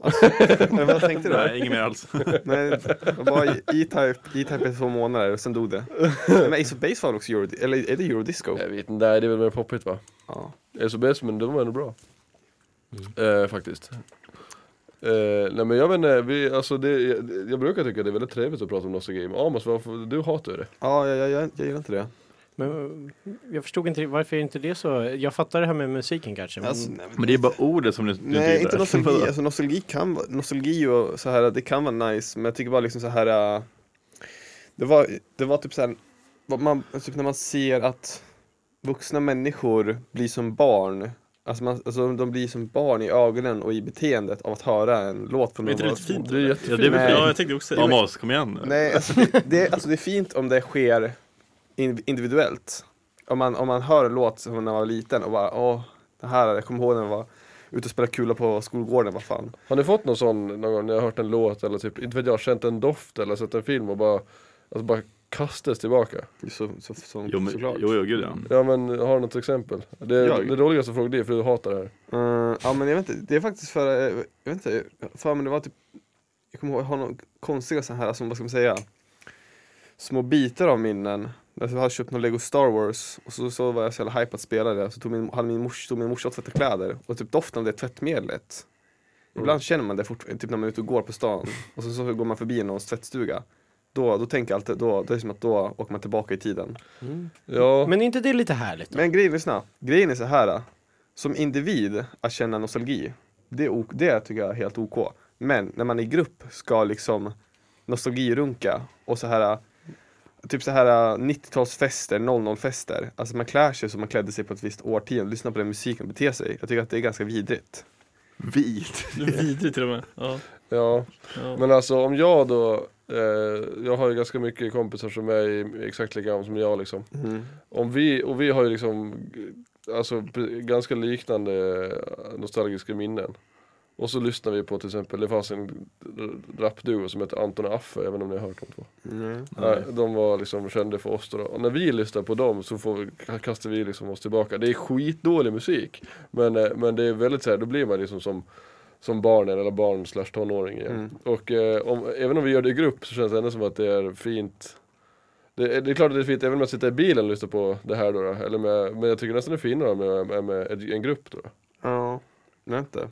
Speaker 6: Alltså, vad tänkte du?
Speaker 4: Nej, inget mer alls.
Speaker 6: Nej, det var E-Type, E-Type i två månader och sen dog det. Men Ace of Base var väl också Euro, eller är det Eurodisco?
Speaker 3: Jag vet inte, nej det är väl mer poppigt va?
Speaker 6: Ja.
Speaker 3: SOBS men de var ändå bra. Eh, faktiskt. Eh, nej men jag vet inte, vi, alltså det, jag, jag brukar tycka det är väldigt trevligt att prata om nostalgi. Men Amos, varför, du hatar ju det.
Speaker 6: Ja, jag, jag, jag, jag gillar inte det.
Speaker 5: Mm.
Speaker 2: Men eh, jag förstod inte varför är inte det så. Jag fattar det här med musiken kanske. Men
Speaker 6: Alltså, nej, men-
Speaker 4: Men det är bara ordet som du, du
Speaker 6: nej, inte nostalgi.
Speaker 4: Vadå?
Speaker 6: Alltså, nostalgi, kan, vara- nostalgi och så här, det kan vara nice, men jag tycker bara liksom så här. äh, Det var, det var typ så här, vad man, typ när man ser att vuxna människor blir som barn. Alltså, man, alltså de blir som barn i ögonen och i beteendet av att höra en låt från
Speaker 5: Men är inte det
Speaker 6: de var
Speaker 5: lite fint?
Speaker 3: Det är jättefint.
Speaker 4: Ja, det är väl
Speaker 6: Nej.
Speaker 5: Ja,
Speaker 4: fint.
Speaker 5: jag tänkte också det.
Speaker 4: Amos, kom igen nu.
Speaker 6: Nej, alltså det, det, alltså det är fint om det sker in- individuellt. Om man, om man hör en låt som när man var liten och bara åh, det här, jag kommer ihåg när jag var ute och spelade kula på skolgården, vad fan.
Speaker 3: Har ni fått någon sån någon gång när jag har hört en låt eller typ, inte vet jag, känt en doft eller sett en film och bara, alltså bara kastas tillbaka.
Speaker 6: Så, så, så,
Speaker 4: Jo, men, jo,
Speaker 6: såklart.
Speaker 4: jo, gud ja.
Speaker 3: Ja men har du något exempel? Det,
Speaker 6: Jag?
Speaker 3: det roligaste frågan det är för du hatar det här.
Speaker 6: Eh, ja men jag vet inte, det är faktiskt för, eh, jag vet inte, för men det var typ, jag kommer ihåg, jag har några konstiga sådana här, alltså, vad ska man säga, små bitar av minnen. Alltså, Jag hade köpt någon Lego Star Wars och så, så var jag så jävla hype att spela det, så tog min, hade min, mors, tog min morsa och tvättade kläder och typ doften av det tvättmedlet. Ibland känner man det fortfarande, typ när man är ute och går på stan och så, så går man förbi någons tvättstuga. Då, då tänker jag alltid, då, det är som att då åker man tillbaka i tiden.
Speaker 3: Ja,
Speaker 2: Men är inte det lite härligt?
Speaker 6: Men grejen, lyssna. Grejen är så här. äh, Som individ, att känna nostalgi, det, är ok, det tycker jag är helt OK. Men när man i grupp ska liksom nostalgirunka och så här äh, Typ så här äh, 90-talsfester, 00-fester. Alltså man klär sig som man klädde sig på ett visst årtionde, lyssnar på den musiken och beter sig. Jag tycker att det är ganska vidrigt.
Speaker 4: Vid.
Speaker 5: Det är vidrigt till och med. Ja,
Speaker 3: ja.
Speaker 5: ja.
Speaker 3: Men alltså om jag då, eh, jag har ju ganska mycket kompisar som är i- exakt lika gamla som jag liksom. Om vi, och vi har ju liksom eh, alltså, p- ganska liknande eh, nostalgiska minnen. Och så lyssnar vi på till exempel, det fanns en r- rapduo som hette Anton och Affe, jag vet inte om ni har hört dem två. Nej. De var liksom kände för oss då. Och när vi lyssnar på dem så får vi, kastar vi liksom oss tillbaka. Det är skitdålig musik. Men, eh, men det är väldigt så här, då blir man liksom som som barnen eller barn slash tonåring igen.
Speaker 6: Mm.
Speaker 3: Och eh, om, även om vi gör det i grupp så känns det ändå som att det är fint det är, det är klart att det är fint även om jag sitter i bilen och lyssnar på det här då, då eller med, men jag tycker nästan det är finare med, med, med ett- en grupp då.
Speaker 6: Ja, men inte.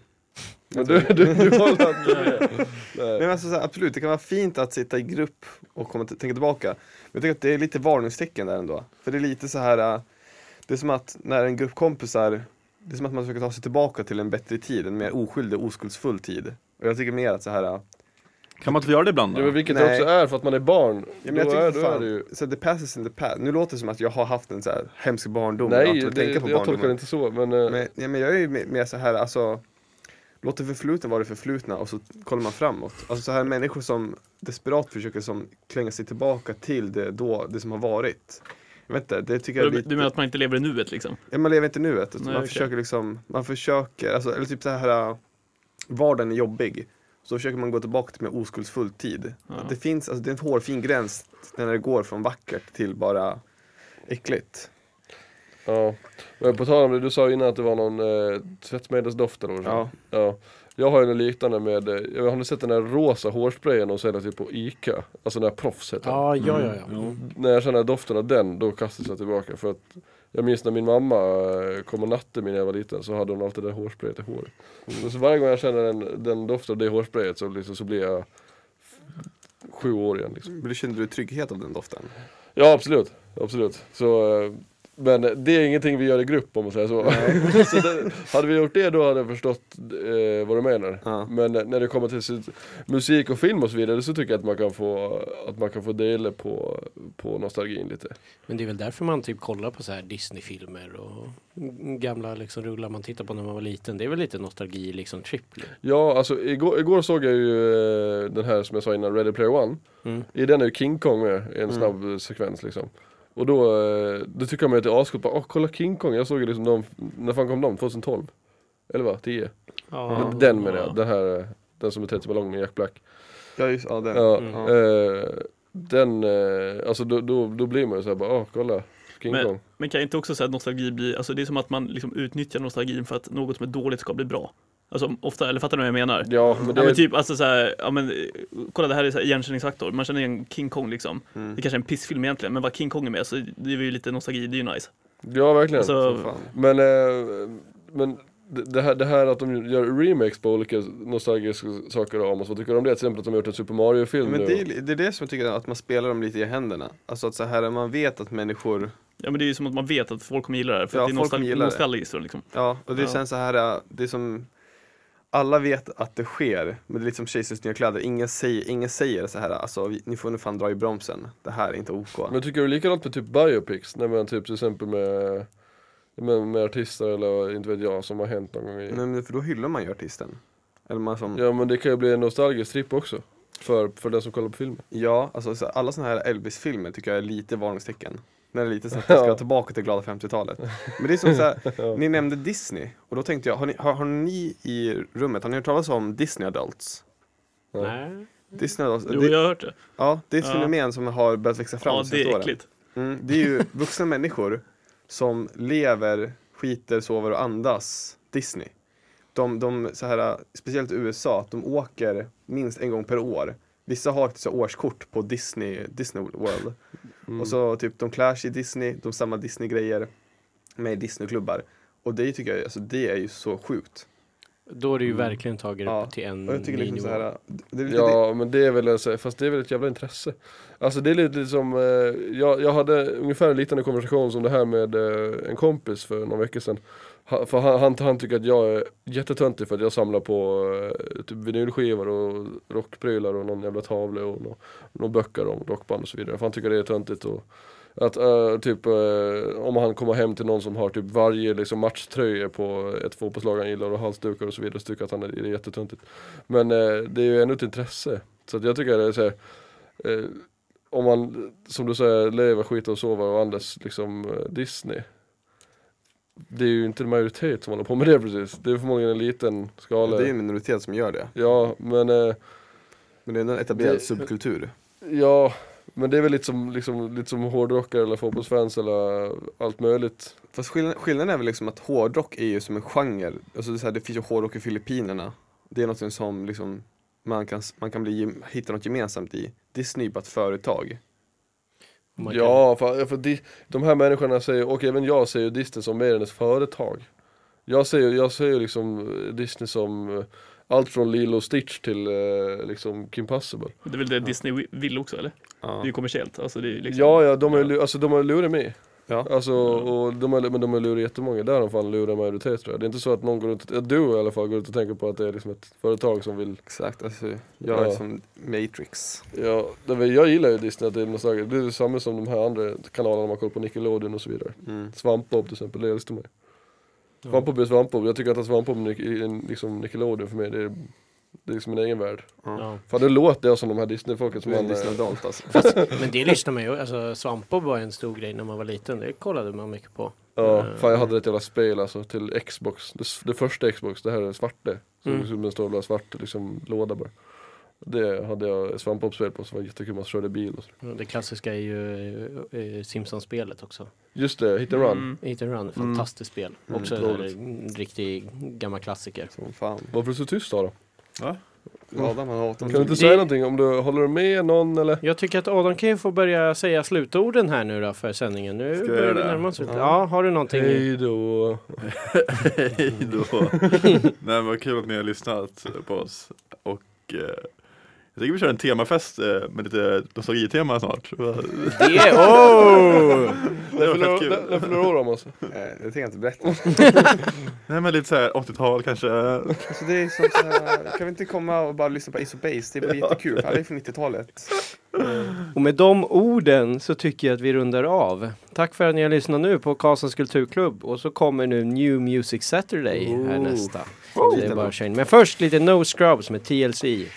Speaker 3: Men du, du, du håller inte med.
Speaker 6: Men alltså, så här, absolut, det kan vara fint att sitta i grupp och komma t- tänka tillbaka. Men jag tycker att det är lite varningstecken där ändå. För det är lite så här, äh, det är som att när en grupp kompisar, det är som att man försöker ta sig tillbaka till en bättre tid, en mer oskyldig, oskuldsfull tid. Och jag tycker mer att så här, äh,
Speaker 4: Kan man inte göra det ibland
Speaker 3: Ja, men
Speaker 4: då?
Speaker 3: vilket det
Speaker 6: Nej.
Speaker 3: också är för att man är barn.
Speaker 6: ja, men
Speaker 3: då
Speaker 6: jag
Speaker 3: är,
Speaker 6: tycker
Speaker 3: då
Speaker 6: fan,
Speaker 3: är det ju...
Speaker 6: så the past is in the past. Nu låter det som att jag har haft en så här hemsk barndom. och
Speaker 3: Nej,
Speaker 6: jag, har
Speaker 3: det,
Speaker 6: tänka på
Speaker 3: jag tolkar det
Speaker 6: barndomen.
Speaker 3: inte så. Men, eh,
Speaker 6: Men, ja, men jag är ju me- mer så här, alltså Låt det förflutna vara det förflutna och så kollar man framåt. Alltså så här människor som desperat försöker som klänga sig tillbaka till det då, det som har varit. Jag vet inte, det tycker jag är
Speaker 5: Du,
Speaker 6: lite...
Speaker 5: du menar att man inte lever i nuet liksom?
Speaker 6: Ja, man lever inte nuet. Utan
Speaker 5: Nej,
Speaker 6: man
Speaker 5: okej.
Speaker 6: försöker liksom, man försöker, alltså, eller typ så här äh, vardagen är jobbig. Så försöker man gå tillbaka till mer oskuldsfull tid.
Speaker 5: Ja.
Speaker 6: Att det finns, alltså det är en hårfin gräns när det går från vackert till bara äckligt.
Speaker 3: ja. men på tal om det, du sa innan att det var någon eh, tvättmedelsdoft eller vad det var.
Speaker 6: Ja.
Speaker 3: Ja, jag har ju något liknande med, eh, jag har ni sett den där rosa hårsprayen de säljer typ på Ica? Alltså den här proffs heter den.
Speaker 8: Ja, ja, ja. ja.
Speaker 6: Mm.
Speaker 3: När jag känner doften av den, då kastas jag tillbaka för att jag minns när min mamma eh, kom och natte mig när jag var liten så hade hon alltid det där hårsprayet i håret. Men Så varje gång jag känner den, den doften av det hårsprayet så, liksom, så blir jag f- sju år igen
Speaker 5: Mm.
Speaker 3: liksom.
Speaker 6: Men då kände du trygghet av den doften?
Speaker 3: Ja absolut, absolut. Så, eh, men det är ingenting vi gör i grupp om man säger så. så det, hade vi gjort det då hade jag förstått eh, vad du menar.
Speaker 6: Ja.
Speaker 3: Men eh, när det kommer till sitt- musik och film och så vidare så tycker jag att man kan få, att man kan få dela på, på nostalgin lite.
Speaker 8: Men det är väl därför man typ kollar på så här Disney-filmer och gamla liksom rullar man tittar på när man var liten. Det är väl lite nostalgi liksom trip.
Speaker 3: Ja, alltså igår, igår såg jag ju eh, den här som jag sa innan, Ready Player One.
Speaker 8: Mm.
Speaker 3: I den är ju King Kong med i en snabb eh, sekvens liksom. Och då, eh, då tycker jag mig att det är ascoolt, bara, åh kolla King Kong, jag såg ju liksom dem, när fan kom de? 2012? Eller vad? 10?
Speaker 8: Ja.
Speaker 3: Den menar jag, den här, eh, den som är 30 timmar lång med Jack Black.
Speaker 6: Ja, just, ja, den.
Speaker 3: Ja,
Speaker 6: Mm.
Speaker 3: eh, den, eh, alltså då, då, då blir man ju såhär bara, åh kolla, King Kong.
Speaker 5: Men kan inte också säga att nostalgi blir, alltså det är som att man liksom utnyttjar nostalgin för att något som är dåligt ska bli bra. Alltså ofta, eller fattar du vad jag menar?
Speaker 3: Ja, men det
Speaker 5: Ja men
Speaker 3: är,
Speaker 5: typ, alltså så här, ja men eh, kolla det här är så här igenkänningsfaktor, man känner igen King Kong liksom.
Speaker 6: Mm.
Speaker 5: Det kanske är en pissfilm egentligen, men vad King Kong är med så det är ju lite nostalgi, det är ju nice.
Speaker 3: ja verkligen.
Speaker 5: Alltså,
Speaker 6: Fan.
Speaker 3: Men, eh, men det- det här, det här att de gör remakes på olika nostalgiska saker om oss, vad tycker du om det? Till exempel att de har gjort en Super Mario-film
Speaker 6: Men
Speaker 3: nu.
Speaker 6: det är, li- det är det som jag tycker, att man spelar dem lite i händerna. Alltså att så här, man vet att människor,
Speaker 5: ja men det är ju som att man vet att folk kommer gilla det här, för
Speaker 6: Ja,
Speaker 5: att det är
Speaker 6: folk kommer
Speaker 5: nostal-
Speaker 6: gilla det.
Speaker 5: nostalgiskt då, liksom.
Speaker 6: ja, och det är
Speaker 5: Ja.
Speaker 6: sen så här, äh, det är som, alla vet att det sker, men det är lite som kejsarens nya kläder, ingen säger, ingen säger så här, alltså vi- ni får nu fan dra i bromsen, det här är inte OK.
Speaker 3: Men tycker du likadant med typ biopics? När man typ till exempel med, med, med artister eller inte vet jag som har hänt någon gång i...
Speaker 6: Nej, men för då hyllar man ju artisten. Eller man som, ja,
Speaker 3: Ja men det kan ju bli en nostalgisk tripp också. För, för den som kollar på filmen.
Speaker 6: alltså så här, alla såna här Elvis-filmer tycker jag är lite varningstecken. När det är lite så att man ska tillbaka till glada 50-talet. Men det är som så här, ni nämnde Disney, och då tänkte jag, har ni, har, har ni i rummet, har ni hört talas om Disney Adults?
Speaker 8: Nej.
Speaker 6: Det är snödas.
Speaker 5: Jo,
Speaker 6: det,
Speaker 5: jag har hört det.
Speaker 6: Ja, det är ett
Speaker 5: Ja.
Speaker 6: fenomen som har börjat växa fram
Speaker 5: Ja,
Speaker 6: de
Speaker 5: det är
Speaker 6: senaste åren.
Speaker 5: äckligt.
Speaker 6: Mm, det är ju vuxna människor som lever, skiter, sover och andas Disney. De, de så här, speciellt i USA, att de åker minst en gång per år. Vissa har så här årskort på Disney, Disney World. Och så typ de klär sig i Disney, de samlar Disney-grejer med i Disney-klubbar. Och det tycker jag, alltså det är ju så sjukt.
Speaker 8: Då är det ju verkligen tagit upp
Speaker 6: Mm. Ja,
Speaker 8: till en
Speaker 6: Och jag tycker liksom
Speaker 8: nivå.
Speaker 6: så här, det, det,
Speaker 3: Ja men det är väl, alltså- fast det är väl ett jävla intresse. Alltså det är lite som, eh, jag, jag hade ungefär en liknande konversation som det här med eh, en kompis för några veckor sedan. Ha, för han, han, han tycker att jag är jättetöntig för att jag samlar på eh, typ vinylskivor och rockprylar och någon jävla tavla och några nå böcker om rockband och så vidare. För han tycker det är töntigt och att eh, typ eh, om han kommer hem till någon som har typ varje liksom, matchtröja på ett fotbollslag han gillar och halsdukar och så vidare så tycker han att han är, det är jättetöntigt. Men eh, det är ju ändå ett intresse. Så att jag tycker det är så här, eh, om man som du säger lever, skiter och sover och andas liksom eh, Disney. Det är ju inte en majoritet som håller på med det precis. Det är förmodligen en liten skala.
Speaker 6: det är ju en minoritet som gör det.
Speaker 3: Ja, men eh,
Speaker 6: Men det är ändå en etablerad
Speaker 3: Det-
Speaker 6: subkultur.
Speaker 3: Ja, men det är väl lite som, liksom, lite som hårdrockare eller fotbollsfans eller allt möjligt.
Speaker 6: Fast skillnaden, skillnaden är väl liksom att hårdrock är ju som en genre. Alltså det, är så här, det finns ju hårdrock i Filippinerna. Det är något som liksom man kan, man kan bli, hitta något gemensamt i. Disney är bara ett företag.
Speaker 2: Oh
Speaker 8: Man kan-
Speaker 3: Ja, för, för de, de här människorna säger, och även jag ser ju Disney som mer än ett företag. Jag ser ju jag ser ju liksom Disney som eh, allt från Lilo och Stitch till eh, liksom Kim Possible.
Speaker 5: Det är väl det Disney vill också, eller? Det är
Speaker 6: Ja.
Speaker 5: ju kommersiellt. Alltså, det är ju liksom...
Speaker 3: Ja, ja, de har ju lu- alltså, de har ju lurat mig.
Speaker 6: Ja.
Speaker 3: Alltså, och de har, men de har lurat jättemånga, där har de fan lurat majoritet tror jag. Det är inte så att någon går runt, du i alla fall, går runt och tänker på att det är liksom ett företag som vill
Speaker 6: Exakt, alltså jag är
Speaker 3: Ja.
Speaker 6: som Matrix.
Speaker 3: Ja, det var, jag gillar ju Disney, att det är nostalgiskt. Det är samma som de här andra kanalerna man kollar på, Nickelodeon och så vidare.
Speaker 6: Mm.
Speaker 3: Svampbob till exempel, det älskar man ju. Svampbob är Svampbob, jag tycker att Svampbob är Nic- är en- liksom Nickelodeon för mig, det är, det är liksom min egen värld.
Speaker 8: Ja.
Speaker 3: Fan det låter jag som de här Disney-folket som
Speaker 6: Du är en
Speaker 3: man... eh,
Speaker 6: Disney-adult alltså.
Speaker 8: Men det lyssnar man ju, alltså svampbob var ju en stor grej när man var liten, det kollade man mycket på.
Speaker 3: Ja, fan jag hade ett jävla spel alltså till Xbox, det, s- det första Xbox, det här är svarte. Som
Speaker 8: Mm.
Speaker 3: mm. en stor jävla svart liksom, låda bara. Det hade jag ett Svampbob-spel på som var jättekul, man körde bil och så.
Speaker 8: Det klassiska är ju eh, Simpsons-spelet också.
Speaker 3: Just det, Hit and Run.
Speaker 5: Mm.
Speaker 8: Hit and Run, fantastiskt spel. Också en
Speaker 3: roligt.
Speaker 8: här mm, riktig gammal klassiker.
Speaker 6: Som fan.
Speaker 3: Varför är du så tyst Adam?
Speaker 6: Adam han hatar
Speaker 3: Kan du inte säga någonting om du håller du med någon eller?
Speaker 8: Jag tycker att Adam kan ju få börja säga slutorden här nu då för sändningen. Nu
Speaker 4: jag
Speaker 8: börjar
Speaker 4: göra
Speaker 8: vi
Speaker 4: det?
Speaker 8: närma oss ut.
Speaker 6: Ja.
Speaker 8: Ja, har du någonting?
Speaker 3: Hej då.
Speaker 4: Hej då! Nej men vad kul att ni har lyssnat på oss. Och eh, jag tycker vi kör en temafest eh, med lite nostalgitema snart. Det
Speaker 8: Det är, oh!
Speaker 3: När
Speaker 4: var fett
Speaker 3: fyller- när- när
Speaker 4: kul.
Speaker 3: fyller år om alltså?
Speaker 6: Nej, det tänker jag inte berätta.
Speaker 4: Nej men lite såhär 80-tal kanske.
Speaker 6: Alltså det är som så här, kan vi inte komma och bara lyssna på Ace of Base? Det är bara jättekul. Alla är från 90-talet.
Speaker 2: Och med de orden så tycker jag att vi rundar av. Tack för att ni har lyssnat nu på Karlssons Kulturklubb och så kommer nu New Music Saturday här nästa. Så det är bara att köra in. Men först lite No Scrubs med TLC.